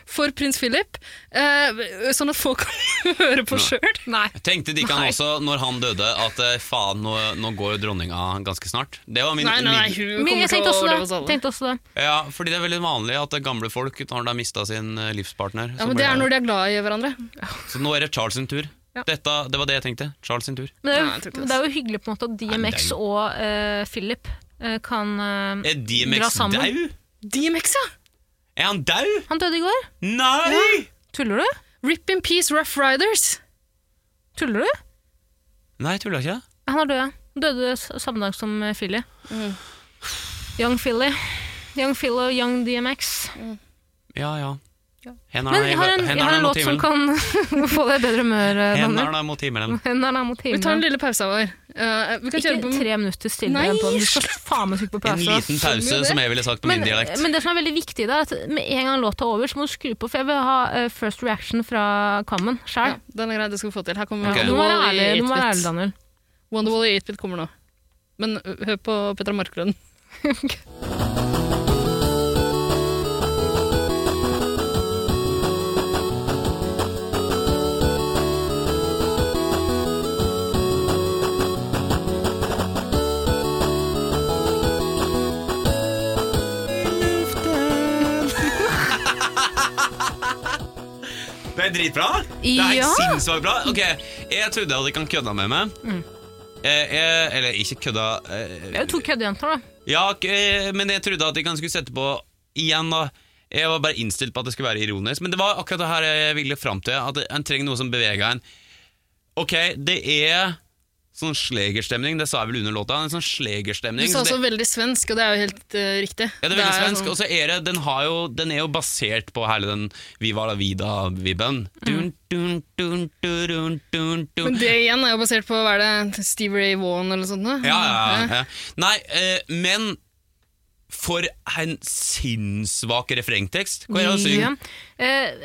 Speaker 4: for prins Philip, eh, sånn at folk kan høre på sjøl?
Speaker 2: Nei.
Speaker 3: Jeg tenkte de kan også, når han døde, at eh, faen, nå, nå går jo dronninga ganske snart. Det var min,
Speaker 4: Nei, nei, nei,
Speaker 3: min
Speaker 4: hun
Speaker 2: Men
Speaker 4: kommer
Speaker 2: jeg
Speaker 4: til
Speaker 2: tenkte
Speaker 4: å
Speaker 2: også
Speaker 4: overleve oss
Speaker 2: det.
Speaker 4: alle.
Speaker 2: Tenkte også det.
Speaker 3: Ja, fordi det er veldig vanlig at gamle folk, når de har mista sin eh, livspartner
Speaker 4: Ja,
Speaker 3: så
Speaker 4: men
Speaker 3: blir
Speaker 4: Det er når de er glad i hverandre.
Speaker 3: Så nå er det Charles sin tur.
Speaker 2: Ja.
Speaker 3: Dette, det var det jeg tenkte. Charles sin tur.
Speaker 2: Men det er,
Speaker 4: Nei, jeg tror ikke
Speaker 2: jo,
Speaker 4: det.
Speaker 2: det er jo hyggelig på en måte at
Speaker 3: men det
Speaker 2: DMX
Speaker 3: er jo-
Speaker 2: og eh, Philip eh, kan eh,
Speaker 3: Er
Speaker 2: Dra
Speaker 3: DMX
Speaker 2: sammen.
Speaker 3: dau?
Speaker 4: DMX, ja!
Speaker 3: Er han dau?
Speaker 2: Han døde i går.
Speaker 3: Nei!
Speaker 2: Tuller du?
Speaker 4: Rip in peace, Rough Riders.
Speaker 2: Tuller du?
Speaker 3: Nei, jeg tuller ikke.
Speaker 2: Han er død, ja. Han Døde s- samme dag som eh, Philly. Young Philly. Young Philly og Young DMX.
Speaker 3: Ja, ja. Hen
Speaker 2: Men jeg har en, jeg har en låt som kan få deg i bedre humør. eh, Daniel.
Speaker 3: Hendene mot himmelen.
Speaker 2: Hendene er mot
Speaker 4: Vi tar en
Speaker 2: himmelen.
Speaker 4: lille pause vår. Eh, vi kan
Speaker 2: Ikke
Speaker 4: kjøre på
Speaker 2: tre minutter stille
Speaker 4: Nei,
Speaker 2: igjen på den. Du skal faen meg trykke på
Speaker 3: En
Speaker 2: pause.
Speaker 3: liten
Speaker 4: jo
Speaker 3: pause,
Speaker 4: det.
Speaker 3: som jeg ville sagt på
Speaker 2: Men,
Speaker 3: min dialekt.
Speaker 2: men det som er veldig viktig, da, er at med en gang låta er over, så må du skru på. For jeg vil ha eh, first reaction fra Common
Speaker 4: ja,
Speaker 2: sjæl.
Speaker 4: Den er grei, det skal vi få til. Her kommer
Speaker 3: Ok.
Speaker 2: Du må være
Speaker 4: Wonderwall i
Speaker 2: ærlig, du må være
Speaker 4: 8-bit.
Speaker 2: ærlig Daniel.
Speaker 4: Wonderwall i 8-bit kommer nå. Men ø, hør på Petra Marklund.
Speaker 3: Det er dritbra! Det er helt
Speaker 2: Ja.
Speaker 3: sinnssykt bra. Ok, Jeg trodde at de kan kødda med meg.
Speaker 2: Mm.
Speaker 3: Eh, jeg, eller ikke kødda
Speaker 2: Det er
Speaker 3: eh,
Speaker 2: jo to køddejenter, da.
Speaker 3: Ja, ok, eh, men jeg trodde at de kan skulle sette på igjen, da. Jeg var bare innstilt på at det skulle være ironisk, men det var akkurat det her jeg ville fram til. At en trenger noe som beveger en. Ok, det er sånn slegerstemning, det sa jeg vel under låta. En sånn
Speaker 4: Du
Speaker 3: slegerstemning.
Speaker 4: sa
Speaker 3: så
Speaker 4: også
Speaker 3: det-
Speaker 4: veldig svensk, og det er jo helt ø, riktig. sånn-
Speaker 3: ja, det er veldig
Speaker 4: jo
Speaker 3: svensk. Og så er det, den, har jo, den er jo basert på hele den Viva la vida-vibben. Dun, dun, dun, dun, dun, dun.
Speaker 4: Men det igjen er jo basert på hva er det, Steve Ray Vaughan eller noe sånt? da?
Speaker 3: Ja, ja, ja. Nei, eh, men for en sinnssvak refrengtekst. Hva er det han
Speaker 2: Ja.
Speaker 3: synger?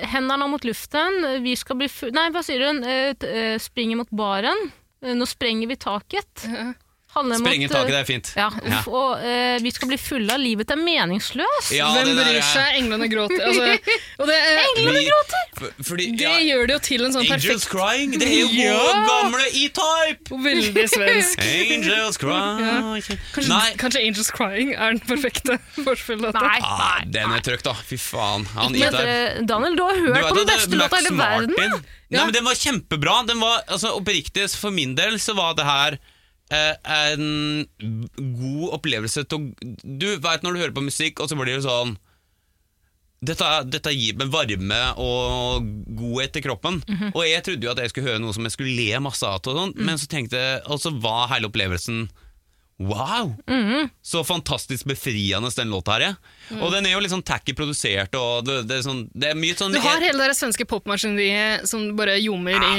Speaker 2: Eh, hendene mot luften, vi skal bli fu... Nei, hva sier hun? Eh, t- eh, springer mot baren. Eh, nå sprenger vi taket.
Speaker 4: Ja.
Speaker 2: Handler mot,
Speaker 3: Sprenger taket, det er fint.
Speaker 2: Ja, uff, og eh, vi skal bli fulle av livet er meningsløst.
Speaker 3: Ja,
Speaker 4: Hvem
Speaker 3: det der
Speaker 4: bryr
Speaker 3: er-
Speaker 4: seg? Englene gråter. Altså, og det, ø,
Speaker 3: Vi- f- Fordi,
Speaker 4: det
Speaker 3: ja,
Speaker 4: gjør det jo til en sånn
Speaker 3: Angels
Speaker 4: perfekt
Speaker 3: Crying, det er jo
Speaker 4: Ja!
Speaker 3: vår gamle E-type!
Speaker 4: og veldig svensk.
Speaker 3: Angels Crying
Speaker 4: Kanskje,
Speaker 3: Nei,
Speaker 4: kanskje Angels Crying er den perfekte forskjellen. til dette.
Speaker 2: Nei,
Speaker 3: ah, den er trøkt, da. Fy faen. Han
Speaker 2: Men,
Speaker 3: E-type.
Speaker 2: eh, Daniel, du har
Speaker 3: Du
Speaker 2: hørt
Speaker 3: vet
Speaker 2: på
Speaker 3: at
Speaker 2: den
Speaker 3: det-
Speaker 2: beste låta i
Speaker 3: Max
Speaker 2: hele verden.
Speaker 3: Martin- Nei,
Speaker 4: Ja.
Speaker 3: men Den var kjempebra. Den var, altså, oppriktig, så for min del så var det her eh, en god opplevelse til å Du veit når du hører på musikk, og så blir det sånn dette, dette gir meg varme og godhet til kroppen. Og jeg trodde jo at jeg skulle høre noe som jeg skulle le masse av, og sånn, men så tenkte jeg, og så var hele opplevelsen Wow! Så fantastisk befriende den låta her er. Og den er jo litt sånn tacky produsert, og det, det, er, sånn, det er mye sånn
Speaker 4: Du har hele det der svenske popmaskineriet som bare ljommer i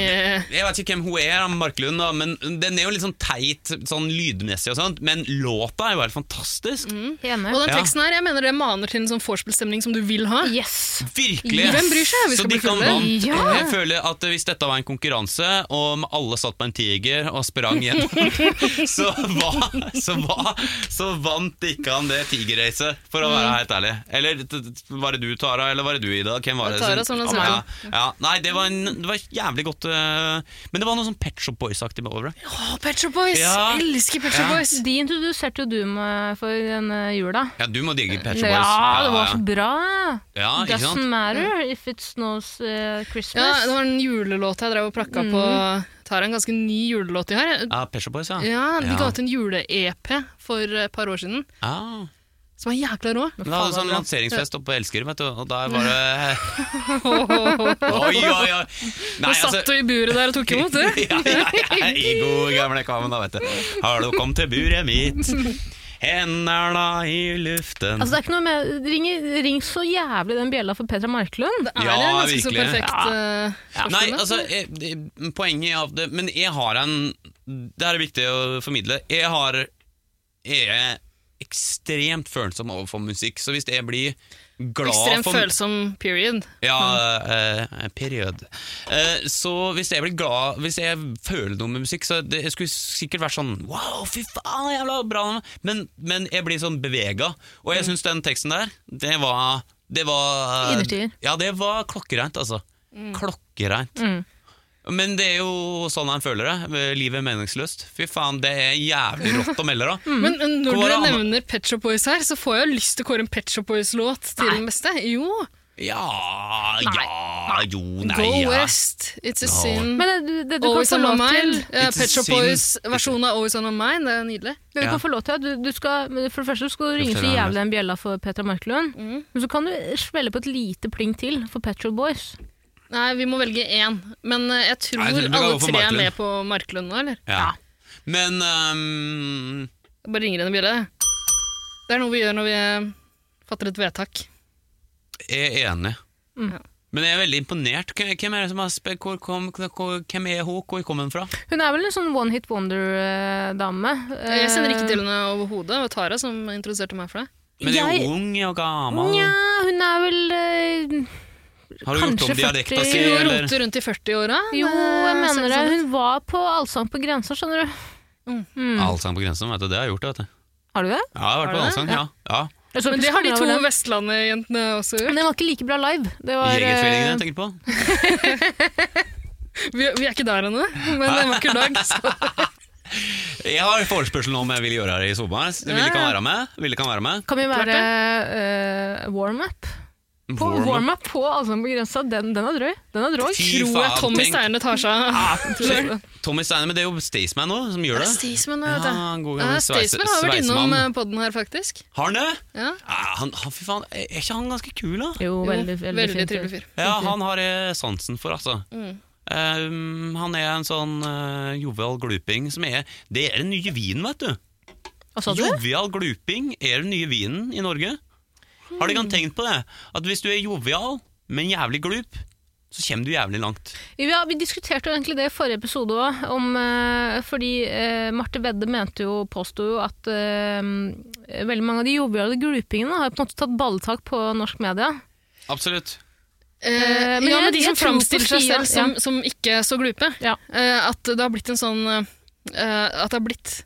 Speaker 3: Jeg vet ikke hvem hun er, han Marklund, da, men den er jo litt sånn teit sånn lydmessig, og sånt, men låta er jo helt fantastisk.
Speaker 2: Enig.
Speaker 4: eh, Og den
Speaker 3: Ja.
Speaker 4: teksten her, jeg mener det maner til en sånn vorspiel-stemning som du vil ha.
Speaker 2: Yes.
Speaker 3: Virkelig!
Speaker 4: Hvem bryr seg?
Speaker 3: så
Speaker 4: Vi skal
Speaker 3: de
Speaker 4: bli
Speaker 3: kan
Speaker 4: fulle.
Speaker 3: vant.
Speaker 2: Ja.
Speaker 3: Jeg føler at hvis dette var en konkurranse, og om alle satt på en tiger og sprang gjennom, så, var, så, var, så vant ikke han det tigerracet, for å være
Speaker 4: Mm.
Speaker 3: helt ærlig. Eller t- t- var det du, Tara, eller var det du, Ida? Hvem var det?
Speaker 4: Det var Tara som lanserte
Speaker 3: ja, ja. Nei, det var, en, det var jævlig godt øh, Men det var noe sånn Pet Shop Boys-aktig over det.
Speaker 4: Å, Pet Shop Boys!
Speaker 3: Ja.
Speaker 4: Elsker Pet Shop
Speaker 3: Ja.
Speaker 4: Boys!
Speaker 2: De introduserte jo du meg for denne jula.
Speaker 3: Ja, du må digge Pet Shop Boys.
Speaker 2: Ja, det var
Speaker 3: ja.
Speaker 2: så bra.
Speaker 3: Ja, ikke sant?
Speaker 2: Doesn't matter if it snows eh,
Speaker 4: Ja,
Speaker 2: Christmas.
Speaker 4: det var en julelåt jeg drev og prakka på.
Speaker 3: Mm.
Speaker 4: Tar en ganske ny julelåt de har.
Speaker 3: Ja, Pet Shop Boys, ja.
Speaker 4: Ja, De
Speaker 3: Ja.
Speaker 4: ga ut en jule-EP for et par år siden,
Speaker 3: Ja.
Speaker 4: som var jækla rå.
Speaker 3: Men Da hadde vi sånn lanseringsfest oppe på Elsker, vet du, og der var det Oi, oi, oi! Nei, altså-
Speaker 4: Da satt du i buret der og tok imot, du.
Speaker 3: ja, ja, ja, I god gamle kamen, da, vet du. Hallo, kom til buret mitt. Hendene i luften
Speaker 2: Altså, det er ikke noe med, ring, ring så jævlig den bjella for Petra Marklund.
Speaker 4: Er
Speaker 3: Ja,
Speaker 4: det ganske altså, så
Speaker 3: virkelig.
Speaker 4: perfekt
Speaker 2: Ja.
Speaker 4: eh,
Speaker 3: Nei,
Speaker 4: vorspiel, da?
Speaker 3: altså, jeg, det- poenget av det Men jeg har en Det her er viktig å formidle. Jeg har Jeg er ekstremt følsom overfor musikk, så hvis jeg blir glad
Speaker 4: Ekstremt
Speaker 3: for
Speaker 4: følsom period.
Speaker 3: Ja, eh, period. Eh, så hvis jeg blir glad Hvis jeg føler noe med musikk, så det, jeg skulle sikkert vært sånn Wow, fy faen, jævla bra! Men, men jeg blir sånn bevega. Og jeg syns den teksten der, det var Det var
Speaker 2: Innertier.
Speaker 3: Ja, det var klokkereint, altså. Klokkereint.
Speaker 2: Mm.
Speaker 3: Men det er jo sånn han føler det. Livet er meningsløst. Fy faen, det er jævlig rått å melde, da.
Speaker 4: Men eh, når
Speaker 3: Hvor var
Speaker 4: dere
Speaker 3: det han-
Speaker 4: nevner Pet Shop Boys her, så får jeg jo lyst til å kåre en Pet Shop Boys-låt til den beste. Jo!
Speaker 3: Ja, ja,
Speaker 2: Nei.
Speaker 3: jo,
Speaker 4: Go
Speaker 3: nei, ja.
Speaker 4: West, It's a
Speaker 3: No.
Speaker 4: sin.
Speaker 2: Men det, det du
Speaker 4: Always
Speaker 2: kan
Speaker 4: On
Speaker 2: få
Speaker 4: My
Speaker 2: lov til
Speaker 4: Mind.
Speaker 3: It's
Speaker 4: eh,
Speaker 3: a
Speaker 4: Pet Shop
Speaker 3: sin.
Speaker 4: Boys-versjonen av Always On My Mind, det er nydelig.
Speaker 2: Det du
Speaker 3: Ja.
Speaker 2: kan få lov til, er at du, du skal, men For det første skal du ringe
Speaker 3: Løfter
Speaker 2: så
Speaker 3: den
Speaker 2: jævlig den bjella for Petra Marklund.
Speaker 4: Mm.
Speaker 2: Men så kan du smelle på et lite pling til for Petrol Boys.
Speaker 4: Nei, vi må velge én. Men eh, jeg tror
Speaker 3: Nei, jeg tror vi kan
Speaker 4: alle
Speaker 3: gå for
Speaker 4: tre er
Speaker 3: Marklund.
Speaker 4: med på Marklund nå, eller?
Speaker 3: ja. Men ehm,
Speaker 4: Jeg Bare ringer henne bjelle. Det er noe vi gjør når vi eh, fatter et vedtak.
Speaker 3: Jeg er enig.
Speaker 2: Mm.
Speaker 3: Men jeg er veldig imponert. Hvem hvem er det som har spe- hvor kom, hvor, Hvem er hun? Hvor kom hun fra?
Speaker 2: Hun er vel en sånn one hit eh, wonder-dame.
Speaker 4: Jeg sender ikke til henne overhodet, og Tara som introduserte meg for det.
Speaker 3: Men jeg... er
Speaker 2: Jeg-
Speaker 3: jo ung og gammel.
Speaker 2: Eh, Nja, hun er vel eh,
Speaker 3: har hun gjort
Speaker 2: kanskje
Speaker 3: om dialekta
Speaker 2: 40.
Speaker 3: si,
Speaker 4: Hun
Speaker 3: eller?
Speaker 4: roter rundt i 40-åra.
Speaker 2: Jo, jeg mener det. Hun var på Allsang på grensa, skjønner du.
Speaker 3: Allsang på grensen, vet du. Det har jeg gjort, vet du.
Speaker 2: Har du det?
Speaker 3: Ja, jeg har vært
Speaker 4: Har du
Speaker 3: på
Speaker 4: det?
Speaker 3: allsang, ja. ja.
Speaker 2: Jeg så
Speaker 4: Men
Speaker 2: på
Speaker 4: det har de
Speaker 2: skolen,
Speaker 4: to
Speaker 2: jeg var der.
Speaker 4: Vestlandet-jentene også
Speaker 2: Men
Speaker 4: gjort.
Speaker 2: den var ikke like bra live. Det var,
Speaker 3: Jegertvillingene,
Speaker 2: eh,
Speaker 3: tenker du på?
Speaker 4: Vi, vi er ikke der ennå, men det er en vakker dag. Så.
Speaker 3: Jeg har forespørsel nå om jeg vil gjøre her i sommer. Ville ikke han være med? Ville ikke han være med?
Speaker 2: kan jo
Speaker 4: Klart
Speaker 2: være eh, warm-up. På
Speaker 3: Warm up.
Speaker 2: Warm-up på Allsang på grensa, den, den er drøy. Den er drøy.
Speaker 3: Fy
Speaker 4: Tror jeg
Speaker 3: faen,
Speaker 4: Tommy
Speaker 3: tenk-
Speaker 4: Steine tar seg
Speaker 3: Ah,
Speaker 4: av det.
Speaker 3: Tommy Steiner, men det er jo Staysman nå som gjør det.
Speaker 4: Staysman
Speaker 3: Ja,
Speaker 4: vet du.
Speaker 3: han går
Speaker 4: Ja,
Speaker 3: gammel sveise-
Speaker 4: Staysman har vært innom
Speaker 3: sveisemann.
Speaker 4: eh, podden her, faktisk.
Speaker 3: Har han det?
Speaker 4: Ja.
Speaker 3: Ja, han, han, fy faen, er ikke han ganske kul, da?
Speaker 2: Jo,
Speaker 4: Jo,
Speaker 2: veldig, veldig,
Speaker 4: veldig
Speaker 2: fint.
Speaker 4: trivelig fyr.
Speaker 3: Ja, han har jeg sansen for, altså.
Speaker 4: Mm.
Speaker 3: Um, han er en sånn uh, jovial gluping som er Det er den nye vinen, vet du!
Speaker 2: Hva sa du?
Speaker 3: Jovial gluping er den nye vinen i Norge. Har du ikke tenkt på det? At hvis du er jovial, men jævlig glup, så kommer du jævlig langt.
Speaker 2: Ja, Vi diskuterte jo egentlig det i forrige episode òg, eh, fordi eh, Marte Vedde mente jo, påsto jo at eh, veldig mange av de joviale glupingene har på en måte tatt balletak på norsk media.
Speaker 3: Absolutt.
Speaker 4: Eh,
Speaker 2: men
Speaker 4: ja,
Speaker 2: jeg-
Speaker 4: men de
Speaker 2: jeg
Speaker 4: som
Speaker 2: tror på
Speaker 4: framstiller seg
Speaker 2: Sia,
Speaker 4: selv som, som ikke så glupe.
Speaker 2: Ja.
Speaker 4: Eh, at det har blitt en sånn eh, At det har blitt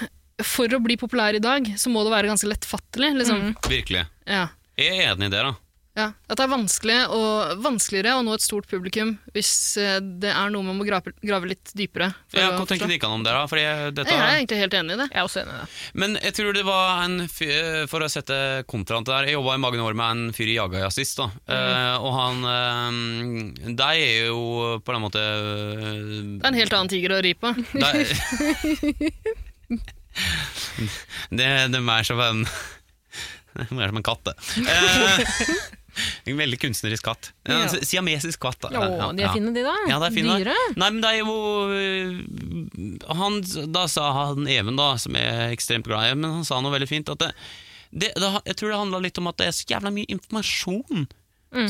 Speaker 4: eh, For å bli populær i dag, så må det være ganske lettfattelig. Liksom.
Speaker 2: Mm.
Speaker 3: Virkelig.
Speaker 4: Ja.
Speaker 3: Jeg er enig i det, da.
Speaker 4: Ja. At det er vanskelig og, vanskeligere å nå et stort publikum hvis eh, det er noe man må grave, grave litt dypere. for
Speaker 3: Ja,
Speaker 4: å
Speaker 3: hva tenker
Speaker 4: forstå.
Speaker 3: dere om det, da? For jeg, dette,
Speaker 4: Jeg er egentlig helt enig i det.
Speaker 2: Jeg er også enig i det.
Speaker 3: Men jeg tror det var en fyr, for å sette kontraen til det her, jeg jobbet i mange år med en fyr i Jaga Jazzist, da. Eh, og han, eh, de er jo på den måte... eh,
Speaker 4: Det er en helt annen tiger å ri på.
Speaker 3: De, det, det er mer som en... Det er mer som en katt, det. Eh, en veldig kunstnerisk katt. Ja,
Speaker 4: Ja.
Speaker 3: en Siamesisk katt, da.
Speaker 2: Å,
Speaker 3: Ja,
Speaker 2: de er
Speaker 3: ja.
Speaker 2: fine, de da.
Speaker 3: Ja, det er fint, da.
Speaker 2: Dyre.
Speaker 3: Nei, men det er jo øh, han, Da sa han Even, da, som jeg er ekstremt glad i, men han sa noe veldig fint. At det, det, det, jeg tror det handla litt om at det er så jævla mye informasjon.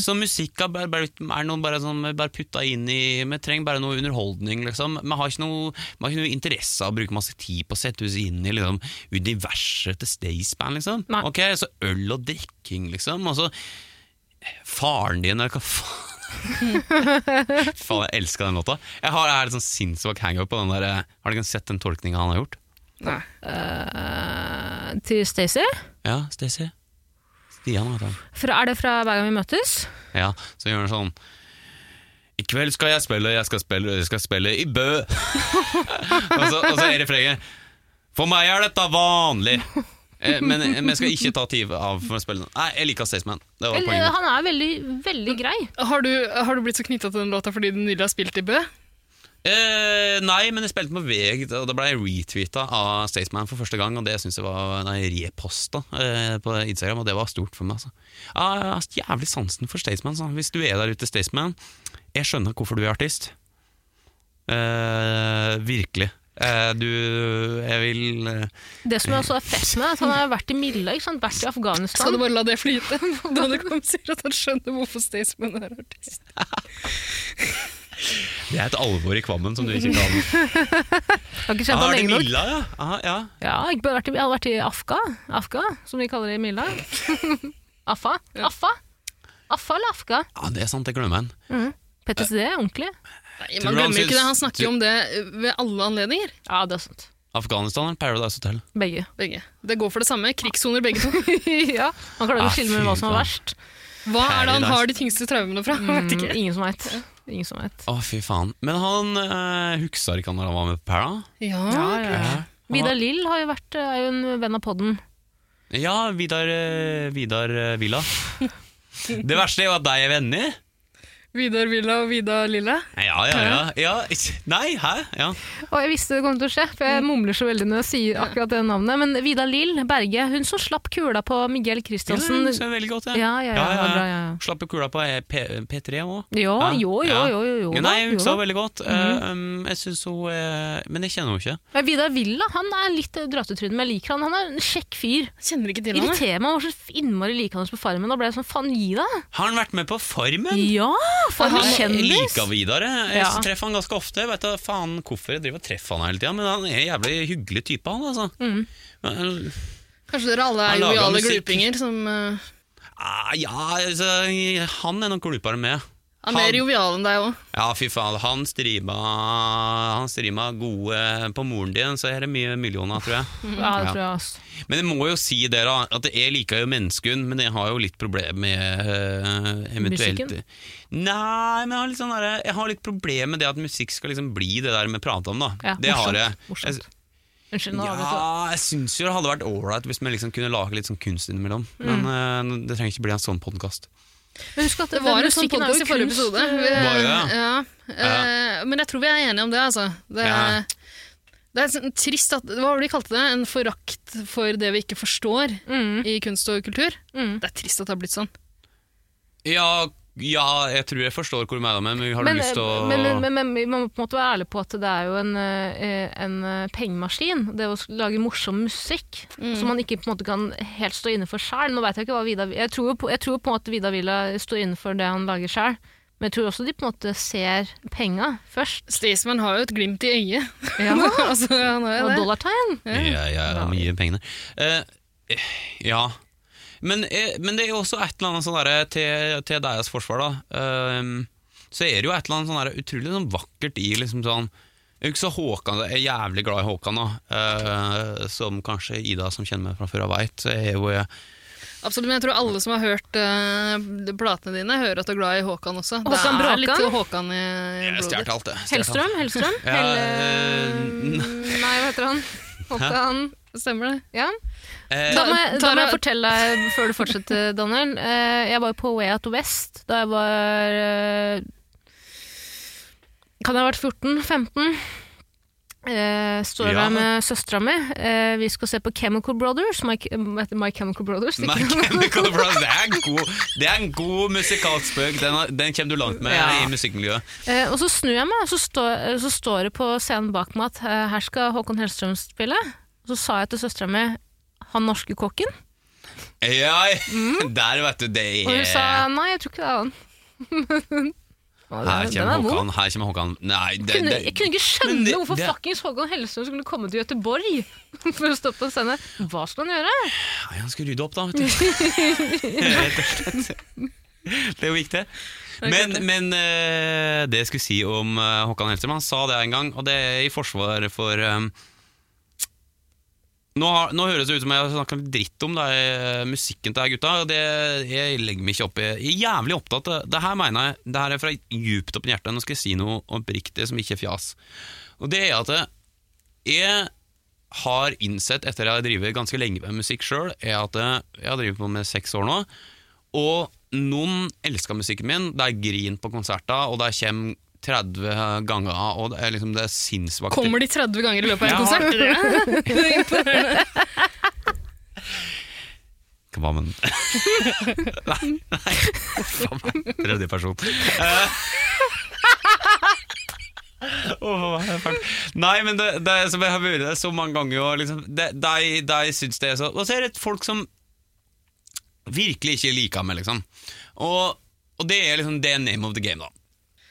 Speaker 3: Så musikk er bare, bare, er noe bare, sånn, bare putta inn i Vi trenger bare noe underholdning, liksom. Vi har ikke noe, vi har ikke noe interesse av å bruke masse tid på å sette oss inn i liksom, universet til Stayspan, liksom.
Speaker 2: Nei.
Speaker 3: Ok, Så øl og drikking, liksom. Og så Faren din, eller hva faen? Faen, jeg elsker den låta. Jeg har jeg har et sånn sinnsvak hangup på den der eh, Har dere sett den tolkninga han har gjort?
Speaker 4: Nei.
Speaker 2: Eh, til Stacey.
Speaker 3: Ja, Stacey? Stian, heter han.
Speaker 2: Fra- Er det fra Hver gang vi møtes?
Speaker 3: Ja, så gjør han sånn I kveld skal jeg spille, jeg skal spille, jeg skal spille i Bø. og, så, og så er refrenget For meg er dette vanlig. Eh, Men, men jeg skal ikke ta tid av for å spille den. Nei, jeg liker Staysman. Det var
Speaker 2: Eller,
Speaker 3: poenget.
Speaker 2: han er veldig, veldig grei.
Speaker 4: Har, du, har du blitt så knytta til den låta fordi den nylig har spilt i Bø?
Speaker 3: Eh, nei, men jeg spilte på VG, og da ble jeg retweeta av Staysman for første gang. Og det synes jeg var nei, reposta eh, på Instagram, og det var stort for meg. Altså. Ja, Jeg har jævlig sansen for Staysman. Så. Hvis du er der ute, Staysman, jeg skjønner hvorfor du er artist. Eh, virkelig. Eh, du Jeg vil eh,
Speaker 2: Det som også er fett med, er at han har vært i Milla, ikke sant? vært i Afghanistan.
Speaker 4: Skal du bare la det flyte? Da du kom sier at han skjønner hvorfor Staysman er artist.
Speaker 3: Det er et alvor i kvammen som du ikke kan.
Speaker 2: Jeg har ikke
Speaker 3: Ja,
Speaker 2: kjent han
Speaker 3: er det
Speaker 2: lenge nok.
Speaker 3: Milla, ja? Ah, ja.
Speaker 2: Ja, jeg har vært i, jeg har vært i Afga, Afga, som de kaller det i Milla. Affa?
Speaker 4: Ja.
Speaker 2: Affa? Affa eller Afka?
Speaker 3: Ja, det er sant, det glemmer en.
Speaker 2: PTSD er ordentlig.
Speaker 4: Nei,
Speaker 3: Tror
Speaker 4: man
Speaker 3: du han
Speaker 4: glemmer jo
Speaker 3: syns-
Speaker 4: ikke det. Han snakker jo om det eh, ved alle anledninger.
Speaker 2: Ja, det er sant.
Speaker 3: Afghanistan eller Paradise Hotel?
Speaker 2: Begge.
Speaker 4: Begge. Det går for det samme. Krigssoner, begge to.
Speaker 2: ja. Man klarer ikke
Speaker 3: Ah,
Speaker 2: å skille mellom hva
Speaker 3: fy
Speaker 2: som er
Speaker 3: faen.
Speaker 2: verst.
Speaker 4: Hva er det han
Speaker 3: Paradise.
Speaker 4: har de tyngste traumene fra? Jeg vet
Speaker 2: Mm,
Speaker 4: ikke.
Speaker 2: ingen som veit. Ingen som vet.
Speaker 3: Å, fy faen. Men han eh, huksa ikke han når han var med på Para?
Speaker 4: Ja,
Speaker 2: ja.
Speaker 3: Ja.
Speaker 2: Vidar Lill har jo vært, eh, er jo en venn av podden.
Speaker 3: Ja, Vidar, eh, Vidar eh, Villa. Det verste er jo at deg er venner.
Speaker 4: Vidar Villa og Vidar Lilla.
Speaker 3: Ja, ja, ja. ja. ikke- Nei, hæ? Ja.
Speaker 2: Og jeg visste det kom til å skje, for jeg mumler så veldig når jeg sier akkurat det navnet. Men Vidar Lill Berge, hun som slapp kula på Miguel
Speaker 3: Det
Speaker 2: Kristiansen.
Speaker 3: husker jeg veldig godt, jeg.
Speaker 2: Ja, ja, ja, det var bra, ja, ja.
Speaker 3: Slapp jo kula på eh, P P3 òg.
Speaker 2: Jo,
Speaker 3: Ja,
Speaker 2: jo, jo,
Speaker 3: ja.
Speaker 2: jo, jo, jo.
Speaker 3: Nei,
Speaker 2: da, jo da.
Speaker 3: jeg husker
Speaker 2: Mhm.
Speaker 3: henne veldig godt. Eh, um, jeg synes hun eh, Men jeg kjenner henne ikke.
Speaker 2: Men Vidar Villa han er litt eh, drøytetryne, men jeg liker han. Han er en kjekk fyr.
Speaker 4: Kjenner ikke til han. jeg.
Speaker 2: Irriterer meg over så innmari likende på Farmen. Da ble jeg sånn, faen, gi deg!
Speaker 3: Har han vært med på Farmen?
Speaker 2: Ja! Farmen
Speaker 4: Han er
Speaker 3: Jeg
Speaker 2: kjendis!
Speaker 3: liker Vidar. Jeg Jeg
Speaker 2: Ja.
Speaker 3: treffer han ganske ofte. Jeg vet da faen hvorfor jeg driver og treffer han hele tida, men han er en jævlig hyggelig type, han altså.
Speaker 2: Mm.
Speaker 3: Men,
Speaker 4: Kanskje dere alle
Speaker 3: Han
Speaker 4: er
Speaker 3: lager
Speaker 4: joviale
Speaker 3: musikk.
Speaker 4: glupinger som eh,
Speaker 3: ah, ja, altså, han er nok glupere enn meg.
Speaker 4: er mer
Speaker 3: Han-
Speaker 4: jovial enn deg òg.
Speaker 3: Ja, fy faen. Han streama, han streama gode på moren din, så her er det mye millioner, tror jeg.
Speaker 2: Ja, det tror jeg, altså.
Speaker 3: Men jeg må jo si det, da, at jeg liker jo menneskehund, men jeg har jo litt problem med eh, eventuelt
Speaker 2: Musikken?
Speaker 3: Nei, men jeg har, litt sånn derre- jeg har litt problem med det at musikk skal liksom bli det der vi prater om, da.
Speaker 2: Ja,
Speaker 3: det har jeg. jeg.
Speaker 2: Morsomt. Unnskyld, nå avbryter jeg.
Speaker 3: Ja, jeg syns jo det hadde vært ålreit hvis vi liksom kunne lage litt sånn kunst innimellom. Men
Speaker 2: Mm.
Speaker 3: eh, det trenger ikke bli en sånn podkast.
Speaker 2: Men husk at
Speaker 4: Det var
Speaker 2: den
Speaker 4: en sånn
Speaker 2: musikken er jo
Speaker 4: podkast i forrige
Speaker 2: kunst. eh,
Speaker 4: episode.
Speaker 3: Var det det?
Speaker 4: ja. eh, Men jeg tror vi er enige om det, altså. Det
Speaker 3: Ja.
Speaker 4: er, det er sånn trist at Hva var det de kalte det? En forakt for det vi ikke forstår
Speaker 2: Mm,
Speaker 4: i kunst og kultur.
Speaker 2: mm.
Speaker 4: Det er trist at det har blitt sånn.
Speaker 3: Ja, ja, jeg tror jeg forstår hvor du mener, men har du
Speaker 2: Men, eh,
Speaker 3: lyst til å
Speaker 2: men, men, men, men man må på en måte være ærlig på at det er jo en, eh, en eh, pengemaskin. Det å lage morsom musikk
Speaker 4: Mm.
Speaker 2: som man ikke på en måte kan helt stå inne for sjøl. Nå vet jeg ikke hva Vidar Jeg tror jo på, jeg tror på en måte Vidar Villa står inne for det han lager sjøl. Men jeg tror også de på en måte ser penga først.
Speaker 4: Staysman har jo et glimt i øyet.
Speaker 2: Ja.
Speaker 4: altså, han har jo
Speaker 2: Og
Speaker 4: det.
Speaker 2: dollartegn.
Speaker 3: Ja, ja, ja, mye penger. Eh, eh, ja. Men, eh, men det er jo også et eller annet sånn derre til, til deres forsvar, da. ehm, så er det jo et eller annet sånn derre utrolig sånn vakkert i liksom sånn jeg er jo ikke så Håkan, jeg er jævlig glad i Håkan, da. Eh, som kanskje Ida, som kjenner meg fra før, veit.
Speaker 4: Absolutt, men jeg tror alle som har hørt eh, de platene dine, hører at du er glad i Håkan
Speaker 2: Håkan
Speaker 4: også. det
Speaker 2: Bråkan?
Speaker 4: er litt Håkan i i
Speaker 3: Jeg
Speaker 4: blodet.
Speaker 3: stjal alt, det. Stjert alt.
Speaker 2: Hellstrøm? Hellstrøm?
Speaker 3: Ja, eh,
Speaker 2: Hell- Nei, hva heter han? Håkan
Speaker 4: Stemmer det?
Speaker 2: Ja.
Speaker 3: Eh,
Speaker 2: Da må, jeg, da må
Speaker 4: Tara-
Speaker 2: jeg fortelle deg, før du fortsetter, Daniel. eh, jeg var jo på Way Out West da jeg var eh, Kan jeg ha vært 14-15? Eh, står
Speaker 3: Ja.
Speaker 2: der med søstera mi. Eh, vi skal se på Chemical Brothers. My, heter My Chemical Brothers. ikke
Speaker 3: My
Speaker 2: sant?
Speaker 3: Chemical Brothers, det er en god, det er en god musikalsk spøk. Den, har- den kommer du langt med
Speaker 2: Ja.
Speaker 3: i musikkmiljøet.
Speaker 2: Eh, og så snur jeg meg, og så, står- eh, så står det på scenen bak meg at eh, her skal Håkon Hellstrøm spille. Og så sa jeg til søstera mi han norske kokken,
Speaker 3: Ja, der vet du, det er
Speaker 2: og hun Mm. sa nei, jeg tror ikke det er han.
Speaker 3: Her
Speaker 2: Den
Speaker 3: kommer
Speaker 2: er vond.
Speaker 3: Håkan, her kommer Håkan. Nei, det,
Speaker 2: kunne,
Speaker 3: det,
Speaker 2: jeg kunne ikke skjønne
Speaker 3: Men det-
Speaker 2: hvorfor
Speaker 3: det-
Speaker 2: fuckings Håkon Hellstrøm skulle komme til Gøteborg for å stå på en scene. Hva skulle han gjøre?
Speaker 3: Nei, han skulle rydde opp, da. Vet du. Rett og slett. Det er jo viktig. Men, men eh, det jeg skulle si om eh, Håkan Hellstrøm, han sa det en gang, og det er i forsvar for eh, nå, har, nå høres det ut som jeg snakker dritt om det, er musikken til de gutta. og Det, jeg legger meg ikke opp i. Jeg er jævlig opptatt av det her, mener jeg. Det her er fra djupt oppi hjertet. Nå skal jeg si noe oppriktig som ikke er fjas. Og det er at eh, jeg har innsett etter jeg har drevet ganske lenge med musikk sjøl, er at eh, jeg har drevet på med seks år nå, og noen elsker musikken min. Det er grin på konserter, og det kommer 30 ganger, og det er, liksom, det er sinnssvakt.
Speaker 4: Kommer de 30 ganger i løpet av en
Speaker 3: Jeg
Speaker 4: konsert?
Speaker 3: Hva men Nei, nei. Faen meg. Tredje person. Eh. Åh, hva er det fælt? Nei, men det, det er som jeg har vært det så mange ganger og liksom, det- De, de syns det er så Og så er det folk som virkelig ikke liker meg, liksom. Og, og det er liksom det er name of the game, da.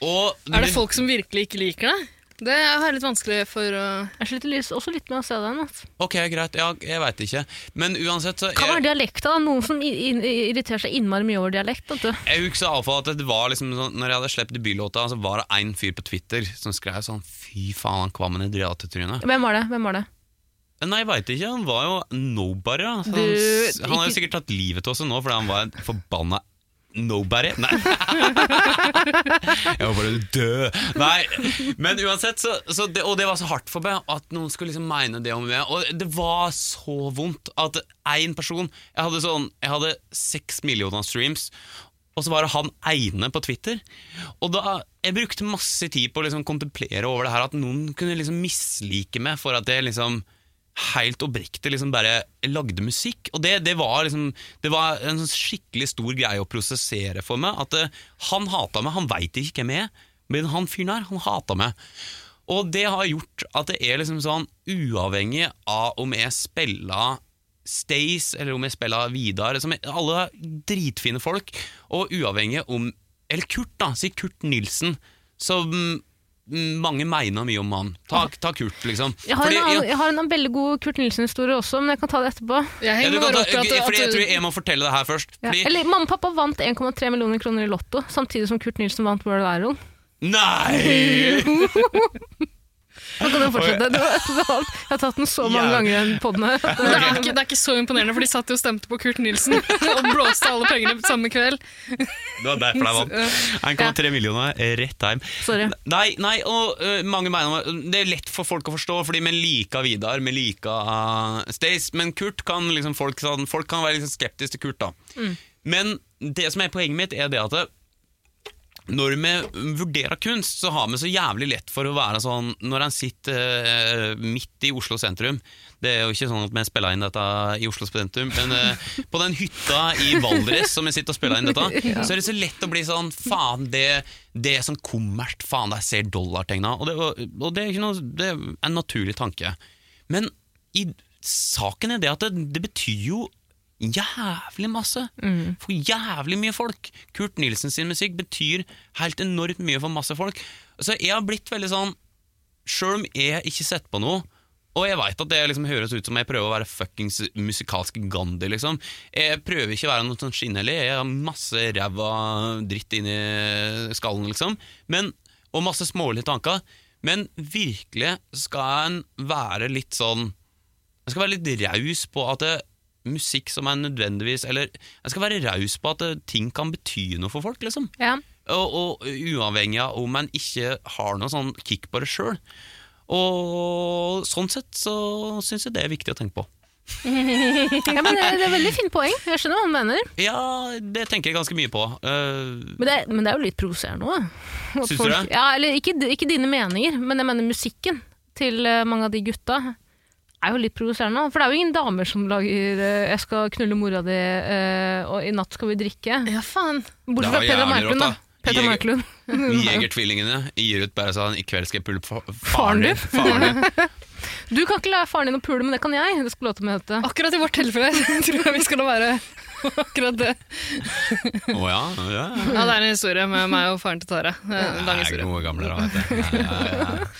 Speaker 3: Og,
Speaker 4: Er det folk som virkelig ikke liker deg? Det har jeg litt vanskelig for å
Speaker 2: Jeg sliter lys- også litt med å se den. Altså.
Speaker 3: Ok, greit. Ja, jeg veit ikke. Men uansett, så
Speaker 2: Kan
Speaker 3: jeg-
Speaker 2: være dialekta. da. Noen som i- i- irriterer seg innmari mye over dialekt. Vet du.
Speaker 3: Jeg husker iallfall at det var liksom sånn, Når jeg hadde sluppet debutlåta, så var det én fyr på Twitter som skrev sånn Fy faen, han kvammen i driatetrynet.
Speaker 2: Hvem var det? Hvem var det?
Speaker 3: Nei, jeg veit ikke. Han var jo nobody. da. Så
Speaker 2: Du,
Speaker 3: han, han har jo
Speaker 2: ikke-
Speaker 3: sikkert tatt livet av seg nå fordi han var en forbanna Nobody? Nei. Jeg håper du dør. Nei. Men uansett, så, så det, og det var så hardt for meg at noen skulle liksom mene det om meg. Og det var så vondt at én person Jeg hadde sånn Jeg hadde seks millioner streams, og så var det han ene på Twitter. Og da Jeg brukte masse tid på å liksom kontemplere over det her at noen kunne liksom mislike meg for at jeg liksom helt oppriktig liksom bare lagde musikk. Og det, det var liksom Det var en sånn skikkelig stor greie å prosessere for meg. At eh, han hata meg, han veit ikke hvem jeg er, men han fyren her, han hata meg. Og det har gjort at det er liksom sånn Uavhengig av om jeg spiller Stace eller om jeg spiller Vidar liksom, Alle er dritfine folk, og uavhengig om Eller Kurt, da. Si Kurt Nilsen. Som mm, mange mener mye om han. Ta, ta Kurt, liksom.
Speaker 2: Jeg har,
Speaker 3: Fordi-
Speaker 2: en,
Speaker 3: ja.
Speaker 2: annen- jeg har en annen veldig god Kurt Nilsen-historie også, men jeg kan ta det etterpå.
Speaker 4: Jeg
Speaker 3: Ja,
Speaker 4: henger
Speaker 3: du kan
Speaker 4: bare
Speaker 3: ta,
Speaker 4: opp i at,
Speaker 3: fordi jeg
Speaker 4: at
Speaker 3: tror jeg må fortelle det her først.
Speaker 2: Ja.
Speaker 3: Fordi,
Speaker 2: Eller Mamma og pappa vant 1,3 millioner kroner i Lotto, samtidig som Kurt Nilsen vant World Iron.
Speaker 3: Nei!
Speaker 2: Da kan du fortsette. Det var, det var, jeg har tatt den så mange
Speaker 3: Ja.
Speaker 2: ganger, den podden her.
Speaker 4: Men det er, ikke, det er ikke så imponerende, for de satt jo og stemte på Kurt Nilsen og blåste alle pengene samme kveld.
Speaker 3: Det var derfor jeg vant. 1,3 millioner, rett hjem.
Speaker 2: Sorry.
Speaker 3: Nei, nei, og ø, mange mener øh, Det er lett for folk å forstå, fordi vi liker Vidar, vi liker uh, Stace, men Kurt kan liksom folk, sånn, folk kan være liksom skeptiske til Kurt, da. Men det som er poenget mitt, er det at det, når vi vurderer kunst, så har vi så jævlig lett for å være sånn Når en sitter eh, midt i Oslo sentrum Det er jo ikke sånn at vi spiller inn dette i Oslo sentrum, men eh, på den hytta i Valdres som vi sitter og spiller inn dette, så er det så lett å bli sånn Faen, det, det er sånn kommert, faen, jeg ser dollartegna. Og, det, og det er ikke noe Det er en naturlig tanke. Men i saken er det at det, det betyr jo jævlig masse for jævlig mye folk. Kurt Nilsen sin musikk betyr helt enormt mye for masse folk. Så jeg har blitt veldig sånn Sjøl om jeg ikke setter på noe, og jeg veit at det liksom høres ut som jeg prøver å være fuckings musikalsk Gandhi, liksom. Jeg prøver ikke å være noe sånn skinnhellig, jeg har masse ræva dritt inni skallen, liksom. Men, og masse smålige tanker. Men virkelig skal en være litt sånn jeg skal være litt raus på at det, musikk som er nødvendigvis Eller jeg skal være raus på at det, ting kan bety noe for folk, liksom.
Speaker 2: Ja.
Speaker 3: Og, og uavhengig av om en ikke har noe sånn kick på det sjøl. Og sånn sett så syns jeg det er viktig å tenke på.
Speaker 2: Ja, men det, det er veldig fint poeng. Jeg skjønner hva han mener.
Speaker 3: Ja, det tenker jeg ganske mye på. Eh,
Speaker 2: Men det, er- men det er jo litt provoserende òg.
Speaker 3: Syns du det?
Speaker 2: Ja, eller ikke, ikke dine meninger, men jeg mener musikken til eh, mange av de gutta er jo litt provoserende. For det er jo ingen damer som lager eh, 'Jeg skal knulle mora di', eh, og 'I natt skal vi drikke'.
Speaker 4: Ja, faen.
Speaker 2: Bortsett fra
Speaker 3: Det var
Speaker 2: Peder
Speaker 3: jævlig rått,
Speaker 2: Merklund, da.
Speaker 3: da.
Speaker 2: Peter
Speaker 3: Jeg-
Speaker 2: Merklund.
Speaker 3: Jegertvillingene gir ut bare sånn 'I kveld skal jeg pulle fa-
Speaker 2: Faren din?
Speaker 3: Faren din.
Speaker 2: Du kan ikke la faren din å pule, men det kan jeg. Det skulle låta mi hete.
Speaker 4: Akkurat i vårt tilfelle tror jeg vi skal la være akkurat det.
Speaker 3: Å ja, ja. ja.
Speaker 4: Ja, det er en historie med meg og faren til Tara. Det er en Lang
Speaker 3: Det er
Speaker 4: historie.
Speaker 3: gode gamle da, vet du. Ja, ja, ja.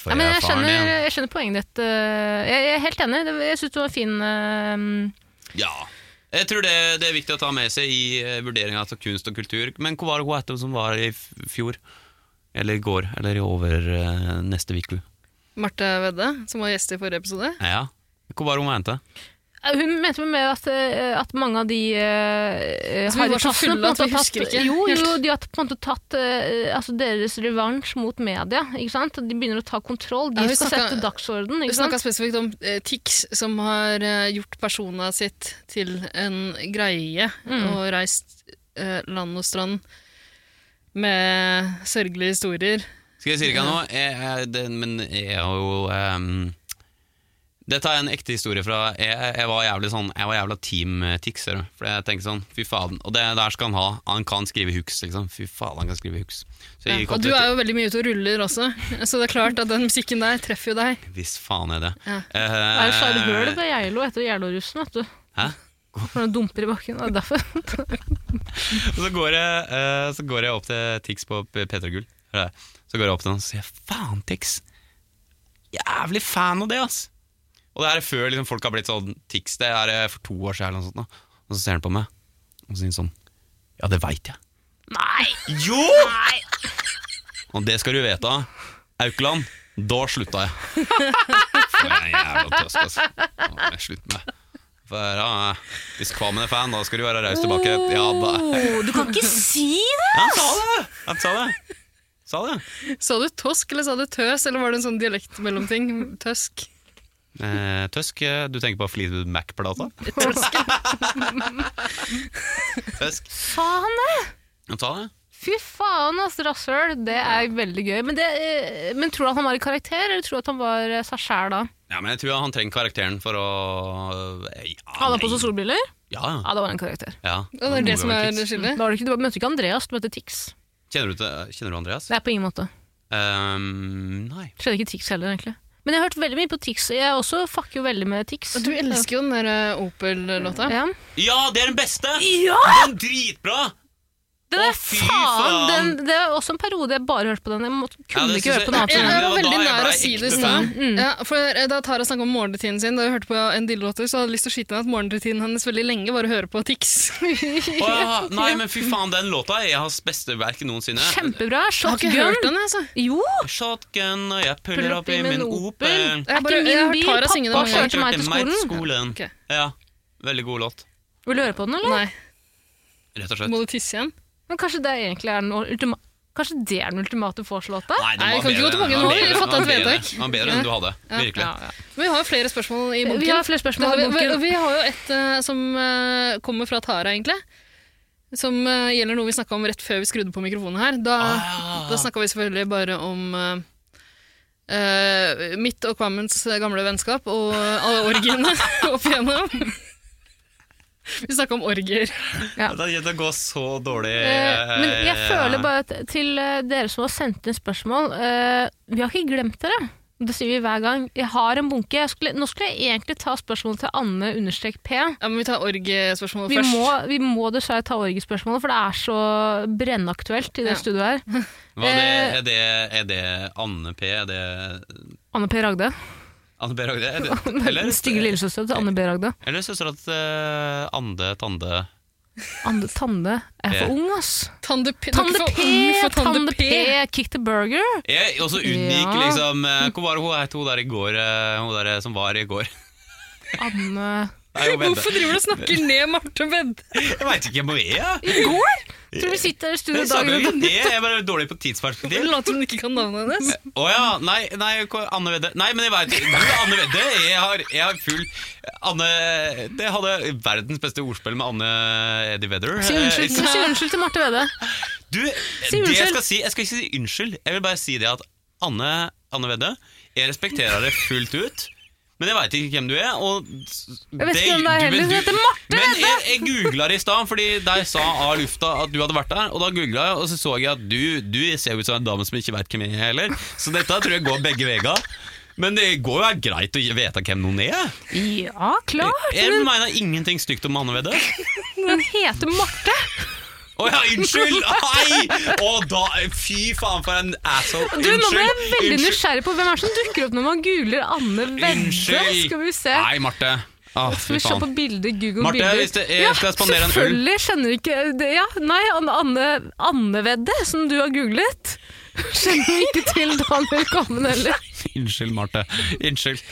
Speaker 3: For
Speaker 2: Ja, men jeg
Speaker 3: faren
Speaker 2: skjønner,
Speaker 3: din.
Speaker 2: jeg skjønner poenget ditt. øh, Jeg jeg er helt enig. Det- Jeg syns det var en fin øh,
Speaker 3: Ja. Jeg tror det, det er viktig å ta med seg i eh, vurderinga av kunst og kultur. Men hva var det hun het som var i f- fjor? Eller i går? Eller i over eh, neste uke?
Speaker 4: Marte Vedde, som var gjest i forrige episode.
Speaker 3: Ja. Hva var det hun mente?
Speaker 2: Eh, Hun mente vel med at, øh, at mange av de øh,
Speaker 4: Så vi var så
Speaker 2: harrytassene
Speaker 4: fulle
Speaker 2: på en
Speaker 4: at
Speaker 2: måte
Speaker 4: vi
Speaker 2: har
Speaker 4: husker
Speaker 2: tatt-
Speaker 4: ikke
Speaker 2: Jo,
Speaker 4: helt.
Speaker 2: jo, de har på en måte tatt øh, altså deres revansj mot media. Ikke sant? De begynner å ta kontroll. De
Speaker 4: Ja, vi
Speaker 2: skal
Speaker 4: snakka-
Speaker 2: sette dagsorden.
Speaker 4: Vi
Speaker 2: Ikke
Speaker 4: snakka
Speaker 2: sant?
Speaker 4: spesifikt om eh, Tix, som har eh, gjort persona sitt til en greie, og reist eh, land og strand med sørgelige historier.
Speaker 3: Skal jeg si det ikke nå? Jeg, jeg, det, men jeg har jo ehm, Dette er en ekte historie fra Jeg, jeg var jævlig sånn Jeg var jævla team eh, Tix. ser du. For jeg tenker sånn Fy faden. Og det der skal han ha. Han kan skrive hooks, liksom. Fy faen, han kan skrive hooks. Så jeg gikk
Speaker 4: Og
Speaker 3: opp
Speaker 4: du
Speaker 3: til-
Speaker 4: er jo veldig mye ute og ruller også, så det er klart at den musikken der treffer jo deg.
Speaker 3: Hvis faen er det.
Speaker 4: Ja.
Speaker 2: Det er jo Sara Bøhl
Speaker 3: Eh,
Speaker 2: ved Geilo etter Geilo-russen, vet du.
Speaker 3: Hæ?
Speaker 2: For hun dumper i bakken. Det er derfor.
Speaker 3: Og så går jeg, eh, så går jeg opp til Tix på P- P3 Gull. Eller, Så går jeg opp til han og sier faen, Tix. Jævlig fan av det, ass. Og det her er før liksom, folk har blitt sånn Tix, det er eh, for to år siden eller noe sånt. Da. Og så ser han på meg og sier sånn Ja, det veit jeg.
Speaker 2: Nei!
Speaker 3: Jo! Og det skal du vite, Aukeland. Da slutta jeg. For jeg er jævla tøsk, altså. Nå må jeg slutte med det. eh, For ja, Diskvamende fan, da skal du være raus tilbake. Ja, da.
Speaker 2: Oh, du kan ikke si det!
Speaker 3: Han sa det! Han sa det. Sa det.
Speaker 4: Sa du tosk, eller sa du tøs, eller var det en sånn dialektmellomting? Tøsk.
Speaker 3: Eh, tøsk, eh, du tenker på Fleetwood Mac-plata?
Speaker 4: Tøsk.
Speaker 3: Tøsk.
Speaker 2: Sa han det?
Speaker 3: Han sa det.
Speaker 2: Fy faen, ass, rasshøl. Det er veldig gøy. Men, det, eh, men tror du at han var i karakter, eller tror du at han var eh, seg sjæl da?
Speaker 3: Ja, men jeg tror han trenger karakteren for å eh, ja,
Speaker 2: Hadde han på seg solbriller?
Speaker 3: Ja, ja.
Speaker 2: Ja, det var en karakter.
Speaker 3: ja.
Speaker 4: Og det er det som er
Speaker 3: Tics.
Speaker 2: Da
Speaker 4: skillet.
Speaker 2: var det ikke, du møtte ikke Andreas, du møtte Tix.
Speaker 3: Kjenner du, til, kjenner du Andreas?
Speaker 2: Nei, på ingen måte.
Speaker 3: Ehm, nei.
Speaker 2: Skjedde ikke Tix heller, egentlig. Men jeg har hørt veldig mye på Tix. Jeg også fucker jo veldig med Tix.
Speaker 4: Du elsker jo den der eh, Opel-låta.
Speaker 2: Ja.
Speaker 3: Ja, det er den beste!
Speaker 2: ja!
Speaker 3: Den er dritbra!
Speaker 2: Den
Speaker 3: Å,
Speaker 2: er
Speaker 3: fy
Speaker 2: faen! Den,
Speaker 3: faen!
Speaker 2: det er også en periode jeg bare hørte på den. Jeg måtte,
Speaker 3: Ja,
Speaker 2: kunne
Speaker 3: det
Speaker 2: ikke høre
Speaker 3: synes
Speaker 2: på noe
Speaker 4: Ja,
Speaker 2: annet.
Speaker 3: jeg-
Speaker 4: jeg
Speaker 3: Det
Speaker 4: var
Speaker 3: var
Speaker 4: veldig
Speaker 3: da jeg
Speaker 4: nær
Speaker 3: ble
Speaker 4: å si
Speaker 3: ekte
Speaker 4: det i
Speaker 3: fan.
Speaker 4: stad. Ja, for eh, da Tara snakka om morgenrutinen sin, da hun hørte på en dillelåter, så hadde jeg lyst til å skyte ned at morgenrutinen hennes veldig lenge var å høre på Tix.
Speaker 3: Å, ja, nei, men fy faen, den låta er hans beste verk noensinne.
Speaker 2: Kjempebra!
Speaker 4: Jeg har ikke hørt
Speaker 2: Shotgun!
Speaker 4: den, altså.
Speaker 2: Jo!
Speaker 3: Shotgun, og jeg puller opp i min Opel.
Speaker 4: Jeg
Speaker 2: Er ikke
Speaker 4: bare- jeg
Speaker 2: min
Speaker 4: har
Speaker 2: bil,
Speaker 4: Tara synge den
Speaker 2: pappa
Speaker 4: mange ganger.
Speaker 2: kjørte meg til skolen.
Speaker 3: skolen.
Speaker 4: Ok.
Speaker 3: Ja, Veldig god låt,
Speaker 2: Vil du høre på den, eller?
Speaker 4: Nei.
Speaker 3: rett og slett.
Speaker 4: Må du tisse igjen?
Speaker 2: Men kanskje det egentlig er den ultima Kanskje det er den ultimate vorslåta?
Speaker 3: Nei, den
Speaker 4: Nei,
Speaker 3: var
Speaker 4: kan ikke
Speaker 3: bedre
Speaker 4: gå tilbake
Speaker 3: enn- den
Speaker 4: nå,
Speaker 3: var
Speaker 4: vi
Speaker 3: bedre-
Speaker 4: fattet
Speaker 3: den var
Speaker 4: et
Speaker 3: bedre-
Speaker 4: vedtak.
Speaker 3: Den var bedre enn du hadde, virkelig.
Speaker 4: Men vi har jo flere spørsmål i bunken.
Speaker 2: Vi har flere spørsmål. i
Speaker 4: Ja, vi-
Speaker 2: bunken.
Speaker 4: og vi har jo et eh, som eh, kommer fra Tara, egentlig. Som eh, gjelder noe vi snakka om rett før vi skrudde på mikrofonen her. Da,
Speaker 3: Ah.
Speaker 4: da snakka vi selvfølgelig bare om eh, eh, mitt og Kvammens gamle vennskap og eh, alle orgiene opp igjennom. Vi snakka om orgier.
Speaker 2: Ja.
Speaker 3: Det, det går så dårlig.
Speaker 2: Eh, Men jeg
Speaker 3: eh,
Speaker 2: føler bare at til eh, dere som har sendt inn spørsmål eh, Vi har ikke glemt dere. Det sier vi hver gang. Jeg har en bunke. Jeg skulle, nå skulle jeg egentlig ta spørsmål til Anne understrek P.
Speaker 4: Ja, men Vi tar orgiespørsmålet
Speaker 2: Vi
Speaker 4: først.
Speaker 2: må, vi må dessverre ta orgiespørsmålet, for det er så brennaktuelt i det
Speaker 4: Ja.
Speaker 2: studioet her.
Speaker 3: Hva er, det, er, det, er det Anne P? Er det
Speaker 2: Anne P. Ragde.
Speaker 3: Anne B. Ragde? Er det, eller
Speaker 2: Den stygge lillesøsteren til Anne B. Ragde.
Speaker 3: eller søstera til eh, Ande Tande
Speaker 2: Anne Tande er
Speaker 3: P.
Speaker 2: for ung, ass.
Speaker 4: Tande P! du er
Speaker 2: Tande
Speaker 4: ikke for
Speaker 2: P!
Speaker 4: ung for
Speaker 2: Tande P! Kick the burger.
Speaker 3: Jeg også unngikk
Speaker 2: Ja.
Speaker 3: liksom eh, Hvor var det hun het hun der i går? eh, Hun der som var i går?
Speaker 2: Anne
Speaker 3: Nei, hun
Speaker 4: Hvorfor
Speaker 3: Vedde.
Speaker 4: driver du og snakker ned Marte Vedde?
Speaker 3: Jeg veit ikke hvem hun er.
Speaker 2: I går! Tror vi sitter her i
Speaker 3: Jeg
Speaker 2: studio
Speaker 3: snakker
Speaker 2: dagen
Speaker 3: jo ikke
Speaker 2: etter.
Speaker 3: ned, jeg er bare dårlig på tidsperspektiv.
Speaker 4: Later som du ikke kan navnet hennes.
Speaker 3: Å ja, nei, nei, hvor- Anne Vedde Nei, men jeg veit Anne Vedde, jeg har, jeg har full Anne Det hadde verdens beste ordspill med Anne Eddie Vedder.
Speaker 2: Si unnskyld,
Speaker 3: Eh,
Speaker 2: si unnskyld til Marte Vedde.
Speaker 3: Du,
Speaker 2: Si
Speaker 3: det jeg
Speaker 2: unnskyld.
Speaker 3: skal si Jeg skal ikke si unnskyld. Jeg vil bare si det at Anne, Anne Vedde, jeg respekterer det fullt ut. Men jeg veit ikke hvem du er. Og jeg
Speaker 2: vet ikke hvem det er heller, hun heter Marte
Speaker 3: Men jeg, jeg googla det i stad, fordi der sa av lufta at du hadde vært der. Og da googla jeg, og så så jeg at du, du ser ut som en dame som ikke veit hvem jeg er heller. Så dette tror jeg går begge veier. Men det går jo er greit å vite hvem noen er.
Speaker 2: Ja, klart!
Speaker 3: Jeg mener ingenting stygt om Anne Vedde.
Speaker 2: Hun heter Marte!
Speaker 3: Å ja, unnskyld! Nei! Å, da, fy faen, for en asshole.
Speaker 2: Du, nå ble jeg
Speaker 3: Unnskyld,
Speaker 2: veldig
Speaker 3: unnskyld.
Speaker 2: nysgjerrig på hvem er det som dukker opp når man googler Anne Vedde.
Speaker 3: Unnskyld.
Speaker 2: Skal vi se.
Speaker 3: Nei, Marte. Å,
Speaker 2: Skal
Speaker 3: fy
Speaker 2: vi se på
Speaker 3: faen.
Speaker 2: bildet, Google
Speaker 3: Marte,
Speaker 2: bilder.
Speaker 3: hvis det er- skal jeg spandere en øl?
Speaker 2: Selvfølgelig skjønner ikke det. Ja, nei, Anne, Anne, Anne Vedde, som du har googlet, skjønner ikke til Daniel Kvammen heller.
Speaker 3: Unnskyld, Marte. Unnskyld.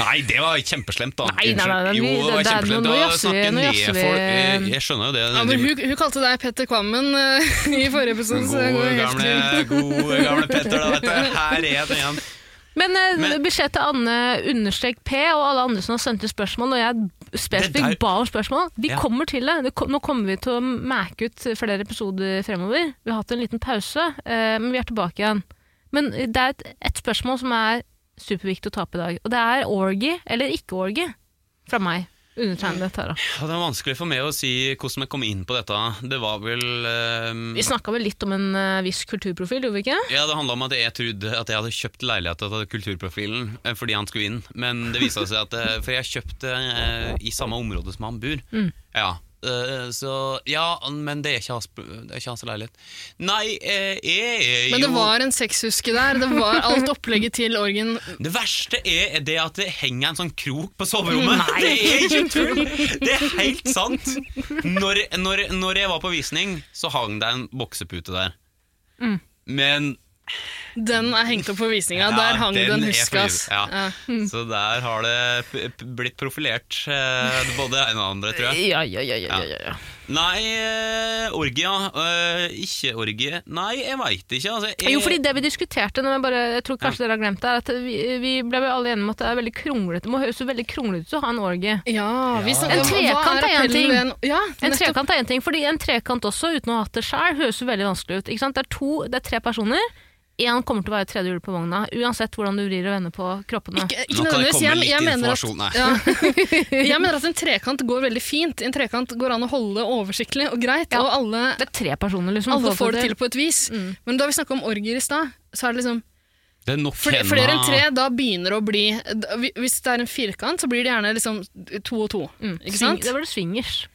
Speaker 3: Nei, det var kjempeslemt, da.
Speaker 2: Nei, nei, nei, nei,
Speaker 3: Unnskyld. jo, det var
Speaker 2: det er- nå-
Speaker 3: kjempeslemt.
Speaker 2: nå
Speaker 3: å
Speaker 2: jazzer vi-
Speaker 3: snakke
Speaker 2: nå
Speaker 3: ned
Speaker 2: jazzer vi-
Speaker 3: folk Eh, Jeg- Jeg skjønner jo det.
Speaker 4: Ja, men hun, hun kalte deg Petter Kvammen eh, i forrige episode. så det går
Speaker 3: Gode,
Speaker 4: helt
Speaker 3: gamle,
Speaker 4: fint.
Speaker 3: gode gamle Petter, da, vet du. Her er den igjen.
Speaker 2: Men, eh,
Speaker 3: Men-
Speaker 2: beskjed til Anne understrek P og alle andre som har sendt inn spørsmål, og jeg
Speaker 3: Det der-
Speaker 2: spesifikt ba om spørsmål. Vi
Speaker 3: Ja.
Speaker 2: kommer til det. det kom, nå kommer vi til å merke ut flere episoder fremover. Vi har hatt en liten pause, eh, men vi er tilbake igjen. Men det er et, et spørsmål som er superviktig å ta opp i dag, og det er orgy eller ikke orgy fra meg. Undertegnede Tara.
Speaker 3: Ja, Det er vanskelig for meg å si hvordan jeg kom inn på dette. Det var vel eh,
Speaker 2: Vi snakka vel litt om en eh, viss kulturprofil, gjorde vi ikke?
Speaker 3: Ja, det handla om at jeg trodde at jeg hadde kjøpt leilighet til Kulturprofilen eh, fordi han
Speaker 4: Mm.
Speaker 3: skulle inn, men det viste seg at eh, For jeg kjøpte eh, i samme område som han bor. Ja, eh, så Ja, men det er ikke hans, det er ikke hans leilighet. Nei, eh, jeg er jo
Speaker 4: Men det var en sexhuske der. Det var alt opplegget til orgen.
Speaker 3: Det verste er det at det henger en sånn krok på soverommet. Det er ikke tull! Det er helt sant. Når, når, når jeg var på visning, så hang det en boksepute der.
Speaker 4: Mm.
Speaker 3: Men
Speaker 4: Den er hengt opp på visninga.
Speaker 3: Ja,
Speaker 4: der hang
Speaker 3: den
Speaker 4: den,
Speaker 3: er forgivet,
Speaker 4: huskas.
Speaker 3: ja.
Speaker 4: Hmm.
Speaker 3: Så der har det p- p- blitt profilert eh, både en og andre, tror jeg.
Speaker 2: Ja, ja, ja, ja, ja, ja.
Speaker 3: Nei, eh, orgie, ja. Eh, ikke orgie Nei, jeg veit ikke. Altså,
Speaker 4: Eh,
Speaker 3: jeg,
Speaker 2: Jo, fordi det vi diskuterte, når jeg, bare, jeg tror kanskje dere har glemt det, er at vi, vi ble vel alle enige om at det er veldig kronglete. Det må høres jo veldig kronglete ut å ha en orgie.
Speaker 4: Ja, vi snakket
Speaker 2: En
Speaker 4: om- hva
Speaker 2: trekant er en
Speaker 4: appellen
Speaker 2: ting.
Speaker 4: ved En, ja,
Speaker 2: En
Speaker 4: nettopp.
Speaker 2: trekant er én ting, fordi en trekant også, uten å ha hatt det sjøl, høres jo veldig vanskelig ut. Ikke sant? Det, er to, det er tre personer. Én kommer til å være tredje hjul på vogna, uansett hvordan du vrir og vender på kroppene.
Speaker 3: Nå
Speaker 4: Ikke, ikke
Speaker 3: kan det
Speaker 4: nødvendigvis.
Speaker 3: komme
Speaker 4: Jeg,
Speaker 3: litt
Speaker 4: jeg, mener at,
Speaker 3: informasjon, nei.
Speaker 4: ja. jeg mener at en trekant går veldig fint. En trekant går an å holde oversiktlig og greit,
Speaker 2: Ja.
Speaker 4: og alle,
Speaker 2: Det er Mm. tre personer, liksom.
Speaker 4: alle får det til på et vis. Men da vi snakka om orgier i stad, så er det liksom
Speaker 3: det er nok
Speaker 4: fl
Speaker 3: henda-
Speaker 4: Flere enn tre, da begynner det å bli da- hvi- Hvis det er en firkant, så blir det gjerne liksom to og to.
Speaker 2: Mm.
Speaker 4: Ikke sant?
Speaker 2: Swing- Da var det swingers.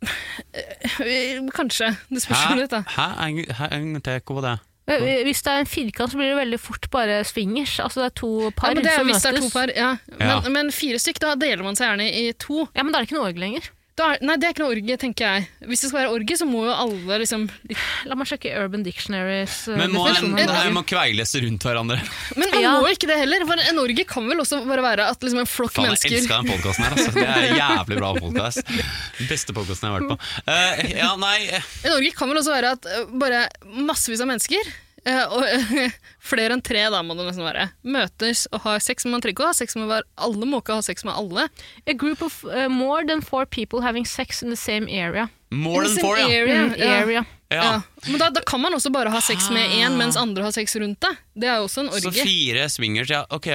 Speaker 4: Kanskje. Det spørs jo
Speaker 3: Hæ?
Speaker 4: litt, da.
Speaker 3: Hæ? En, hæ? en til, hva var det?
Speaker 2: Eh, Hvis det er en firkant, så blir det veldig fort bare swingers. Altså det er to par
Speaker 4: ja, men det er,
Speaker 2: som
Speaker 4: hvis
Speaker 2: møtes.
Speaker 4: det er to par, ja. Men,
Speaker 3: Ja.
Speaker 4: men fire stykk, da deler man seg gjerne i to.
Speaker 2: Ja, men da er det ikke noe org lenger.
Speaker 4: Da er, nei, det er ikke noe orgie, tenker jeg. Hvis det skal være orgie, så må jo alle liksom litt-
Speaker 2: La meg sjekke Urban Dictionaries eh,
Speaker 3: Men må,
Speaker 2: definisjon av
Speaker 4: men-
Speaker 2: orgi.
Speaker 3: de må kveiles rundt hverandre.
Speaker 4: Men man
Speaker 2: Ja.
Speaker 4: må ikke det heller. For en orgie kan vel også bare være at liksom en flokk
Speaker 3: Faen, jeg
Speaker 4: mennesker
Speaker 3: elsker den podkasten her. Altså. Det er en jævlig bra podkast. Beste podkasten jeg har vært på. Eh, ja, nei eh,
Speaker 4: En orgie kan vel også være at eh, bare massevis av mennesker eh, og eh, flere enn tre, da må det nesten være. Møtes og har sex, men man trenger ikke å ha sex med hver. Alle må ikke ha sex med alle.
Speaker 2: A group of eh, more than four people having sex in the same area.
Speaker 3: More than
Speaker 4: Listen,
Speaker 3: four, ja.
Speaker 4: area,
Speaker 2: Mm,
Speaker 4: ja.
Speaker 2: area.
Speaker 3: ja.
Speaker 4: Ja. Men da, da kan man også bare ha sex med én, mens andre har sex rundt deg. Det er jo også en
Speaker 3: Så
Speaker 4: orgie.
Speaker 3: fire swingers, ja. Ok.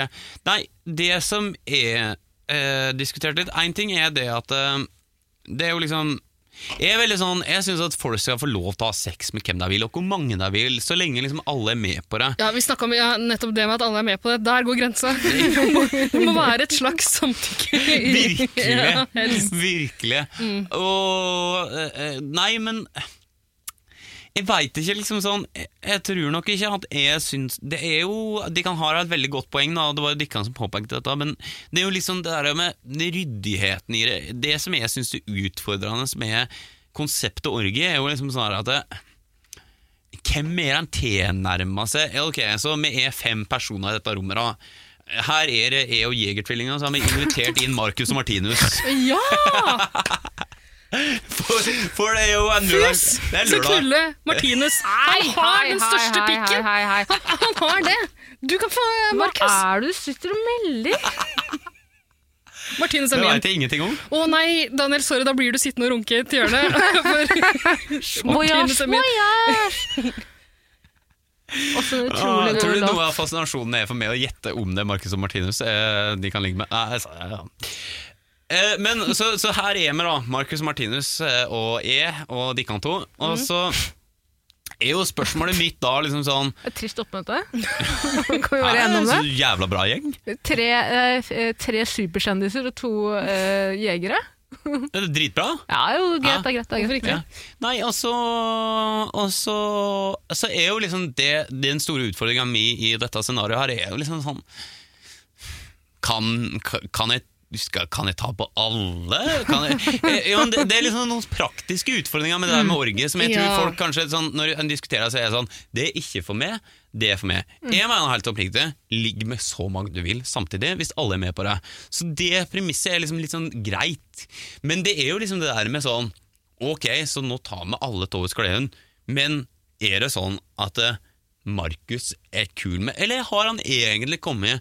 Speaker 3: Nei, det som er eh, diskutert litt Én ting er det at eh, Det er jo liksom jeg er veldig sånn, jeg syns at folk skal få lov til å ha sex med hvem de vil, og hvor mange de vil, så lenge liksom alle er med på det.
Speaker 4: Ja, Vi snakka om ja, nettopp det med at alle er med på det. Der går grensa! Det må, det må være et slags samtykke.
Speaker 3: Virkelig.
Speaker 4: Ja, helst. Mm.
Speaker 3: Virkelig. Og eh, eh, Nei, men jeg veit ikke, liksom sånn Jeg, jeg tror nok ikke at jeg syns Det er jo De kan ha et veldig godt poeng, da, og det var jo Dikkan som påpekte dette, men det er jo liksom det der med ryddigheten i det Det som jeg syns er utfordrende med konseptet orgie, er jo liksom sånn her at det, hvem er det han tilnærmer seg? Ja, ok, så vi er fem personer i dette rommet da. Her er det jeg og Jegertvillingen, så har vi invitert inn Marcus og Martinus.
Speaker 4: Ja!
Speaker 3: For, for det er jo en lørdag.
Speaker 4: Fus!
Speaker 3: Det er
Speaker 4: Så
Speaker 3: lørdag.
Speaker 4: knulle Martinus. Han har den største pikken!
Speaker 2: Hei, hei, hei.
Speaker 4: Han har det! Du kan få eh,
Speaker 2: Hva
Speaker 4: Markus.
Speaker 2: er det du sitter og melder?
Speaker 4: Martinus
Speaker 3: Det
Speaker 4: er min.
Speaker 3: vet jeg ingenting om.
Speaker 4: Å nei, Daniel, sorry, da blir du sittende og runke i et hjørne.
Speaker 2: Voyage,
Speaker 4: For- Martinus er min.
Speaker 2: voyage! Også en
Speaker 3: Ah,
Speaker 2: utrolig
Speaker 3: tror du
Speaker 2: god
Speaker 3: noe
Speaker 2: låt.
Speaker 3: av fascinasjonen er for meg å gjette om det er Marcus og Martinus eh, de kan ligge med? Nei, altså, ja, ja. Eh, men så, så her er vi, da. Marcus og Martinus eh, og jeg og Dikkan to. Og så er jo spørsmålet mitt da liksom sånn
Speaker 2: Et trist oppmøte. Kan vi
Speaker 3: Er
Speaker 2: være enige om det?
Speaker 3: så jævla bra gjeng?
Speaker 2: Tre, eh, f- eh, tre superkjendiser og to eh, jegere.
Speaker 3: Det er dritbra.
Speaker 2: Ja, jo, greit, det er greit. Det er
Speaker 4: Hvorfor
Speaker 2: greit.
Speaker 4: ikke?
Speaker 3: Ja. Nei, og så Og så så er jo liksom det Den store utfordringa mi i dette scenarioet her er jo liksom sånn Kan, kan jeg skal, kan jeg ta på alle? Kan jeg, eh, jo, men det, det er liksom noen praktiske utfordringer med det der med orgie som jeg
Speaker 4: Ja.
Speaker 3: tror folk kanskje sånn, Når en diskuterer så er det sånn Det er ikke for meg, det er for meg. Jeg mener helt oppriktig, ligg med så mange du vil samtidig, hvis alle er med på det. Så det premisset er liksom litt sånn greit. Men det er jo liksom det der med sånn Ok, så nå tar vi alle Tovets Gleden, men er det sånn at eh, Markus er kul med Eller har han egentlig kommet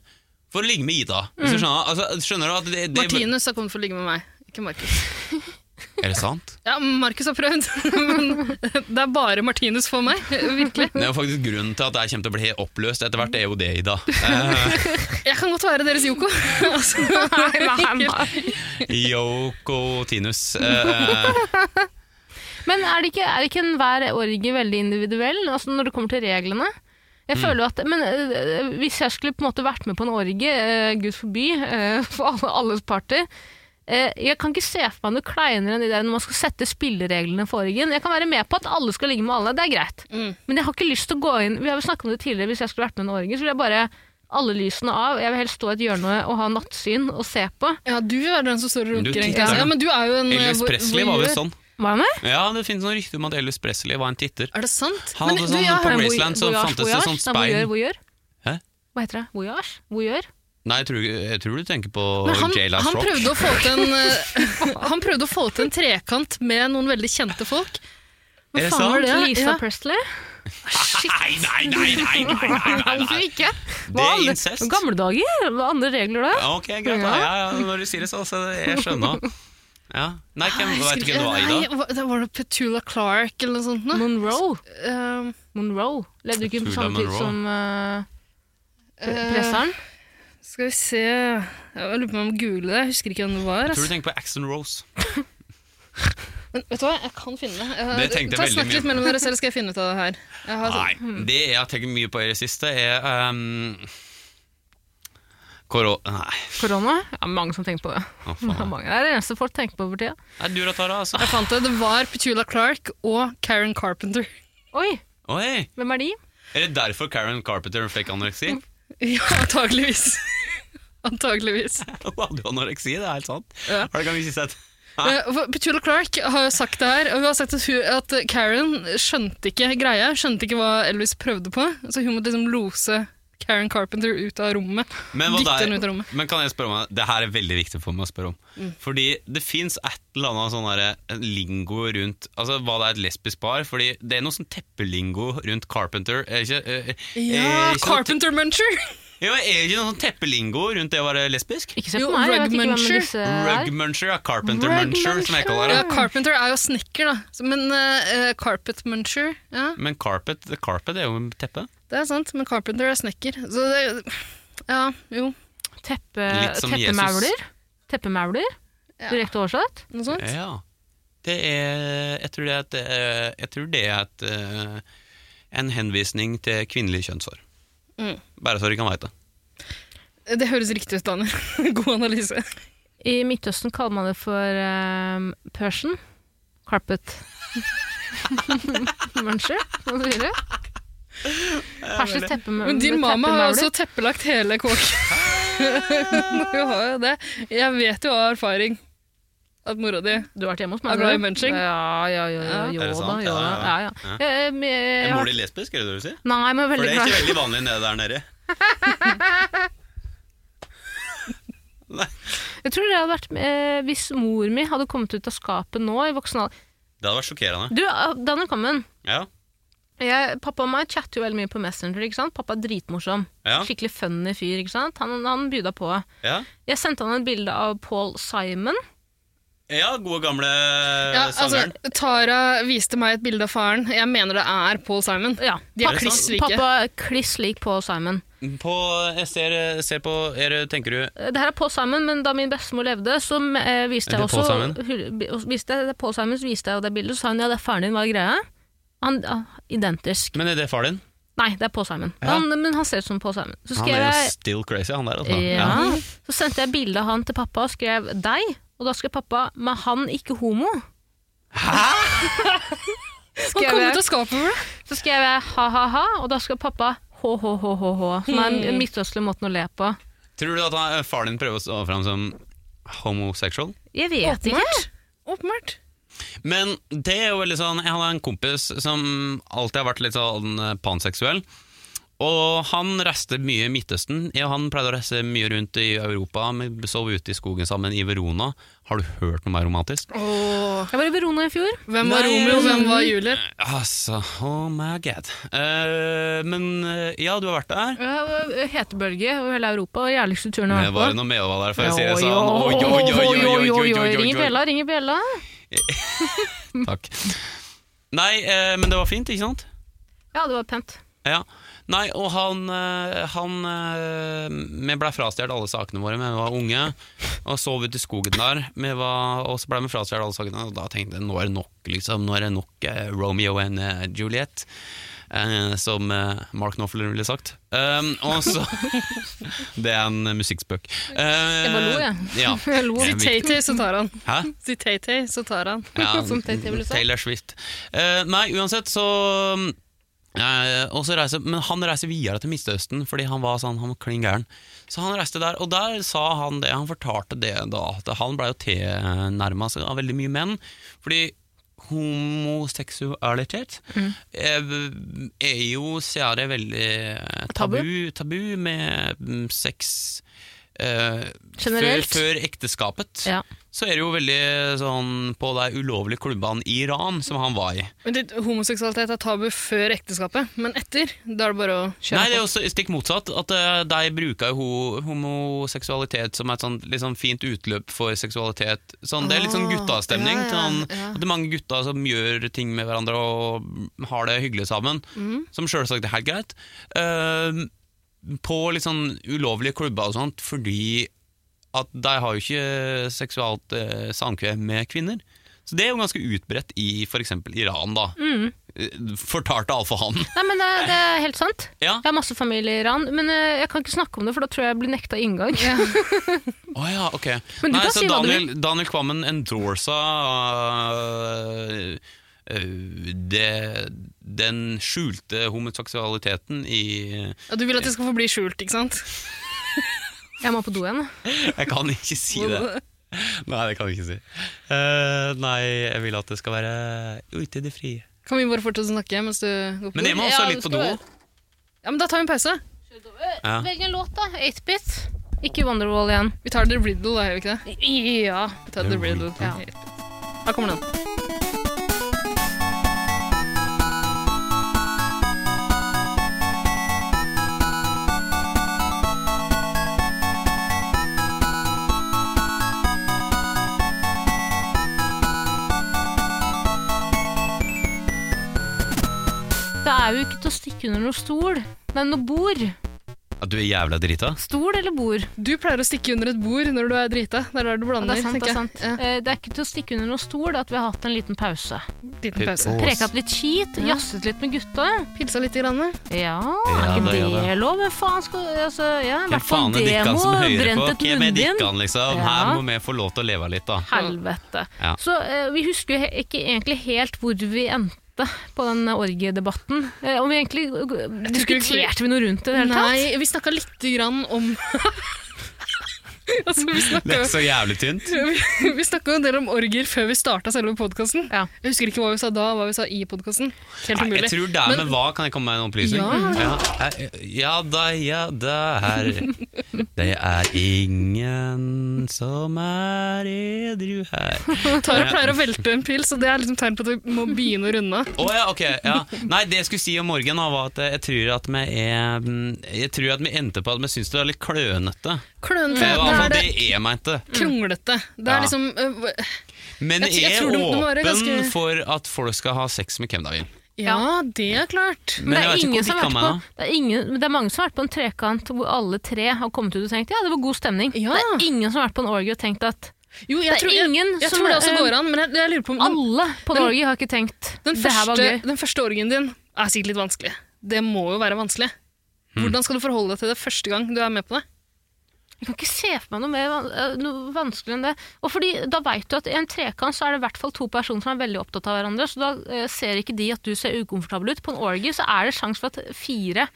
Speaker 3: for å ligge med Ida? Hvis du skjønner, altså, skjønner du at det, det
Speaker 4: Martinus har kommet for å ligge med meg, ikke Markus.
Speaker 3: Er det sant?
Speaker 4: Ja, Markus har prøvd, men det er bare Martinus for meg. Virkelig.
Speaker 3: Det er jo faktisk grunnen til at jeg kommer til å bli oppløst etter hvert, det er jo det, Ida. Eh,
Speaker 4: Jeg kan godt være deres Yoko. Altså,
Speaker 2: nei, nei.
Speaker 3: Yoko Tinus. Eh,
Speaker 2: Men er det ikke, er det ikke enhver orgie veldig individuell altså når det kommer til reglene? Jeg føler jo at, men eh, øh, Hvis jeg skulle på en måte vært med på en orgie, eh, gud forby, eh, for alle, alles party, eh, eh, jeg kan ikke se for meg noe kleinere enn de der når man skal sette spillereglene for ryggen. Jeg kan være med på at alle skal ligge med alle, det er greit.
Speaker 4: Mm.
Speaker 2: Men jeg har ikke lyst til å gå inn Vi har jo snakket om det tidligere, hvis jeg skulle vært med en orgie, så ville jeg bare alle lysene av. Jeg vil helst stå i et hjørne og ha nattsyn og se på.
Speaker 4: Ja, du er den som står og
Speaker 3: Du
Speaker 4: runker, egentlig.
Speaker 3: titter.
Speaker 4: Ja, men du er jo en
Speaker 3: Elvis
Speaker 4: eh, voy-
Speaker 3: Presley var vel
Speaker 4: voyeur.
Speaker 3: sånn.
Speaker 2: Hva med?
Speaker 3: Ja, det finnes noen rykter om at Elvis Presley var en titter.
Speaker 4: Er det sant?
Speaker 3: Han hadde
Speaker 4: Men du,
Speaker 3: sånn
Speaker 4: jeg har-
Speaker 3: på
Speaker 2: Nei, voy-
Speaker 3: Graceland så
Speaker 2: voyage,
Speaker 3: fantes det
Speaker 2: voyage.
Speaker 3: sånn
Speaker 2: Nei, voyeur,
Speaker 3: speil.
Speaker 2: voyeur.
Speaker 3: Hæ?
Speaker 2: Hva heter det? Voyage? Voyeur?
Speaker 3: Nei, jeg tror, jeg tror du tenker på
Speaker 4: Men han,
Speaker 3: Jailhouse
Speaker 4: han,
Speaker 3: Rock.
Speaker 4: prøvde å få til en, eh, han prøvde å få til en trekant med noen veldig kjente folk.
Speaker 3: Er
Speaker 4: Hva
Speaker 3: det
Speaker 4: faen var
Speaker 3: sant?
Speaker 4: det?
Speaker 2: Lisa
Speaker 4: Ja.
Speaker 2: Presley?
Speaker 3: Nei, nei, nei, nei, nei, nei, nei,
Speaker 4: Hvorfor
Speaker 3: nei.
Speaker 4: ikke?
Speaker 3: Det
Speaker 2: Hva
Speaker 3: er
Speaker 2: andre-
Speaker 3: incest.
Speaker 2: Gamle dager? Hva andre regler da?
Speaker 3: Ja, Ok, greit. da. Ja, ja, når du sier det sånn, så jeg skjønner. Ja. Nei, hvem, vet
Speaker 4: Jeg
Speaker 3: du
Speaker 4: husker
Speaker 3: hvem det var,
Speaker 4: ikke.
Speaker 3: Ida?
Speaker 4: Nei, hva- det var det Petula Clark eller noe sånt? Nå?
Speaker 2: Monroe.
Speaker 4: Eh,
Speaker 2: Monroe. Levde ikke på
Speaker 3: Tula
Speaker 2: samme tid
Speaker 3: Monroe.
Speaker 2: som eh,
Speaker 4: eh,
Speaker 2: presseren.
Speaker 4: skal vi se Jeg lurer på om jeg må google det. Jeg husker ikke hvem det var.
Speaker 3: Tror du
Speaker 4: Altså.
Speaker 3: tenker på Axon Rose.
Speaker 4: Men vet du hva, jeg kan finne det. Eh,
Speaker 3: Det tenkte jeg
Speaker 4: ta-
Speaker 3: veldig
Speaker 4: Snakk litt
Speaker 3: mye
Speaker 4: mellom dere selv, skal jeg finne ut av det her. Jeg har,
Speaker 3: Nei, det jeg har tenkt mye på i det siste, er um, Koro... Nei.
Speaker 2: Korona. Ja, mange som tenker på det.
Speaker 3: Å,
Speaker 2: Det er
Speaker 3: faen.
Speaker 2: mange. Det er det eneste folk tenker på for tida.
Speaker 3: Nei, du da, Tara, altså.
Speaker 4: jeg fant det. Det var Petula Clark og Karen Carpenter.
Speaker 2: Oi,
Speaker 3: Oi!
Speaker 2: hvem er de?
Speaker 3: Er det derfor Karen Carpenter fikk anoreksi?
Speaker 4: Ja, antageligvis. Antageligvis.
Speaker 3: Hun hadde jo anoreksi, det er helt sant.
Speaker 4: Ja.
Speaker 3: Har du gang ikke sett?
Speaker 4: Eh, for Petula Clark har jo sagt det her, og hun har sagt at, hun, at Karen skjønte ikke greia, skjønte ikke hva Elvis prøvde på, så hun måtte liksom lose Karen Carpenter ut av rommet.
Speaker 3: Men, hva
Speaker 4: Dytte
Speaker 3: der-
Speaker 4: henne ut av rommet. Mm.
Speaker 3: men kan jeg spørre om en- Det her er veldig viktig for meg å spørre om. Fordi det fins et eller annet sånn derre lingo rundt Altså hva det er et lesbisk par. Fordi det er noe sånn teppelingo rundt Carpenter. Er ikke, eh,
Speaker 4: Ja,
Speaker 3: er ikke noe,
Speaker 4: Carpenter Muncher!
Speaker 3: ja, er ikke noe sånn teppelingo rundt det å være lesbisk?
Speaker 2: Ikke se
Speaker 4: Jo,
Speaker 2: på meg, jeg vet ikke hvem
Speaker 4: Rugmuncher.
Speaker 2: disse er.
Speaker 3: Rugmuncher, ja. Carpenter
Speaker 2: Rug
Speaker 3: muncher, som jeg kaller
Speaker 4: Ja,
Speaker 3: det.
Speaker 4: Carpenter er jo snekker, da, Så- men eh, eh, Carpet Muncher Ja,
Speaker 3: Men carpet, carpet er jo teppe.
Speaker 4: det er sant, men Carpenter er snekker. Så det Ja, jo,
Speaker 2: Teppe,
Speaker 3: Litt som Jesus.
Speaker 2: teppemauler. Teppemauler,
Speaker 4: Ja.
Speaker 2: direkte oversatt.
Speaker 4: noe sånt.
Speaker 3: Ja. Det er Jeg tror det er et, eh, jeg tror det er et eh, en henvisning til kvinnelig kjønnshår.
Speaker 4: Mm.
Speaker 3: Bare så du kan vite det.
Speaker 4: Det høres riktig ut, Daniel. God analyse.
Speaker 2: I Midtøsten kaller man det for um, Persian carpet. Muncher, hva sier du? Persisk teppemauler.
Speaker 4: Men din mamma har jo også teppelagt hele kåken. Hun har jo det. Jeg vet jo av erfaring at mora di
Speaker 2: Du har vært hjemme hos
Speaker 4: Er
Speaker 2: meg?
Speaker 4: du glad i
Speaker 2: du?
Speaker 4: munching?
Speaker 2: Ja, ja, ja, ja,
Speaker 4: Ja.
Speaker 2: jo
Speaker 3: Er det
Speaker 2: da,
Speaker 3: sant?
Speaker 2: jo da. Ja,
Speaker 3: Ja,
Speaker 2: ja.
Speaker 3: ja.
Speaker 2: Eh, men jeg
Speaker 3: Er
Speaker 2: har-
Speaker 3: mor di lesbisk, er det det du sier?
Speaker 2: Nei, men
Speaker 3: For
Speaker 2: veldig
Speaker 3: det er
Speaker 2: glad.
Speaker 3: ikke veldig vanlig nede der nede. Nei,
Speaker 2: Jeg tror det hadde vært eh, Hvis mor mi hadde kommet ut av skapet nå i voksen alder
Speaker 3: det hadde vært sjokkerende.
Speaker 2: Du, eh, Daniel Kammen.
Speaker 3: Ja,
Speaker 2: Jeg, pappa og meg chatter jo veldig mye på Messenger. ikke sant? Pappa er dritmorsom.
Speaker 3: ja,
Speaker 2: Skikkelig funny fyr. ikke sant? Han, han byda på.
Speaker 3: ja.
Speaker 2: Jeg sendte han et bilde av Paul Simon.
Speaker 3: ja gode gamle Eh,
Speaker 4: ja, altså,
Speaker 3: sangeren.
Speaker 4: Tara viste meg et bilde av faren. Jeg mener det er Paul Simon.
Speaker 2: Ja,
Speaker 4: De er
Speaker 2: pappa-
Speaker 4: kliss like.
Speaker 2: Pappa er kliss lik Paul Simon.
Speaker 3: På, jeg ser, eh, ser på er, det- Tenker du
Speaker 2: Det her er Paul Simon, men da min bestemor levde, så eh, viste jeg
Speaker 3: Er det
Speaker 2: også
Speaker 3: Paul Simon?
Speaker 2: hu- bi- og- viste jeg, det er Paul Simon, så viste jeg jo det bildet, så sa hun ja, det er faren din, hva er greia? Han, ah, identisk.
Speaker 3: Men er det far din?
Speaker 2: Nei, det er Paul Simon.
Speaker 3: Ja.
Speaker 2: Han, men han ser ut som Paul Simon. Så
Speaker 3: Han
Speaker 2: skrev
Speaker 3: er jo
Speaker 2: jeg
Speaker 3: still crazy, han der. Altså.
Speaker 2: ja, Så sendte jeg bilde av han til pappa og skrev deg, og da skrev pappa men han ikke homo.
Speaker 4: Han
Speaker 2: Skrev
Speaker 4: kom
Speaker 2: jeg,
Speaker 4: ut av skapet for det.
Speaker 2: så skrev jeg ha-ha-ha, og da skrev pappa hå-hå-hå-hå, som er
Speaker 4: Hmm.
Speaker 2: den midtøstlige måten å le på.
Speaker 3: Tror du at han, faren din prøver å stå fram som homosexual?
Speaker 2: Jeg vet ikke.
Speaker 4: Åpenbart. Åpenbart.
Speaker 3: Men det er jo veldig sånn Jeg hadde en kompis som alltid har vært litt sånn eh, panseksuell. Og han reiste mye i Midtøsten. Jeg og han pleide å reise mye rundt i Europa. Vi sov ute i skogen sammen i Verona. Har du hørt noe mer romantisk?
Speaker 4: Åh.
Speaker 2: Jeg var i Verona i fjor.
Speaker 4: Hvem var
Speaker 3: Nei,
Speaker 4: Romeo,
Speaker 3: mm.
Speaker 4: hvem var Julie?
Speaker 3: Altså, oh my god. Eh, men eh, ja, du har vært der.
Speaker 2: Ja, Hetebølge over hele Europa, og jævligste turen jeg har
Speaker 3: Det var
Speaker 2: vært på.
Speaker 3: noe med å være der, for å si det
Speaker 2: Oi,
Speaker 3: sånn. Oi, oi, oi, oi, oi, oi, oi, oi,
Speaker 2: Ringer
Speaker 3: oi,
Speaker 2: bjella, ringer bjella.
Speaker 3: oi. Takk. Nei, eh, men det var fint, ikke sant?
Speaker 2: Ja, det var pent.
Speaker 3: Ja. Nei, og han, eh, han eh, Vi ble frastjålet alle sakene våre da vi var unge, og sov ute i skogen der. Vi var, og så ble vi frastjålet alle sakene, og da tenkte jeg nå er det nok. liksom Nå er det nok eh, Romeo and eh, Juliet. eh, som eh, Mark Knopfler ville sagt. Um, og så Det er en musikkspøk. Eh,
Speaker 2: Jeg bare lo, jeg.
Speaker 3: Ja.
Speaker 2: Jeg lo.
Speaker 4: Si Tay-Tay, så tar han.
Speaker 3: Hæ?
Speaker 4: Si Tay-Tay, så tar han.
Speaker 3: Ja,
Speaker 2: Som Tay-Tay ville sagt.
Speaker 3: Taylor Swift. Eh, nei, uansett så eh, og så reiser, men han reiser videre til Midtøsten fordi han var sånn, han var klin gæren. Så han reiste der, og der sa han det. Han fortalte det da, at han ble jo tilnærma av veldig mye menn. Fordi homoseksualitet
Speaker 2: Mm.
Speaker 3: eh, er jo særlig veldig eh,
Speaker 2: Tabu.
Speaker 3: tabu, tabu med mm, sex eh,
Speaker 2: Generelt.
Speaker 3: Før, før ekteskapet
Speaker 2: Ja.
Speaker 3: så er det jo veldig sånn på de ulovlige klubbene i Iran som han var i.
Speaker 4: Men det, Homoseksualitet er tabu før ekteskapet, men etter da er det bare å kjøre
Speaker 3: Nei, det er også stikk motsatt. At eh, de bruker jo ho homoseksualitet som et sånt, litt sånn fint utløp for seksualitet. Sånn, det er litt sånn
Speaker 2: Ah,
Speaker 3: guttastemning.
Speaker 2: ja, ja,
Speaker 3: sånn,
Speaker 2: ja.
Speaker 3: At det er mange gutter som gjør ting med hverandre og har det hyggelig sammen.
Speaker 2: Mhm.
Speaker 3: Som selvsagt er helt greit. Eh, på litt sånn ulovlige klubber og sånt, fordi at de har jo ikke seksualt eh, samkvem med kvinner. Så det er jo ganske utbredt i f.eks. Iran, da.
Speaker 2: Mhm.
Speaker 3: Mm. Fortalte Alfa han.
Speaker 2: Nei, men det, det er helt sant.
Speaker 3: Ja.
Speaker 2: Jeg har masse familie i Iran, men eh, jeg kan ikke snakke om det, for da tror jeg jeg blir nekta inngang.
Speaker 3: Å ja, ok.
Speaker 2: Men du
Speaker 3: Nei,
Speaker 2: kan
Speaker 3: så
Speaker 2: si hva du
Speaker 3: Daniel, Daniel Kvammen endorsa øh, øh, det, den skjulte homoseksualiteten i
Speaker 4: Ja, du vil at det skal forbli skjult, ikke sant?
Speaker 2: Jeg må på do igjen.
Speaker 3: Jeg kan ikke si det. Nei, det kan jeg ikke si. Eh, nei, jeg vil at det skal være ute i det frie.
Speaker 4: Kan vi bare fortsette å snakke mens du går på
Speaker 3: Men jeg
Speaker 4: do?
Speaker 3: må
Speaker 2: Ja,
Speaker 3: også
Speaker 2: det
Speaker 3: litt på
Speaker 2: skal
Speaker 3: do.
Speaker 2: være.
Speaker 4: Ja, men Da tar vi en pause.
Speaker 3: Ja.
Speaker 2: Velg en låt, da. 8-bit. Ikke Wonderwall igjen.
Speaker 4: Vi tar The Riddle, da, gjør vi ikke det?
Speaker 2: Ja.
Speaker 4: Vi tar The Riddle.
Speaker 2: Ja.
Speaker 4: Da kommer den.
Speaker 2: Det er jo ikke til å stikke under noe stol. Nei, noe bord.
Speaker 3: Ja, du er jævla drita.
Speaker 2: Stol eller bord?
Speaker 4: Du pleier å stikke under et bord når du er drita. Det er der du
Speaker 2: Ja,
Speaker 4: blander.
Speaker 2: det er sant, det er
Speaker 4: tenker
Speaker 2: sant.
Speaker 4: jeg.
Speaker 2: Eh, Det er ikke til å stikke under noe stol at vi har hatt en liten pause.
Speaker 4: Ja, liten pause.
Speaker 3: Åh.
Speaker 2: Prekat litt skit,
Speaker 4: Ja.
Speaker 2: jazzet litt med gutta.
Speaker 4: Pilsa litt. Grann.
Speaker 2: Ja,
Speaker 3: Ja,
Speaker 2: er ikke
Speaker 3: det
Speaker 2: det,
Speaker 3: gjør det.
Speaker 2: lov? Hvem faen skal altså, ja, I
Speaker 3: Hvem
Speaker 2: hvert fall
Speaker 3: faen
Speaker 2: en
Speaker 3: er dikkan
Speaker 2: demo.
Speaker 3: som hører på?
Speaker 2: Brent et
Speaker 3: Hvem er
Speaker 2: munnbind.
Speaker 3: dikkan, liksom? Her
Speaker 2: Ja.
Speaker 3: må vi få lov til å leve litt, da.
Speaker 2: Helvete.
Speaker 3: Ja.
Speaker 2: Så eh, vi husker jo he- ikke egentlig helt hvor vi endte på den orgiedebatten. Eh, om vi egentlig
Speaker 4: tror ikke vi-
Speaker 2: Diskuterte vi noe rundt det i det hele tatt?
Speaker 4: Nei, vi snakka lite grann om Altså, vi
Speaker 3: Det er
Speaker 4: snakka-
Speaker 3: så jævlig tynt.
Speaker 4: vi snakka jo en del om orgier før vi starta selve podkasten.
Speaker 2: Ja.
Speaker 4: Jeg husker ikke hva vi sa da, hva vi sa i podkasten. Helt
Speaker 3: Nei,
Speaker 4: umulig.
Speaker 3: jeg tror det er med hva, kan jeg komme med en opplysning? Ja, ja, ja da, ja da Det er ingen som er edru her.
Speaker 4: Tara pleier å velte en pils, og det er liksom tegn på at vi må begynne å runde av.
Speaker 3: Å ja, ok. Ja. Nei, det jeg skulle si om morgenen, da, var at jeg tror at vi er mm, Jeg tror at vi endte på at vi syns det er litt klønete. Det
Speaker 4: Klønete.
Speaker 3: var i hvert
Speaker 4: Det
Speaker 3: fall
Speaker 4: er det
Speaker 3: det jeg mente.
Speaker 4: kronglete. Det
Speaker 3: Ja.
Speaker 4: er liksom øh,
Speaker 3: Men
Speaker 4: Jeg tr-
Speaker 3: jeg,
Speaker 4: jeg tror
Speaker 3: er
Speaker 4: det- det må
Speaker 3: åpen
Speaker 4: være ganske-
Speaker 3: for at folk skal ha sex med hvem de vil.
Speaker 4: Ja, det er klart.
Speaker 3: Men
Speaker 2: det, er
Speaker 3: jeg vet ikke
Speaker 2: ingen
Speaker 3: hvor
Speaker 2: som har vært
Speaker 3: dikkan meg,
Speaker 2: på, det, er ingen, men det er mange som har vært på en trekant hvor alle tre har kommet ut og tenkt ja, det var god stemning.
Speaker 4: Ja.
Speaker 2: Det er ingen som har vært på en orgie og tenkt at
Speaker 4: Jo, jeg
Speaker 2: Det er
Speaker 4: tror, jeg,
Speaker 2: ingen
Speaker 4: jeg
Speaker 2: som-
Speaker 4: tror det også
Speaker 2: eh,
Speaker 4: går an, men jeg, jeg lurer på om den,
Speaker 2: alle på en
Speaker 4: den-
Speaker 2: orgie har ikke tenkt
Speaker 4: den,
Speaker 2: det her var
Speaker 4: første,
Speaker 2: gøy.
Speaker 4: den første orgien din er sikkert litt vanskelig. Det må jo være vanskelig. Hvordan skal du forholde deg til det første gang du er med på det?
Speaker 2: Jeg kan ikke se for meg noe, mer, van- eh, noe vanskelig enn det. Og fordi Da veit du at i en trekant så er det i hvert fall to personer som er veldig opptatt av hverandre, så da eh, ser ikke de at du ser ukomfortabel ut. På en orgie så er det sjanse for at fire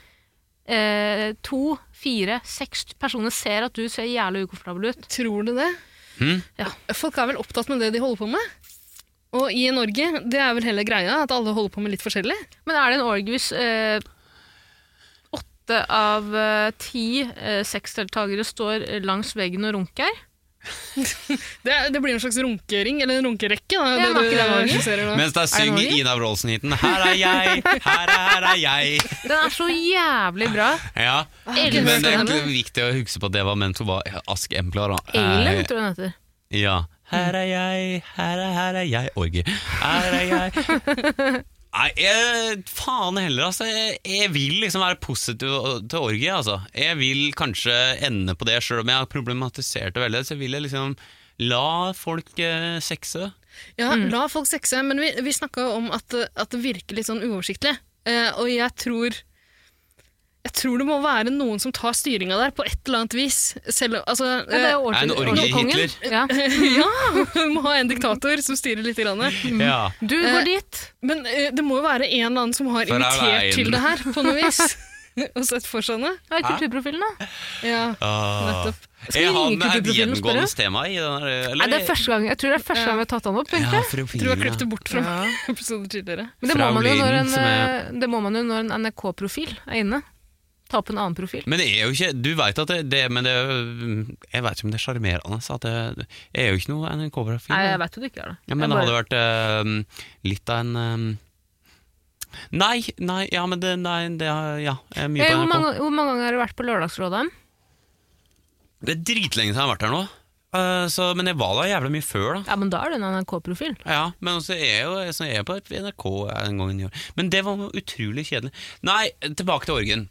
Speaker 2: eh, To, fire, seks personer ser at du ser jævlig ukomfortabel ut.
Speaker 4: Tror du det?
Speaker 3: Mhm.
Speaker 2: Ja.
Speaker 4: Folk er vel opptatt med det de holder på med? Og i Norge, det er vel hele greia, at alle holder på med litt forskjellig?
Speaker 2: Men er det en orgie hvis eh, åtte av eh, ti eh, sexdeltakere står eh, langs veggen og runker?
Speaker 4: Det, er- det blir en slags runkering, eller en runkerekke, da.
Speaker 2: Ja, var
Speaker 4: du
Speaker 2: ikke det Norge?
Speaker 4: skisserer nå.
Speaker 3: Mens de synger
Speaker 2: Norge?
Speaker 3: Ina Wroldsen-heaten 'Her er jeg, her er jeg'.
Speaker 2: Den er så jævlig bra.
Speaker 3: Ja.
Speaker 2: Elven,
Speaker 3: Men det er
Speaker 2: tror jeg
Speaker 3: egentlig viktig å huske på at det var ment å være Ask Embler. da.
Speaker 2: den heter. Elen,
Speaker 3: Eh,
Speaker 2: tror jeg den heter.
Speaker 3: Ja. Her er jeg, her er, her er jeg, orgie. Her er jeg. Nei, jeg, faen heller, altså. Jeg, jeg vil liksom være positiv til orgie, altså. Jeg vil kanskje ende på det, sjøl om jeg har problematisert det veldig. Så vil jeg liksom la folk eh, sexe.
Speaker 2: Mm.
Speaker 4: Ja, la folk sexe, men vi, vi snakka om at, at det virker litt sånn uoversiktlig. Eh, og jeg tror jeg tror det må være noen som tar styringa der på et eller annet vis. Selv, altså,
Speaker 2: Ja,
Speaker 4: eh,
Speaker 2: det er jo
Speaker 3: Er det en
Speaker 2: orgi-
Speaker 3: orgie i
Speaker 2: orgekongen.
Speaker 3: Hitler?
Speaker 2: Ja.
Speaker 4: ja, vi må ha en diktator som styrer litt. Grann.
Speaker 2: Mm.
Speaker 3: Ja.
Speaker 2: Du
Speaker 4: Eh,
Speaker 2: går dit.
Speaker 4: Men eh, det må jo være en eller annen som har
Speaker 3: For det er veien.
Speaker 4: invitert til det her, på noe vis. og sett for seg det.
Speaker 2: Hva er kulturprofilen, da?
Speaker 4: Ja,
Speaker 3: Ah.
Speaker 4: nettopp.
Speaker 2: Skal vi
Speaker 3: Er han
Speaker 2: ringe
Speaker 3: et
Speaker 2: kulturprofilen og spørre?
Speaker 3: gjengående tema i den her? eller?
Speaker 2: Nei, det er første gang, jeg tror det er første gang vi har tatt han opp. egentlig.
Speaker 3: Ja,
Speaker 4: Tror jeg har
Speaker 3: profilen,
Speaker 4: klippet
Speaker 3: ja.
Speaker 4: det bort fra episoder tidligere.
Speaker 2: Men det må, man jo når
Speaker 3: Fraulyden
Speaker 2: en,
Speaker 3: som er-
Speaker 2: eh, det må man jo når en NRK-profil er inne. Ta opp en annen profil.
Speaker 3: Men det er jo ikke Du vet at det, det Men det Jeg vet ikke om det er sjarmerende. at Det det er jo ikke noe NRK-profil.
Speaker 2: Nei, jeg vet jo du ikke er det.
Speaker 3: Ja,
Speaker 2: Jeg
Speaker 3: men det
Speaker 2: bare-
Speaker 3: hadde vært eh, litt av en eh, Nei, nei, ja, men det, nei, det er- ja, jeg er mye
Speaker 2: Eh,
Speaker 3: på
Speaker 2: hvor,
Speaker 3: NRK.
Speaker 2: mange, hvor mange ganger har du vært på Lørdagsrådet?
Speaker 3: Det er dritlenge siden jeg har vært her nå, Eh, så, men jeg var da jævla mye før,
Speaker 2: Ja,
Speaker 3: da.
Speaker 2: men da er det en NRK-profil.
Speaker 3: Ja, men også er jeg jo så er jeg på et NRK en gang i år. Men det var jo utrolig kjedelig. Nei, tilbake til orgen.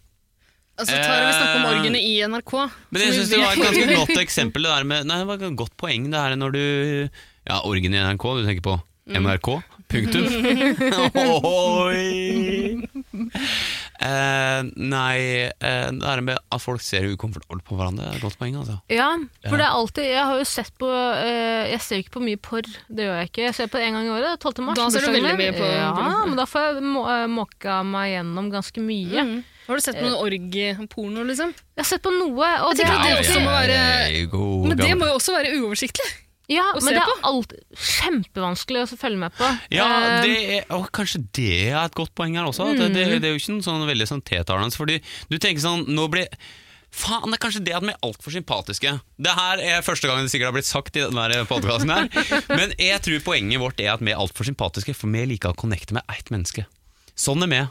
Speaker 4: Altså, Tara, vi snakker om orgene i NRK.
Speaker 3: Eh, Men jeg
Speaker 4: så vi
Speaker 3: synes det var et
Speaker 4: vet-
Speaker 3: ganske godt eksempel det der med Nei, det var et godt poeng det her når du Ja, orgen i NRK, du tenker på
Speaker 4: Mm.
Speaker 3: NRK, punktum. Oi! Eh, nei, eh, det her med at folk ser ukomfortabelt på hverandre, er et godt poeng, altså.
Speaker 2: Ja, for det er alltid Jeg har jo sett på eh, Jeg ser jo ikke på mye porr, det gjør jeg ikke. Jeg ser på det en gang i året, 12. mars.
Speaker 4: Da ser du
Speaker 2: bursdagen
Speaker 4: veldig
Speaker 2: min.
Speaker 4: mye på-
Speaker 2: Ja, men da får jeg må, eh, måka meg gjennom ganske mye.
Speaker 4: Mm. Har du sett
Speaker 2: Eh.
Speaker 4: noen orgieporno, liksom?
Speaker 2: Jeg har sett på noe, og det,
Speaker 4: tenker
Speaker 2: er-
Speaker 4: det også må være-
Speaker 3: jeg er god
Speaker 4: Men det
Speaker 3: gammel.
Speaker 4: må jo også være uoversiktlig.
Speaker 2: ja,
Speaker 4: å
Speaker 2: men
Speaker 4: se
Speaker 2: det er alt kjempevanskelig å følge med på. Eh,
Speaker 3: Ja, det er, og kanskje det er et godt poeng her også. At det,
Speaker 2: Mm.
Speaker 3: det, det er jo ikke noe sånn veldig sånn tiltalende. Fordi du tenker sånn nå blir, Faen, det er kanskje det at vi er altfor sympatiske. Det her er første gang det sikkert har blitt sagt i denne podkasten her. Men jeg tror poenget vårt er at vi er altfor sympatiske, for vi liker å connecte med ett menneske. Sånn er vi.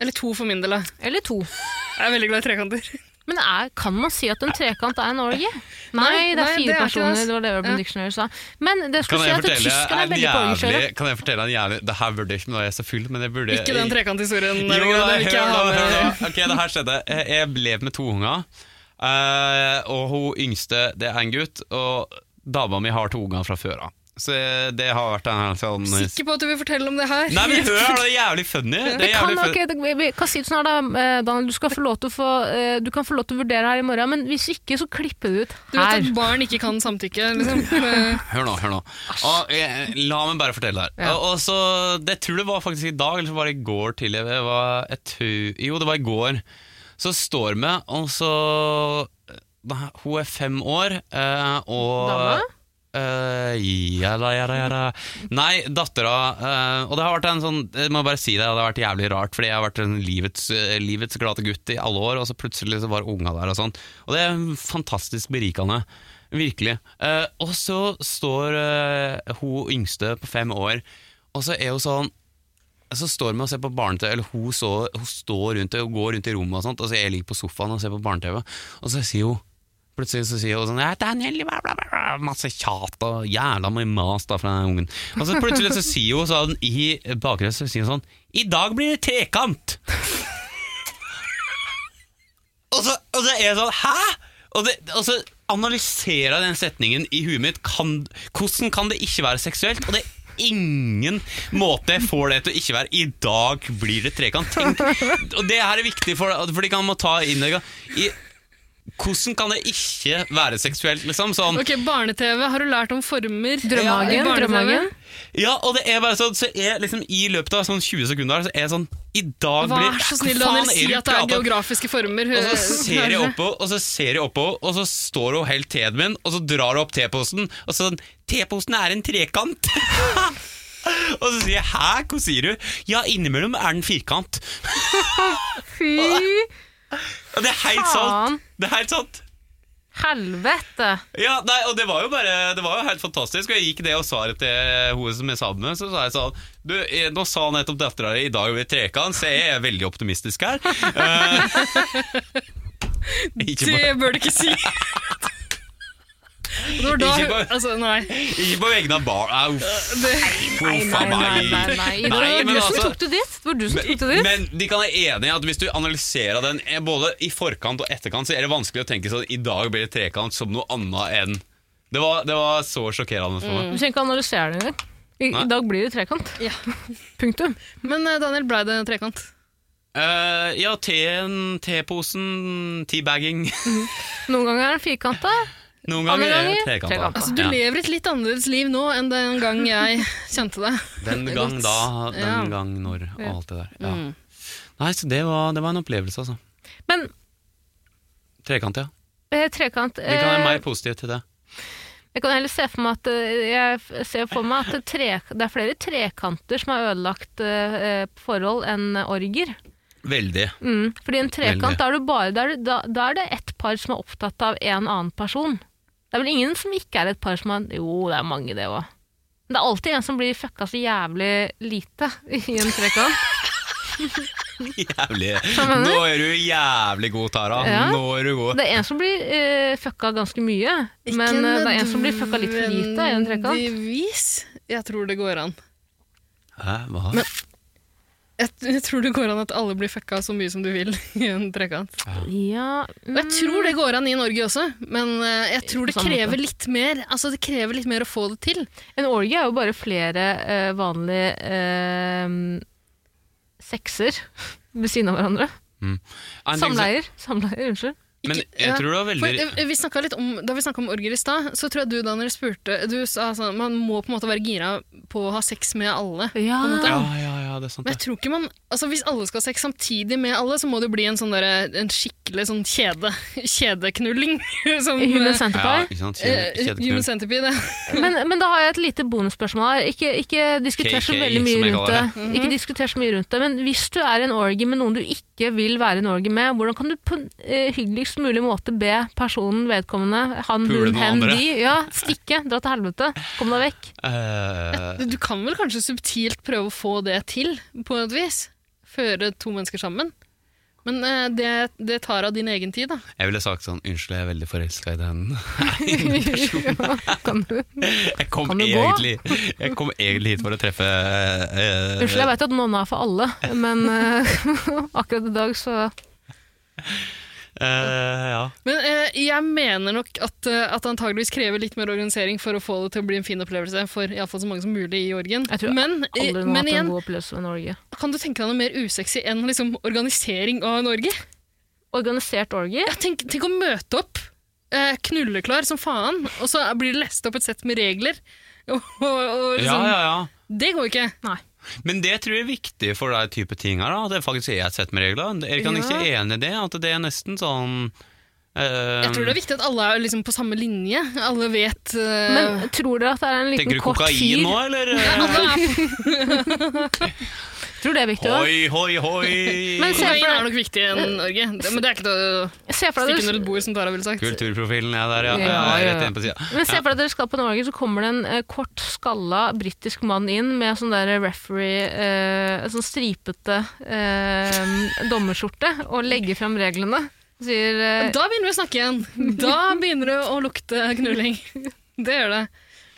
Speaker 4: Eller to for min del. da.
Speaker 2: Eller to.
Speaker 4: Jeg er veldig glad i trekanter.
Speaker 2: Men er, kan man si at en trekant er en orgie? Nei, det
Speaker 4: nei,
Speaker 2: er
Speaker 4: det
Speaker 2: fire
Speaker 4: er ikke det,
Speaker 2: personer,
Speaker 4: ass.
Speaker 2: det var det Urban
Speaker 4: Ja.
Speaker 2: Dictionary sa. Men det
Speaker 3: Kan
Speaker 2: skulle si
Speaker 3: jeg,
Speaker 2: at tyskerne
Speaker 3: fortelle
Speaker 2: er veldig
Speaker 3: en
Speaker 2: på orgiekjørere.
Speaker 3: jævlig, kan jeg fortelle en jævlig Det her burde jeg ikke, men da er jeg så full, men jeg burde
Speaker 4: Ikke den trekanthistorien.
Speaker 3: Jo,
Speaker 4: der,
Speaker 3: nei,
Speaker 4: den vil
Speaker 3: hør
Speaker 4: ikke jeg eh.
Speaker 3: nå,
Speaker 4: ha med.
Speaker 3: hør nå. Ok, det her skjedde. Jeg- Jeg ble med to unger, eh, og hun yngste, det er en gutt, og dama mi har to unger fra før av. Så eh, det har vært en helt sånn
Speaker 4: Sikker på at du vil fortelle om det her?
Speaker 3: Nei, men hør, det er jævlig funny. Det
Speaker 2: Det kan,
Speaker 3: er jævlig
Speaker 2: da
Speaker 3: funny.
Speaker 2: ikke, det- vi- hva sier du sånn her da, eh, Daniel? Du, skal få lov til å få, eh, du kan få lov til å vurdere her i morgen, men hvis ikke, så klipper du ut
Speaker 4: Du vet
Speaker 2: her.
Speaker 4: at barn ikke kan samtykke, liksom. Eh,
Speaker 3: Hør nå, hør nå. Og, jeg, la meg bare fortelle det her.
Speaker 2: Ja.
Speaker 3: Og, og så, det tror jeg det var faktisk i dag, eller så var det i går tidlig. Det var, jeg tror- jo, det var i går. Så står vi, og så da- Hun er fem år, eh, og
Speaker 2: Dama?
Speaker 3: Eh, jada, jada, jada. Nei, dattera eh, Og det har vært en sånn Jeg må bare si det, det har vært jævlig rart, fordi jeg har vært en livets, eh, livets glade gutt i alle år, og så plutselig så var unga der og sånn. Og det er fantastisk berikende. Virkelig. Eh, og så står eh, hun yngste på fem år, og så er hun sånn så står vi og ser på barne-TV, eller hun, så, hun står rundt det, hun går rundt i rommet og sånt, og så jeg ligger på sofaen og ser på barne-TV, og så sier hun, plutselig så sier hun sånn, ja, Daniel, bla, bla, bla, bla», masse tjat og jævla mye mas da fra den ungen. Og så plutselig så sier hun sånn, i bakgrunnen så sier hun sånn, i dag blir det tekant! og, så, og så er jeg sånn, hæ? Og, det, og så analyserer jeg den setningen i huet mitt, kan, hvordan kan det ikke være seksuelt? Og det er ingen måte jeg får det til å ikke være I dag blir det trekant Tenk, og det her er viktig for deg Fordi kan man ta innlegget i, Hvordan kan det ikke være seksuelt liksom sånn,
Speaker 4: Ok, Barne-TV, har du lært om former?
Speaker 2: Drømmehagen,
Speaker 4: I barne-TV?
Speaker 2: drømmehagen.
Speaker 3: Ja, og det er bare sånn Så er liksom i løpet av sånn 20 sekunder her, Så er jeg sånn I dag blir
Speaker 4: Vær så snill,
Speaker 3: Hva faen
Speaker 4: Daniel, si
Speaker 3: er du
Speaker 4: at det er
Speaker 3: prater om?
Speaker 4: geografiske former.
Speaker 3: Og så ser jeg oppå, og så ser jeg oppå, og så står hun helt teen min, og så drar hun opp teposen, og så sånn Teposen er en trekant! og så sier jeg 'hæ, hva sier du?' Ja, innimellom er den firkant.
Speaker 2: Fy
Speaker 3: Og det er helt
Speaker 2: Faen.
Speaker 3: sant! Det er helt sant.
Speaker 2: helvete!
Speaker 3: Ja, nei, og det var jo bare Det var jo helt fantastisk, og jeg gikk det og sa det til hun som jeg sa det med, så sa jeg sånn Du, eh, nå sa nettopp dattera di i dag over trekant, så jeg er veldig optimistisk her. Eh, ikke på-
Speaker 4: Det bør du ikke si! Og Det var da,
Speaker 3: Ikke bare-
Speaker 4: altså, nei.
Speaker 3: ikke på vegne av barn... Au, uff.
Speaker 4: Det,
Speaker 2: Nei,
Speaker 3: Uff,
Speaker 2: nei,
Speaker 3: a
Speaker 2: nei,
Speaker 3: meg.
Speaker 2: nei, nei. Det
Speaker 3: Nei,
Speaker 2: var
Speaker 3: men
Speaker 2: du som
Speaker 3: altså-
Speaker 2: tok det dit. Det var du som tok det dit.
Speaker 3: Men de kan være enige i at hvis du analyserer den eh, både i forkant og etterkant, så er det vanskelig å tenke sånn i dag blir det trekant som noe annet enn Det var, det var så sjokkerende for
Speaker 2: Mm.
Speaker 3: meg.
Speaker 2: Du trenger ikke analysere det engang. I,
Speaker 3: Nei.
Speaker 2: I dag blir det trekant.
Speaker 4: Ja.
Speaker 2: Punktum.
Speaker 4: Men eh, Daniel, blei det trekant?
Speaker 3: Eh, ja, teen, teposen, teabagging.
Speaker 2: Noen ganger er den firkanta,
Speaker 3: Noen
Speaker 2: Andre
Speaker 3: ganger er det
Speaker 2: ganger
Speaker 3: trekanta.
Speaker 2: trekanta.
Speaker 4: Altså, du
Speaker 3: Ja.
Speaker 4: lever et litt annerledes liv nå enn den gang jeg kjente deg.
Speaker 3: Den gang
Speaker 4: Godt.
Speaker 3: da, den
Speaker 4: Ja.
Speaker 3: gang når, og
Speaker 4: Ja.
Speaker 3: alt det der. Ja.
Speaker 4: Mm.
Speaker 3: Nei, så det var, det var en opplevelse, altså.
Speaker 2: men
Speaker 3: Trekant, ja.
Speaker 2: eh, trekant
Speaker 3: Vi kan være
Speaker 2: eh,
Speaker 3: mer positive til det.
Speaker 2: Jeg kan heller se for meg at eh, jeg f- ser for meg at det, tre, det er flere trekanter som har ødelagt eh, eh, forhold enn orger.
Speaker 3: Veldig.
Speaker 2: Mm. Fordi en
Speaker 3: Veldig.
Speaker 2: trekant, da er, du bare, da, er du- da, da er det ett par som er opptatt av en annen person. Det er vel ingen som ikke er et par som er Jo, det er mange, det òg. Men det er alltid en som blir fucka så jævlig lite i en trekant.
Speaker 3: Jævlig.
Speaker 2: mener du?
Speaker 3: Nå er du jævlig god, Tara.
Speaker 2: Ja.
Speaker 3: Nå er du god.
Speaker 2: Det er en som blir eh, fucka ganske mye, men eh, det er en som blir fucka litt for lite i en trekant.
Speaker 4: Nødvendigvis. Jeg tror det går an.
Speaker 3: Hæ, hva?
Speaker 4: Jeg, jeg tror det går an at alle blir fucka så mye som du vil i en trekant.
Speaker 2: Ja,
Speaker 4: Og jeg tror det går an i Norge også, men eh, jeg tror det
Speaker 2: På samme måte.
Speaker 4: krever litt mer. Altså, det krever litt mer å få det til.
Speaker 2: mm, En orgie er jo bare flere eh, vanlige eh, sekser ved siden av hverandre.
Speaker 3: En ting som-
Speaker 2: Samleier. Samleier, unnskyld.
Speaker 3: Men
Speaker 4: Ikke-
Speaker 3: jeg
Speaker 4: ja.
Speaker 3: tror det var
Speaker 4: For,
Speaker 3: veldig
Speaker 4: eh, vi snakket litt om, da vi snakka om orger i stad, så tror jeg du, Daniel, spurte Du sa sånn man må på en måte være gira på å ha sex med alle.
Speaker 2: Ja.
Speaker 3: Ja, ja, ja, det er sant.
Speaker 4: Men jeg
Speaker 3: Det.
Speaker 4: tror ikke man, altså Hvis alle skal ha sex samtidig med alle, så må det bli en, sånn derre- en skikkelig sånn kjede, kjedeknulling. Som,
Speaker 2: Human
Speaker 4: eh,
Speaker 3: Ja,
Speaker 2: Centipie.
Speaker 3: ikke sant?
Speaker 4: eh,
Speaker 3: Kjede-
Speaker 4: human
Speaker 3: Kjedeknull.
Speaker 4: centipede.
Speaker 2: Men, men da har jeg et lite bonusspørsmål her. Ikke, ikke diskuter så
Speaker 3: KK,
Speaker 2: veldig mye
Speaker 3: som jeg
Speaker 2: rundt det.
Speaker 3: kaller
Speaker 2: Ikke diskuter så mye rundt det, Men hvis du er en orgie med noen du ikke vil være en orgie med, hvordan kan du på en eh, hyggeligst mulig måte be personen vedkommende, han,
Speaker 3: Pule
Speaker 2: hun,
Speaker 3: noen
Speaker 2: hen,
Speaker 3: andre.
Speaker 2: de, ja, stikke, dra til helvete, kom deg vekk.
Speaker 3: Eh,
Speaker 4: Du, du kan vel kanskje subtilt prøve å få det til, på et vis? Føre to mennesker sammen? Men eh, det, det tar av din egen tid, da.
Speaker 3: jeg ville sagt sånn Unnskyld, jeg er veldig forelska i den.
Speaker 2: ja, kan du?
Speaker 3: Jeg kom,
Speaker 2: Kan du gå?
Speaker 3: egentlig, jeg kom egentlig hit for å treffe eh,
Speaker 2: Unnskyld, jeg vet at nonna er for alle, men eh, akkurat i dag så
Speaker 3: eh, ja.
Speaker 4: Men eh, jeg mener nok at, eh, at det antageligvis krever litt mer organisering for å få det til å bli en fin opplevelse for i alle fall så mange som mulig i orgen.
Speaker 2: Jeg tror
Speaker 4: Men, eh,
Speaker 2: aldri noen har
Speaker 4: men
Speaker 2: hatt en
Speaker 4: igjen,
Speaker 2: god opplevelse med Norge.
Speaker 4: kan du tenke deg noe mer usexy enn liksom, organisering av en orgie?
Speaker 2: Organisert orgie?
Speaker 4: Ja, tenk, tenk å møte opp, eh, knulleklar som faen, og så blir det lest opp et sett med regler. Og, og liksom,
Speaker 3: ja, ja, ja.
Speaker 4: Det går jo ikke.
Speaker 2: Nei.
Speaker 3: Men det tror jeg er viktig for deg type ting her, da. at Det faktisk er et sett med regler. Jeg kan ikke enig i det, at det er nesten sånn eh,
Speaker 4: Jeg tror det er viktig at alle er liksom, på samme linje. Alle vet eh,
Speaker 2: Men tror dere at det er en
Speaker 3: Tenker
Speaker 2: liten
Speaker 3: du
Speaker 2: kort
Speaker 3: kokain
Speaker 2: fyr?
Speaker 3: nå, eller?
Speaker 4: alle er,
Speaker 2: Tror det er viktig også.
Speaker 3: Hoi, hoi, hoi!
Speaker 2: Men se
Speaker 4: Kokain
Speaker 2: for
Speaker 4: er
Speaker 2: deg-
Speaker 4: nok viktig i en orgie, Det- men det er ikke til å
Speaker 2: Se for
Speaker 4: stikke
Speaker 2: deg
Speaker 4: under et
Speaker 2: dere-
Speaker 4: bord, som Tara ville sagt.
Speaker 3: Kulturprofilen er der, ja.
Speaker 2: Ja,
Speaker 3: ja,
Speaker 2: ja,
Speaker 3: Rett
Speaker 2: ja.
Speaker 3: inn på sida.
Speaker 2: men se for deg at dere skal på Norge, så kommer det en eh, kort, skalla britisk mann inn med sånn der referee, eh, sånn stripete eh, dommerskjorte, og legger fram reglene. Og Sier eh,
Speaker 4: Da begynner vi å snakke igjen. Da begynner det å lukte knulling. Det gjør det.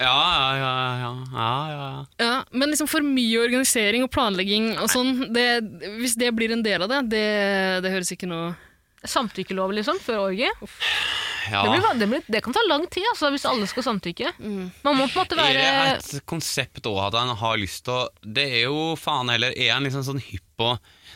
Speaker 3: Ja, ja, ja. ja, ja, ja, ja.
Speaker 4: Ja, men liksom for mye organisering og planlegging og sånn, det, hvis det blir en del av det, det, det høres ikke noe
Speaker 2: samtykkelov, liksom, før orgie.
Speaker 3: ja.
Speaker 2: Det, blir, van- det, blir, det kan ta lang tid altså, hvis alle skal samtykke. Man må på en måte
Speaker 3: Er
Speaker 2: være
Speaker 3: det et konsept òg at en har lyst til å Det er jo faen heller Er en liksom sånn hypp på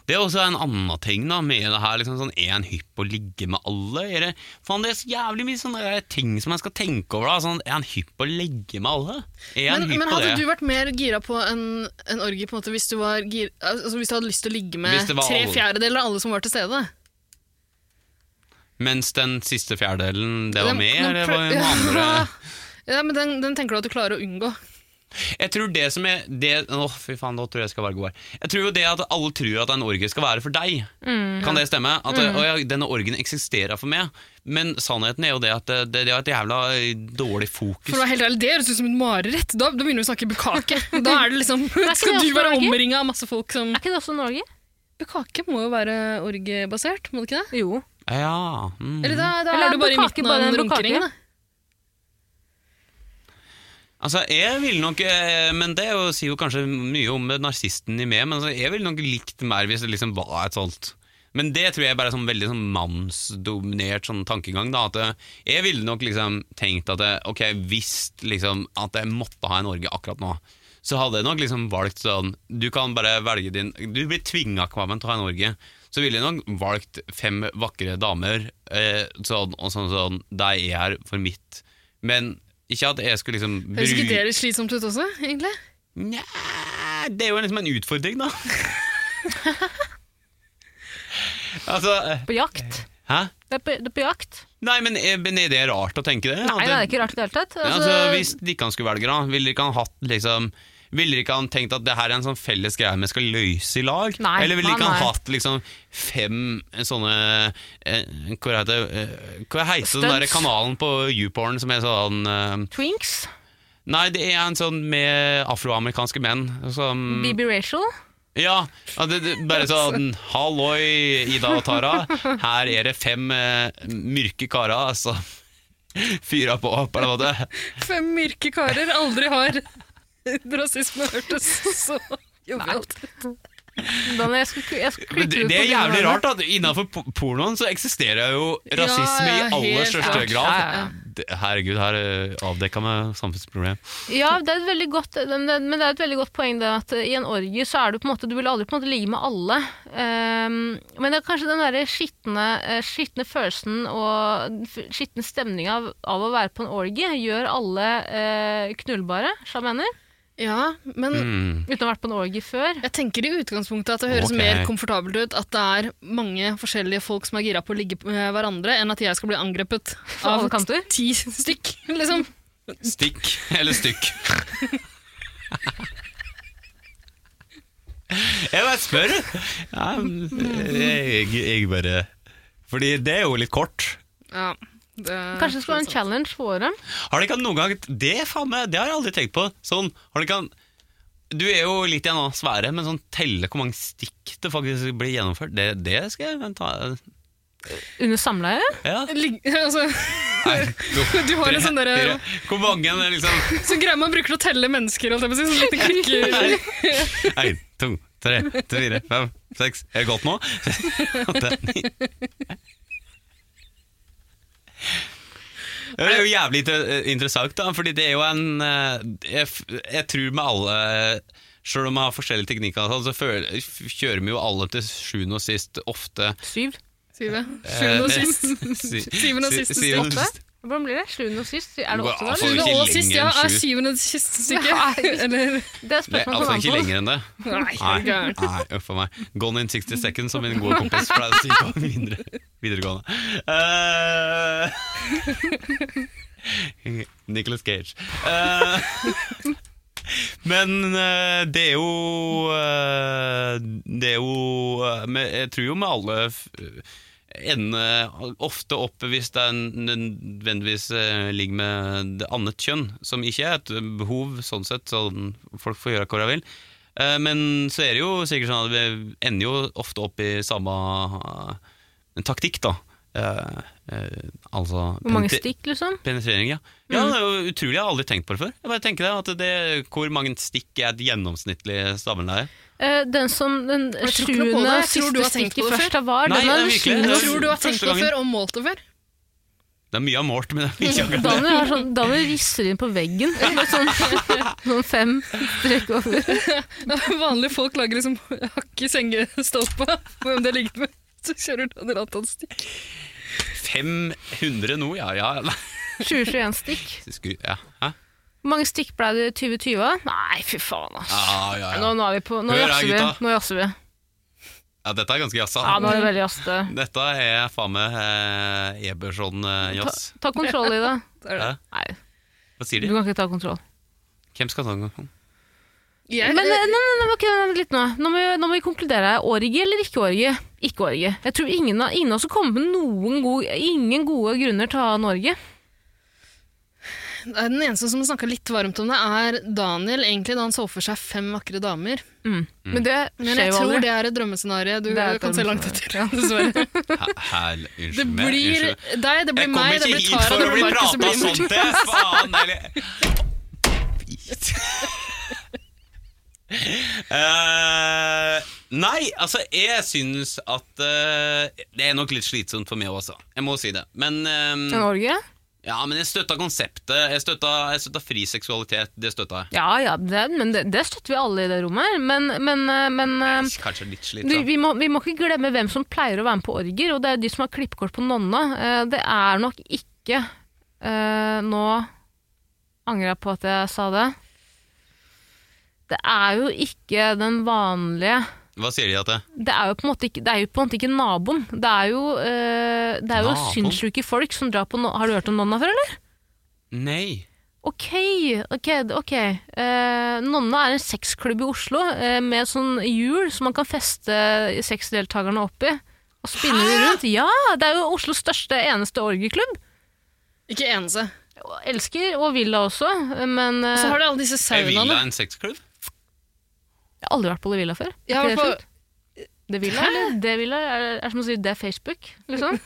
Speaker 3: Det er også en annen ting da med det her. liksom sånn Er en hypp på å ligge med alle? Er det, faen, det er så jævlig mye sånne der ting som en skal tenke over. da sånn, Er en hypp på å ligge med alle? Er en
Speaker 4: Men,
Speaker 3: hypp
Speaker 4: men
Speaker 3: på
Speaker 4: hadde
Speaker 3: det?
Speaker 4: du vært mer gira på en, en orgie på en måte, hvis, du var gir, altså, hvis du hadde lyst til å ligge med
Speaker 3: Hvis det var
Speaker 4: tre
Speaker 3: alle.
Speaker 4: fjerdedeler av alle som var til stede?
Speaker 3: Mens den siste fjerdedelen, det var
Speaker 4: Den-
Speaker 3: med?
Speaker 4: den
Speaker 3: Eller
Speaker 4: prøv-
Speaker 3: var det noen andre?
Speaker 4: Ja, men den, den tenker du at du klarer å unngå.
Speaker 3: Jeg tror det som er det, Å, fy faen, nå tror jeg jeg skal være god her. Jeg tror jo det at alle tror at en orgie skal være for deg. Kan det stemme? At å, ja, denne orgien eksisterer for meg. Men sannheten er jo det at det, det, er et jævla eh, dårlig
Speaker 4: For
Speaker 3: fokus.
Speaker 4: å være helt ærlig, Det høres ut som et mareritt. Da, da begynner vi å snakke bukake. Da er det liksom,
Speaker 2: ikke det
Speaker 4: skal du
Speaker 2: også
Speaker 4: være
Speaker 2: orgie?
Speaker 4: omringa av masse folk som
Speaker 2: Er ikke det også Norge?
Speaker 4: Bukake må jo være orgiebasert, må det ikke det?
Speaker 2: Jo.
Speaker 3: Ja, mm.
Speaker 4: Eller da, da
Speaker 2: Eller
Speaker 4: er du bare i
Speaker 2: bukkake,
Speaker 4: midten
Speaker 2: bare
Speaker 4: av en
Speaker 2: en bukkake.
Speaker 4: runkering, da.
Speaker 3: Altså, jeg ville nok eh, Men det er jo- sier jo kanskje mye om narsisten i meg, men altså, jeg ville nok likt mer hvis det liksom var et sånt Men det tror jeg bare er sånn veldig sånn mannsdominert sånn tankegang, da. At eh, jeg ville nok liksom tenkt at eh, ok, hvis liksom at jeg måtte ha en orgie akkurat nå, så hadde jeg nok liksom valgt sånn Du kan bare velge din Du blir tvinga Kvamen, til å ha Norge. Så ville jeg nok valgt fem vakre damer, eh, sånn, og sånn sånn De er her for mitt. Men ikke at jeg skulle liksom
Speaker 4: Høres ikke
Speaker 3: bry-
Speaker 4: det litt slitsomt ut også, egentlig?
Speaker 3: Nja, det er jo liksom en utfordring, da. altså eh,
Speaker 2: På jakt.
Speaker 3: Hæ?
Speaker 2: Det er på, det er på jakt.
Speaker 3: Nei, men eh, men er det rart å tenke det? At
Speaker 2: Nei, det er ikke rart i det hele tatt.
Speaker 3: Ja,
Speaker 2: Altså,
Speaker 3: altså, hvis de ikke han skulle velge, da, ville de ikke han hatt liksom ville de ikke han tenkt at det her er en sånn felles greie vi skal løse i lag?
Speaker 2: Nei,
Speaker 3: Eller ville de ikke
Speaker 2: nei,
Speaker 3: han
Speaker 2: nei.
Speaker 3: hatt liksom fem sånne eh, Hva heter det eh, Hva heter den
Speaker 2: Stunts.
Speaker 3: der kanalen på YouPorn som er sånn eh,
Speaker 2: Twinks,
Speaker 3: Nei, det er en sånn med afroamerikanske menn som
Speaker 2: BB Rachel.
Speaker 3: ja, ja, det, det, bare sånn Halloi, Ida og Tara. Her er det fem eh, mørke karer som fyrer på, på en måte.
Speaker 4: Fem mørke karer aldri har Rasisme hørtes så jovialt ut.
Speaker 2: Daniel, jeg skulle, jeg skulle
Speaker 3: Men
Speaker 2: klippe
Speaker 3: det,
Speaker 2: ut på grunn av
Speaker 3: det er jævlig rart at innenfor po- pornoen så eksisterer jo rasisme
Speaker 4: Ja, ja,
Speaker 3: i aller
Speaker 4: helt
Speaker 3: største
Speaker 4: klart.
Speaker 3: grad.
Speaker 2: Ja, ja, ja.
Speaker 3: Det- Herregud, her eh, avdekka vi samfunnsproblem.
Speaker 2: Ja, det er et veldig godt, men det men det er et veldig godt poeng det at eh, i en orgie så er du på en måte, du vil aldri på en måte ligge med alle. Ehm, men det er kanskje den derre skitne, eh, skitne følelsen og den f- skitne stemninga av, av å være på en orgie gjør alle eh, knullbare, sjamener.
Speaker 4: Ja, men
Speaker 3: Mm.
Speaker 2: Uten å ha vært på en orgie før.
Speaker 4: jeg tenker i utgangspunktet at det høres
Speaker 3: Ok.
Speaker 4: mer komfortabelt ut at det er mange forskjellige folk som er gira på å ligge med hverandre, enn at jeg skal bli angrepet
Speaker 2: Fra
Speaker 4: av
Speaker 2: alle kanter.
Speaker 4: ti stykk, liksom.
Speaker 3: Stikk eller stykk? Jeg bare spør. Ja, eh, jeg, jeg bare Fordi det er jo litt kort.
Speaker 4: Ja, det sånn.
Speaker 2: Kanskje det skulle være en challenge for dem.
Speaker 3: Har du ikke hatt noen gang Det faen meg, det har jeg aldri tenkt på. Sånn, har du ikke hatt du er jo litt i en annen sfære, men sånn telle hvor mange stikk det faktisk blir gjennomført, det, det skal jeg ta
Speaker 2: Under samleie.
Speaker 3: Ja.
Speaker 4: Ligg- altså,
Speaker 3: Nei, no.
Speaker 4: Du har en sånn derre
Speaker 3: Hvor mange er det liksom
Speaker 4: sånn greie man bruker til å telle mennesker, holdt jeg på å si. Sånn liten klikker.
Speaker 3: Én, to, tre, fire, fem, seks Er det godt nå? Åtte, ni. Det er jo jævlig inter- interessant, da, fordi det er jo en eh, Jeg, f- jeg tror med alle Sjøl om man har forskjellige teknikker, og sånn, så føler, f- kjører vi jo alle til sjuende og sist ofte
Speaker 2: Syv.
Speaker 4: Syvende Sjuende og
Speaker 3: eh,
Speaker 4: sist.
Speaker 3: sy-
Speaker 4: Syvende og
Speaker 3: sy-
Speaker 4: siste
Speaker 3: syvende og
Speaker 2: Åtte?
Speaker 3: sist.
Speaker 2: Hvordan blir det? Sjuende og sist? Er det
Speaker 3: Wow,
Speaker 2: åtte
Speaker 3: altså-
Speaker 2: der?
Speaker 4: Sjuende
Speaker 3: ikke
Speaker 4: og sist,
Speaker 3: lenger
Speaker 4: ja.
Speaker 3: enn
Speaker 4: Er
Speaker 3: sju.
Speaker 4: syvende siste stykke? Eller
Speaker 2: Det er
Speaker 3: Det er
Speaker 2: spørsmål
Speaker 3: altså
Speaker 2: som kommer
Speaker 3: ikke
Speaker 2: an på.
Speaker 3: lenger enn det.
Speaker 4: Nei, er du
Speaker 3: Nei,
Speaker 4: gæren.
Speaker 3: nei uff a meg. Gone in 60 seconds, som min gode kompis pleide å si på videre, videregående. Eh, Nicolas Cage. Eh, men eh, det er jo eh, Det er jo eh, men Jeg tror jo med alle f- eh, ender ofte opp hvis det er en- nødvendigvis eh, ligger med det annet kjønn, som ikke er et behov, sånn sett, sånn folk får gjøre hva de vil. Eh, Men så er det jo sikkert sånn at vi ender jo ofte opp i samme eh, taktikk, da. Eh, eh, altså
Speaker 2: Hvor mange
Speaker 3: penetre-
Speaker 2: stikk, liksom?
Speaker 3: Penetrering, ja. Ja,
Speaker 2: Mm.
Speaker 3: Det er jo utrolig, jeg har aldri tenkt på det før. Jeg bare tenker det, at det, Hvor mange stikk er et gjennomsnittlig stabelleie?
Speaker 2: Eh, den som den
Speaker 4: Jeg tror ikke noe på
Speaker 2: sjuende
Speaker 4: det. Jeg tror du
Speaker 2: siste
Speaker 4: har tenkt
Speaker 2: stikket
Speaker 4: på det
Speaker 2: først da var,
Speaker 3: Nei,
Speaker 2: den er
Speaker 3: det er
Speaker 2: den
Speaker 3: virkelig-
Speaker 2: sjuende
Speaker 3: det
Speaker 4: Jeg
Speaker 3: er-
Speaker 4: tror du har
Speaker 3: Første
Speaker 4: tenkt på det
Speaker 3: gangen.
Speaker 4: før og målt det før.
Speaker 3: Det er mye av målt, men det er ikke akkurat
Speaker 2: Daniel, har sånn, Daniel risser inn på veggen. Med sånn, sånn fem strek over.
Speaker 4: Vanlige folk lager liksom hakk i sengestolpa på hvem de har ligget med. Så kjører Daniel Anton stikk.
Speaker 3: 500 nå, ja. ja. Nei,
Speaker 2: 20-21 stikk.
Speaker 3: skru- ja. Hæ?
Speaker 2: Hvor mange stikk ble det i 2020? da? Nei, fy faen, ass.
Speaker 3: Ja, Ah, ja,
Speaker 2: Nå,
Speaker 3: ja.
Speaker 2: nå er vi på Nå
Speaker 3: Hør her,
Speaker 2: jazzer vi.
Speaker 3: gutta.
Speaker 2: Nå jazzer vi.
Speaker 3: ja dette er ganske jazza.
Speaker 2: Ja, nå er det veldig jazzete.
Speaker 3: Dette er faen meg eh, Eberson-jazz.
Speaker 2: Ta, ta kontroll i det.
Speaker 4: Det er det.
Speaker 3: Hæ?
Speaker 2: Nei,
Speaker 3: Hva sier
Speaker 2: du
Speaker 3: de?
Speaker 2: kan ikke ta kontroll.
Speaker 3: Hvem skal ta den?
Speaker 4: Jeg,
Speaker 2: Men eh, nei, nei, nei, ok, vent litt nå. Nå må, vi, nå må vi konkludere. Orgie eller ikke orgie? Ikke orgie. Jeg tror ingen av ingen av oss har kommet med noen gode, ingen gode grunner til å ha en orgie. eh,
Speaker 4: Det er Den eneste som snakka litt varmt om det, er Daniel, egentlig da han så for seg fem vakre damer.
Speaker 2: Mm. Men det
Speaker 4: Men
Speaker 2: skjer
Speaker 4: jeg
Speaker 2: jo
Speaker 4: tror
Speaker 2: aldri.
Speaker 4: det er et drømmescenario du
Speaker 2: Det er et
Speaker 4: kan se langt etter. Dessverre.
Speaker 3: Hæ- hæl- Unnskyld
Speaker 4: Det
Speaker 3: meg,
Speaker 4: blir
Speaker 3: unnskyld meg.
Speaker 4: deg, det blir
Speaker 3: Jeg
Speaker 4: meg,
Speaker 3: kommer
Speaker 4: det
Speaker 3: ikke
Speaker 4: blir
Speaker 3: hit
Speaker 4: Tara,
Speaker 3: for
Speaker 4: det
Speaker 3: å bli
Speaker 4: blir Markus,
Speaker 3: prata
Speaker 4: det blir
Speaker 3: sånn
Speaker 4: Morten.
Speaker 3: til! Faen! Eller... Eh, nei, altså jeg syns at eh, Det er nok litt slitsomt for meg også. Jeg må si det. Men eh,
Speaker 2: En orgie?
Speaker 3: Ja, men jeg støtta konseptet. Jeg støtta, jeg støtta fri seksualitet. Det støtta jeg.
Speaker 2: Ja, ja, det, men det, det støtter vi alle i det rommet her. Men, men, eh, men eh,
Speaker 3: Kanskje litt slitt,
Speaker 2: vi,
Speaker 3: da.
Speaker 2: vi, må, vi må ikke glemme hvem som pleier å være med på orger, og det er de som har klippekort på nonna. Eh, Det er nok ikke eh, Nå angrer jeg på at jeg sa det. Det er jo ikke den vanlige
Speaker 3: Hva sier de at det?
Speaker 2: det er, jo på en måte ikke, det er jo på en måte ikke naboen. Det er jo, eh, det er jo
Speaker 3: Naboen?
Speaker 2: sinnssyke folk som drar på no Har du hørt om nonna før, eller?
Speaker 3: Nei.
Speaker 2: Ok, ok, ok. Eh, Nonna er en sexklubb i Oslo eh, med sånn hjul som man kan feste sexdeltakerne opp i. Og spinne de rundt. Ja, det er jo Oslos største, eneste orgieklubb.
Speaker 4: Ikke eneste.
Speaker 2: Og Elsker og Villa også, eh, men eh,
Speaker 4: Og så har du alle disse
Speaker 3: Er Villa
Speaker 4: saunaene.
Speaker 3: en sexklubb?
Speaker 2: jeg har aldri vært på Det Villa før. Er
Speaker 4: Jeg har
Speaker 2: ikke det
Speaker 4: vært
Speaker 2: sjukt? Det Villa, eller? Det Villa er, er som å si det Facebook, liksom.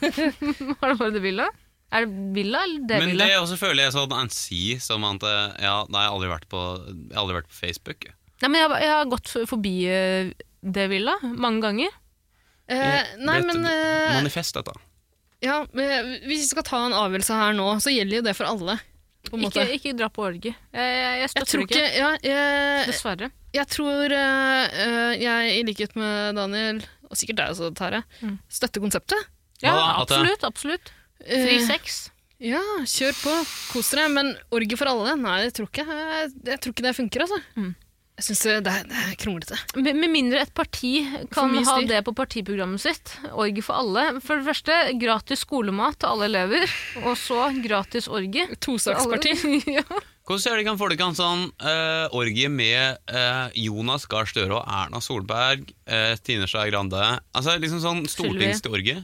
Speaker 2: Har du bare Det Villa? Er det Villa eller Det
Speaker 3: Men
Speaker 2: Villa?
Speaker 3: det også føler jeg sånn ansi som at eh, Ja, nei, jeg har aldri vært på, jeg har aldri vært på Facebook.
Speaker 2: Nei, men jeg, jeg har gått forbi eh, Det Villa mange ganger.
Speaker 4: Eh, nei,
Speaker 3: Vet-
Speaker 4: men eh,
Speaker 3: Manifest, dette.
Speaker 4: ja, men Hvis vi skal ta en avgjørelse her nå, så gjelder jo det for alle. På en måte.
Speaker 2: Ikke, ikke dra på orgie. Jeg, jeg, jeg
Speaker 4: jeg
Speaker 2: støtter
Speaker 4: tror
Speaker 2: det
Speaker 4: ikke ja, jeg,
Speaker 2: Dessverre.
Speaker 4: Jeg tror eh, eh, jeg, i likhet med Daniel, og sikkert deg også, Tare,
Speaker 2: Mm.
Speaker 4: støtter konseptet.
Speaker 2: Ja,
Speaker 3: Hva da, Ate?
Speaker 2: absolutt. absolutt.
Speaker 4: Eh,
Speaker 2: Fri sex.
Speaker 4: ja, kjør på, kos dere. Men orgie for alle? Nei, jeg tror ikke, jeg, jeg tror ikke det funker, altså.
Speaker 2: Mm.
Speaker 4: Jeg syns det, det, er- det er kronglete.
Speaker 2: Med, med mindre et parti kan
Speaker 4: mye
Speaker 2: ha
Speaker 4: styr.
Speaker 2: det på partiprogrammet sitt. Orgie for alle. For det første, gratis skolemat til alle elever. Og så gratis orgie.
Speaker 4: Tosaksparti.
Speaker 2: ja.
Speaker 3: Hvordan ser det kan få det kan sånn eh, orgie med eh, Jonas Gahr Støre og Erna Solberg, eh, Tine Skei Grande Altså liksom sånn stortingsorgie.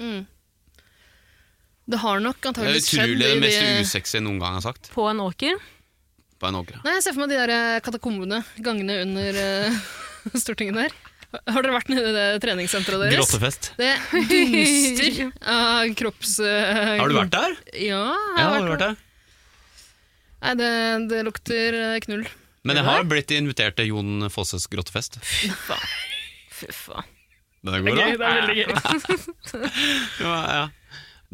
Speaker 4: Mm. Det har nok
Speaker 3: Det er
Speaker 4: antakeligvis skjedd.
Speaker 3: utrolig det
Speaker 4: i
Speaker 3: mest
Speaker 4: de-
Speaker 3: usexy jeg noen gang har sagt.
Speaker 2: På en åker.
Speaker 3: På en åkre.
Speaker 4: Nei, Jeg ser for meg de der eh, katakombene, gangene under eh, Stortinget der. Har dere vært nede i det treningssenteret deres?
Speaker 3: Grottefest.
Speaker 4: Det dunster av kropps... eh,
Speaker 3: Har du vært der?
Speaker 4: Ja, jeg
Speaker 3: Ja,
Speaker 4: har
Speaker 3: har
Speaker 4: vært
Speaker 3: du
Speaker 4: på
Speaker 3: vært der?
Speaker 4: Nei, det, det lukter eh, knull.
Speaker 3: Men jeg har blitt invitert til Jon Fosses grottefest.
Speaker 2: Fy faen.
Speaker 3: Det går bra.
Speaker 4: det er veldig gøy.
Speaker 3: Ja, ja.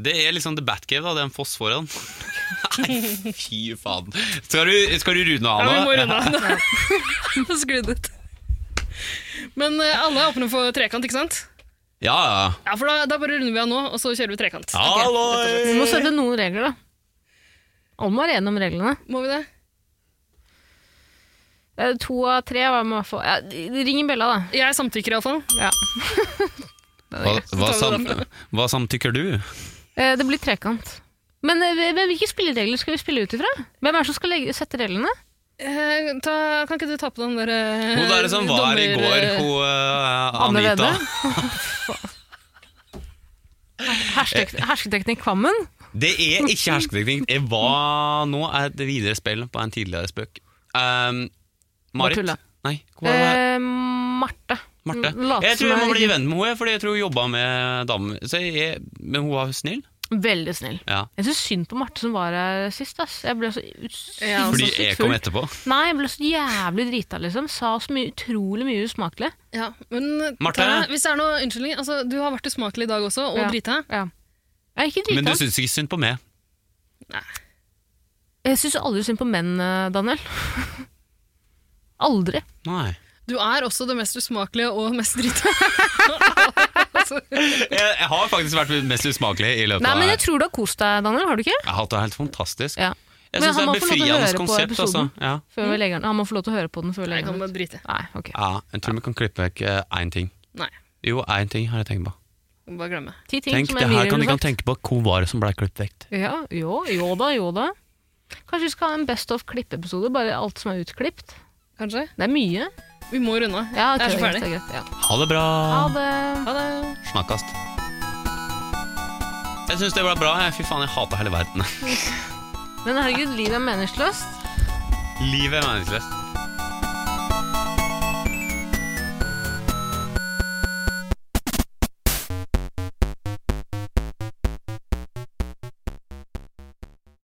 Speaker 3: Det er liksom The Batcave, da. Det er en foss foran. Nei, fy faen. Skal du, skal du runde av
Speaker 4: Ja,
Speaker 3: nå?
Speaker 4: vi må runde av nå. Det sklidde ut. Men eh, alle er åpne for trekant, ikke sant?
Speaker 3: Ja, ja.
Speaker 4: Ja, for da, da bare runder vi av nå, og så kjører vi trekant.
Speaker 2: Vi må
Speaker 3: Halloi!
Speaker 2: sette noen regler, da. Alle må være enige om reglene.
Speaker 4: Må vi det?
Speaker 2: Eh, To av tre var med i hvert fall ja, Ring i bjella, da.
Speaker 4: Jeg samtykker iallfall.
Speaker 2: Ja.
Speaker 3: Hva, hva,
Speaker 4: Så tar vi
Speaker 3: sam, hva samtykker du?
Speaker 2: Eh, Det blir trekant. Men eh, hvem- hvilke spilleregler skal vi spille ut ifra? Hvem er det som skal legge, sette reglene?
Speaker 4: Eh, ta, kan ikke du ta på den der eh,
Speaker 3: Hun der som var i
Speaker 4: dommer,
Speaker 3: går,
Speaker 4: eh,
Speaker 3: hun eh,
Speaker 2: Anne
Speaker 3: Anita.
Speaker 2: Vedde? Hersketek
Speaker 4: Eh.
Speaker 2: hersketeknikk Kvammen?
Speaker 3: Det er ikke hersketeknikk. Jeg var nå er det videre spill på en tidligere spøk. Um, Marit?
Speaker 2: tulla.
Speaker 3: Nei, hva var det?
Speaker 2: Eh, Marte.
Speaker 3: Marte.
Speaker 2: Late
Speaker 3: Jeg
Speaker 2: som
Speaker 3: tror jeg må
Speaker 2: jeg-
Speaker 3: bli venn med henne, fordi jeg tror hun jobba med damer. Så jeg, men hun var snill.
Speaker 2: Veldig snill.
Speaker 3: Ja.
Speaker 2: Jeg syns synd på Marte som var her sist. Ass. Jeg ble så ut-
Speaker 4: Ja, altså,
Speaker 3: Fordi
Speaker 2: sinnssykt
Speaker 3: jeg
Speaker 2: full.
Speaker 3: kom etterpå.
Speaker 2: Nei, jeg ble så jævlig drita, liksom. Sa så mye, utrolig mye usmakelig.
Speaker 4: Ja, men eh,
Speaker 3: Marte?
Speaker 4: Tara, hvis det er noe unnskyldning altså, Du har vært usmakelig i dag også, og
Speaker 2: Ja.
Speaker 4: drita.
Speaker 2: Ja. Jeg er ikke drita.
Speaker 3: Men du syns ikke synd på meg.
Speaker 2: Jeg syns aldri synd på menn, eh, Daniel. aldri.
Speaker 3: Nei.
Speaker 4: Du er også det mest usmakelige og mest drita. altså,
Speaker 3: Jeg, jeg har faktisk vært mest usmakelig i løpet
Speaker 2: Eh, Nei,
Speaker 3: av
Speaker 2: men jeg tror du har kost deg, Daniel. Har du ikke?
Speaker 3: Jeg har hatt det helt fantastisk.
Speaker 2: Ja.
Speaker 3: Jeg
Speaker 2: Men
Speaker 3: syns det
Speaker 2: han
Speaker 3: er
Speaker 2: må få lov til å
Speaker 3: befriende
Speaker 2: høre på
Speaker 3: konsept, altså.
Speaker 2: episoden.
Speaker 3: Ja.
Speaker 2: Før vi legger den. Han må få lov til å høre på den før vi
Speaker 4: Mm. jeg
Speaker 2: legger den.
Speaker 4: kan bare
Speaker 2: ut.
Speaker 4: drite.
Speaker 2: Nei, ok.
Speaker 3: ja, jeg tror vi kan klippe vekk eh, én ting.
Speaker 4: Nei,
Speaker 3: Jo, én ting har jeg tenkt på.
Speaker 4: jeg må bare glemme.
Speaker 2: Ti ting
Speaker 3: Tenk,
Speaker 2: som
Speaker 3: det
Speaker 2: jeg
Speaker 3: her
Speaker 2: liker
Speaker 3: kan
Speaker 2: ville
Speaker 3: du kan
Speaker 2: sagt.
Speaker 3: tenke på. Hvor var det som ble klippet vekk?
Speaker 2: Ja, jo, jo da, jo da. Kanskje vi skal ha en Best of klipp-episode, bare alt som er utklipt.
Speaker 4: Kanskje?
Speaker 2: Det er mye.
Speaker 4: Vi må runde av.
Speaker 2: Ja, ok,
Speaker 4: jeg er så
Speaker 2: greit,
Speaker 4: ferdig.
Speaker 2: det er greit, ja.
Speaker 3: Ha det bra!
Speaker 2: Ha det.
Speaker 4: Ha det.
Speaker 3: Snakkast. Jeg syns det var bra. jeg. Fy faen, jeg hater hele verden.
Speaker 2: Men herregud, livet er meningsløst.
Speaker 3: Livet er meningsløst.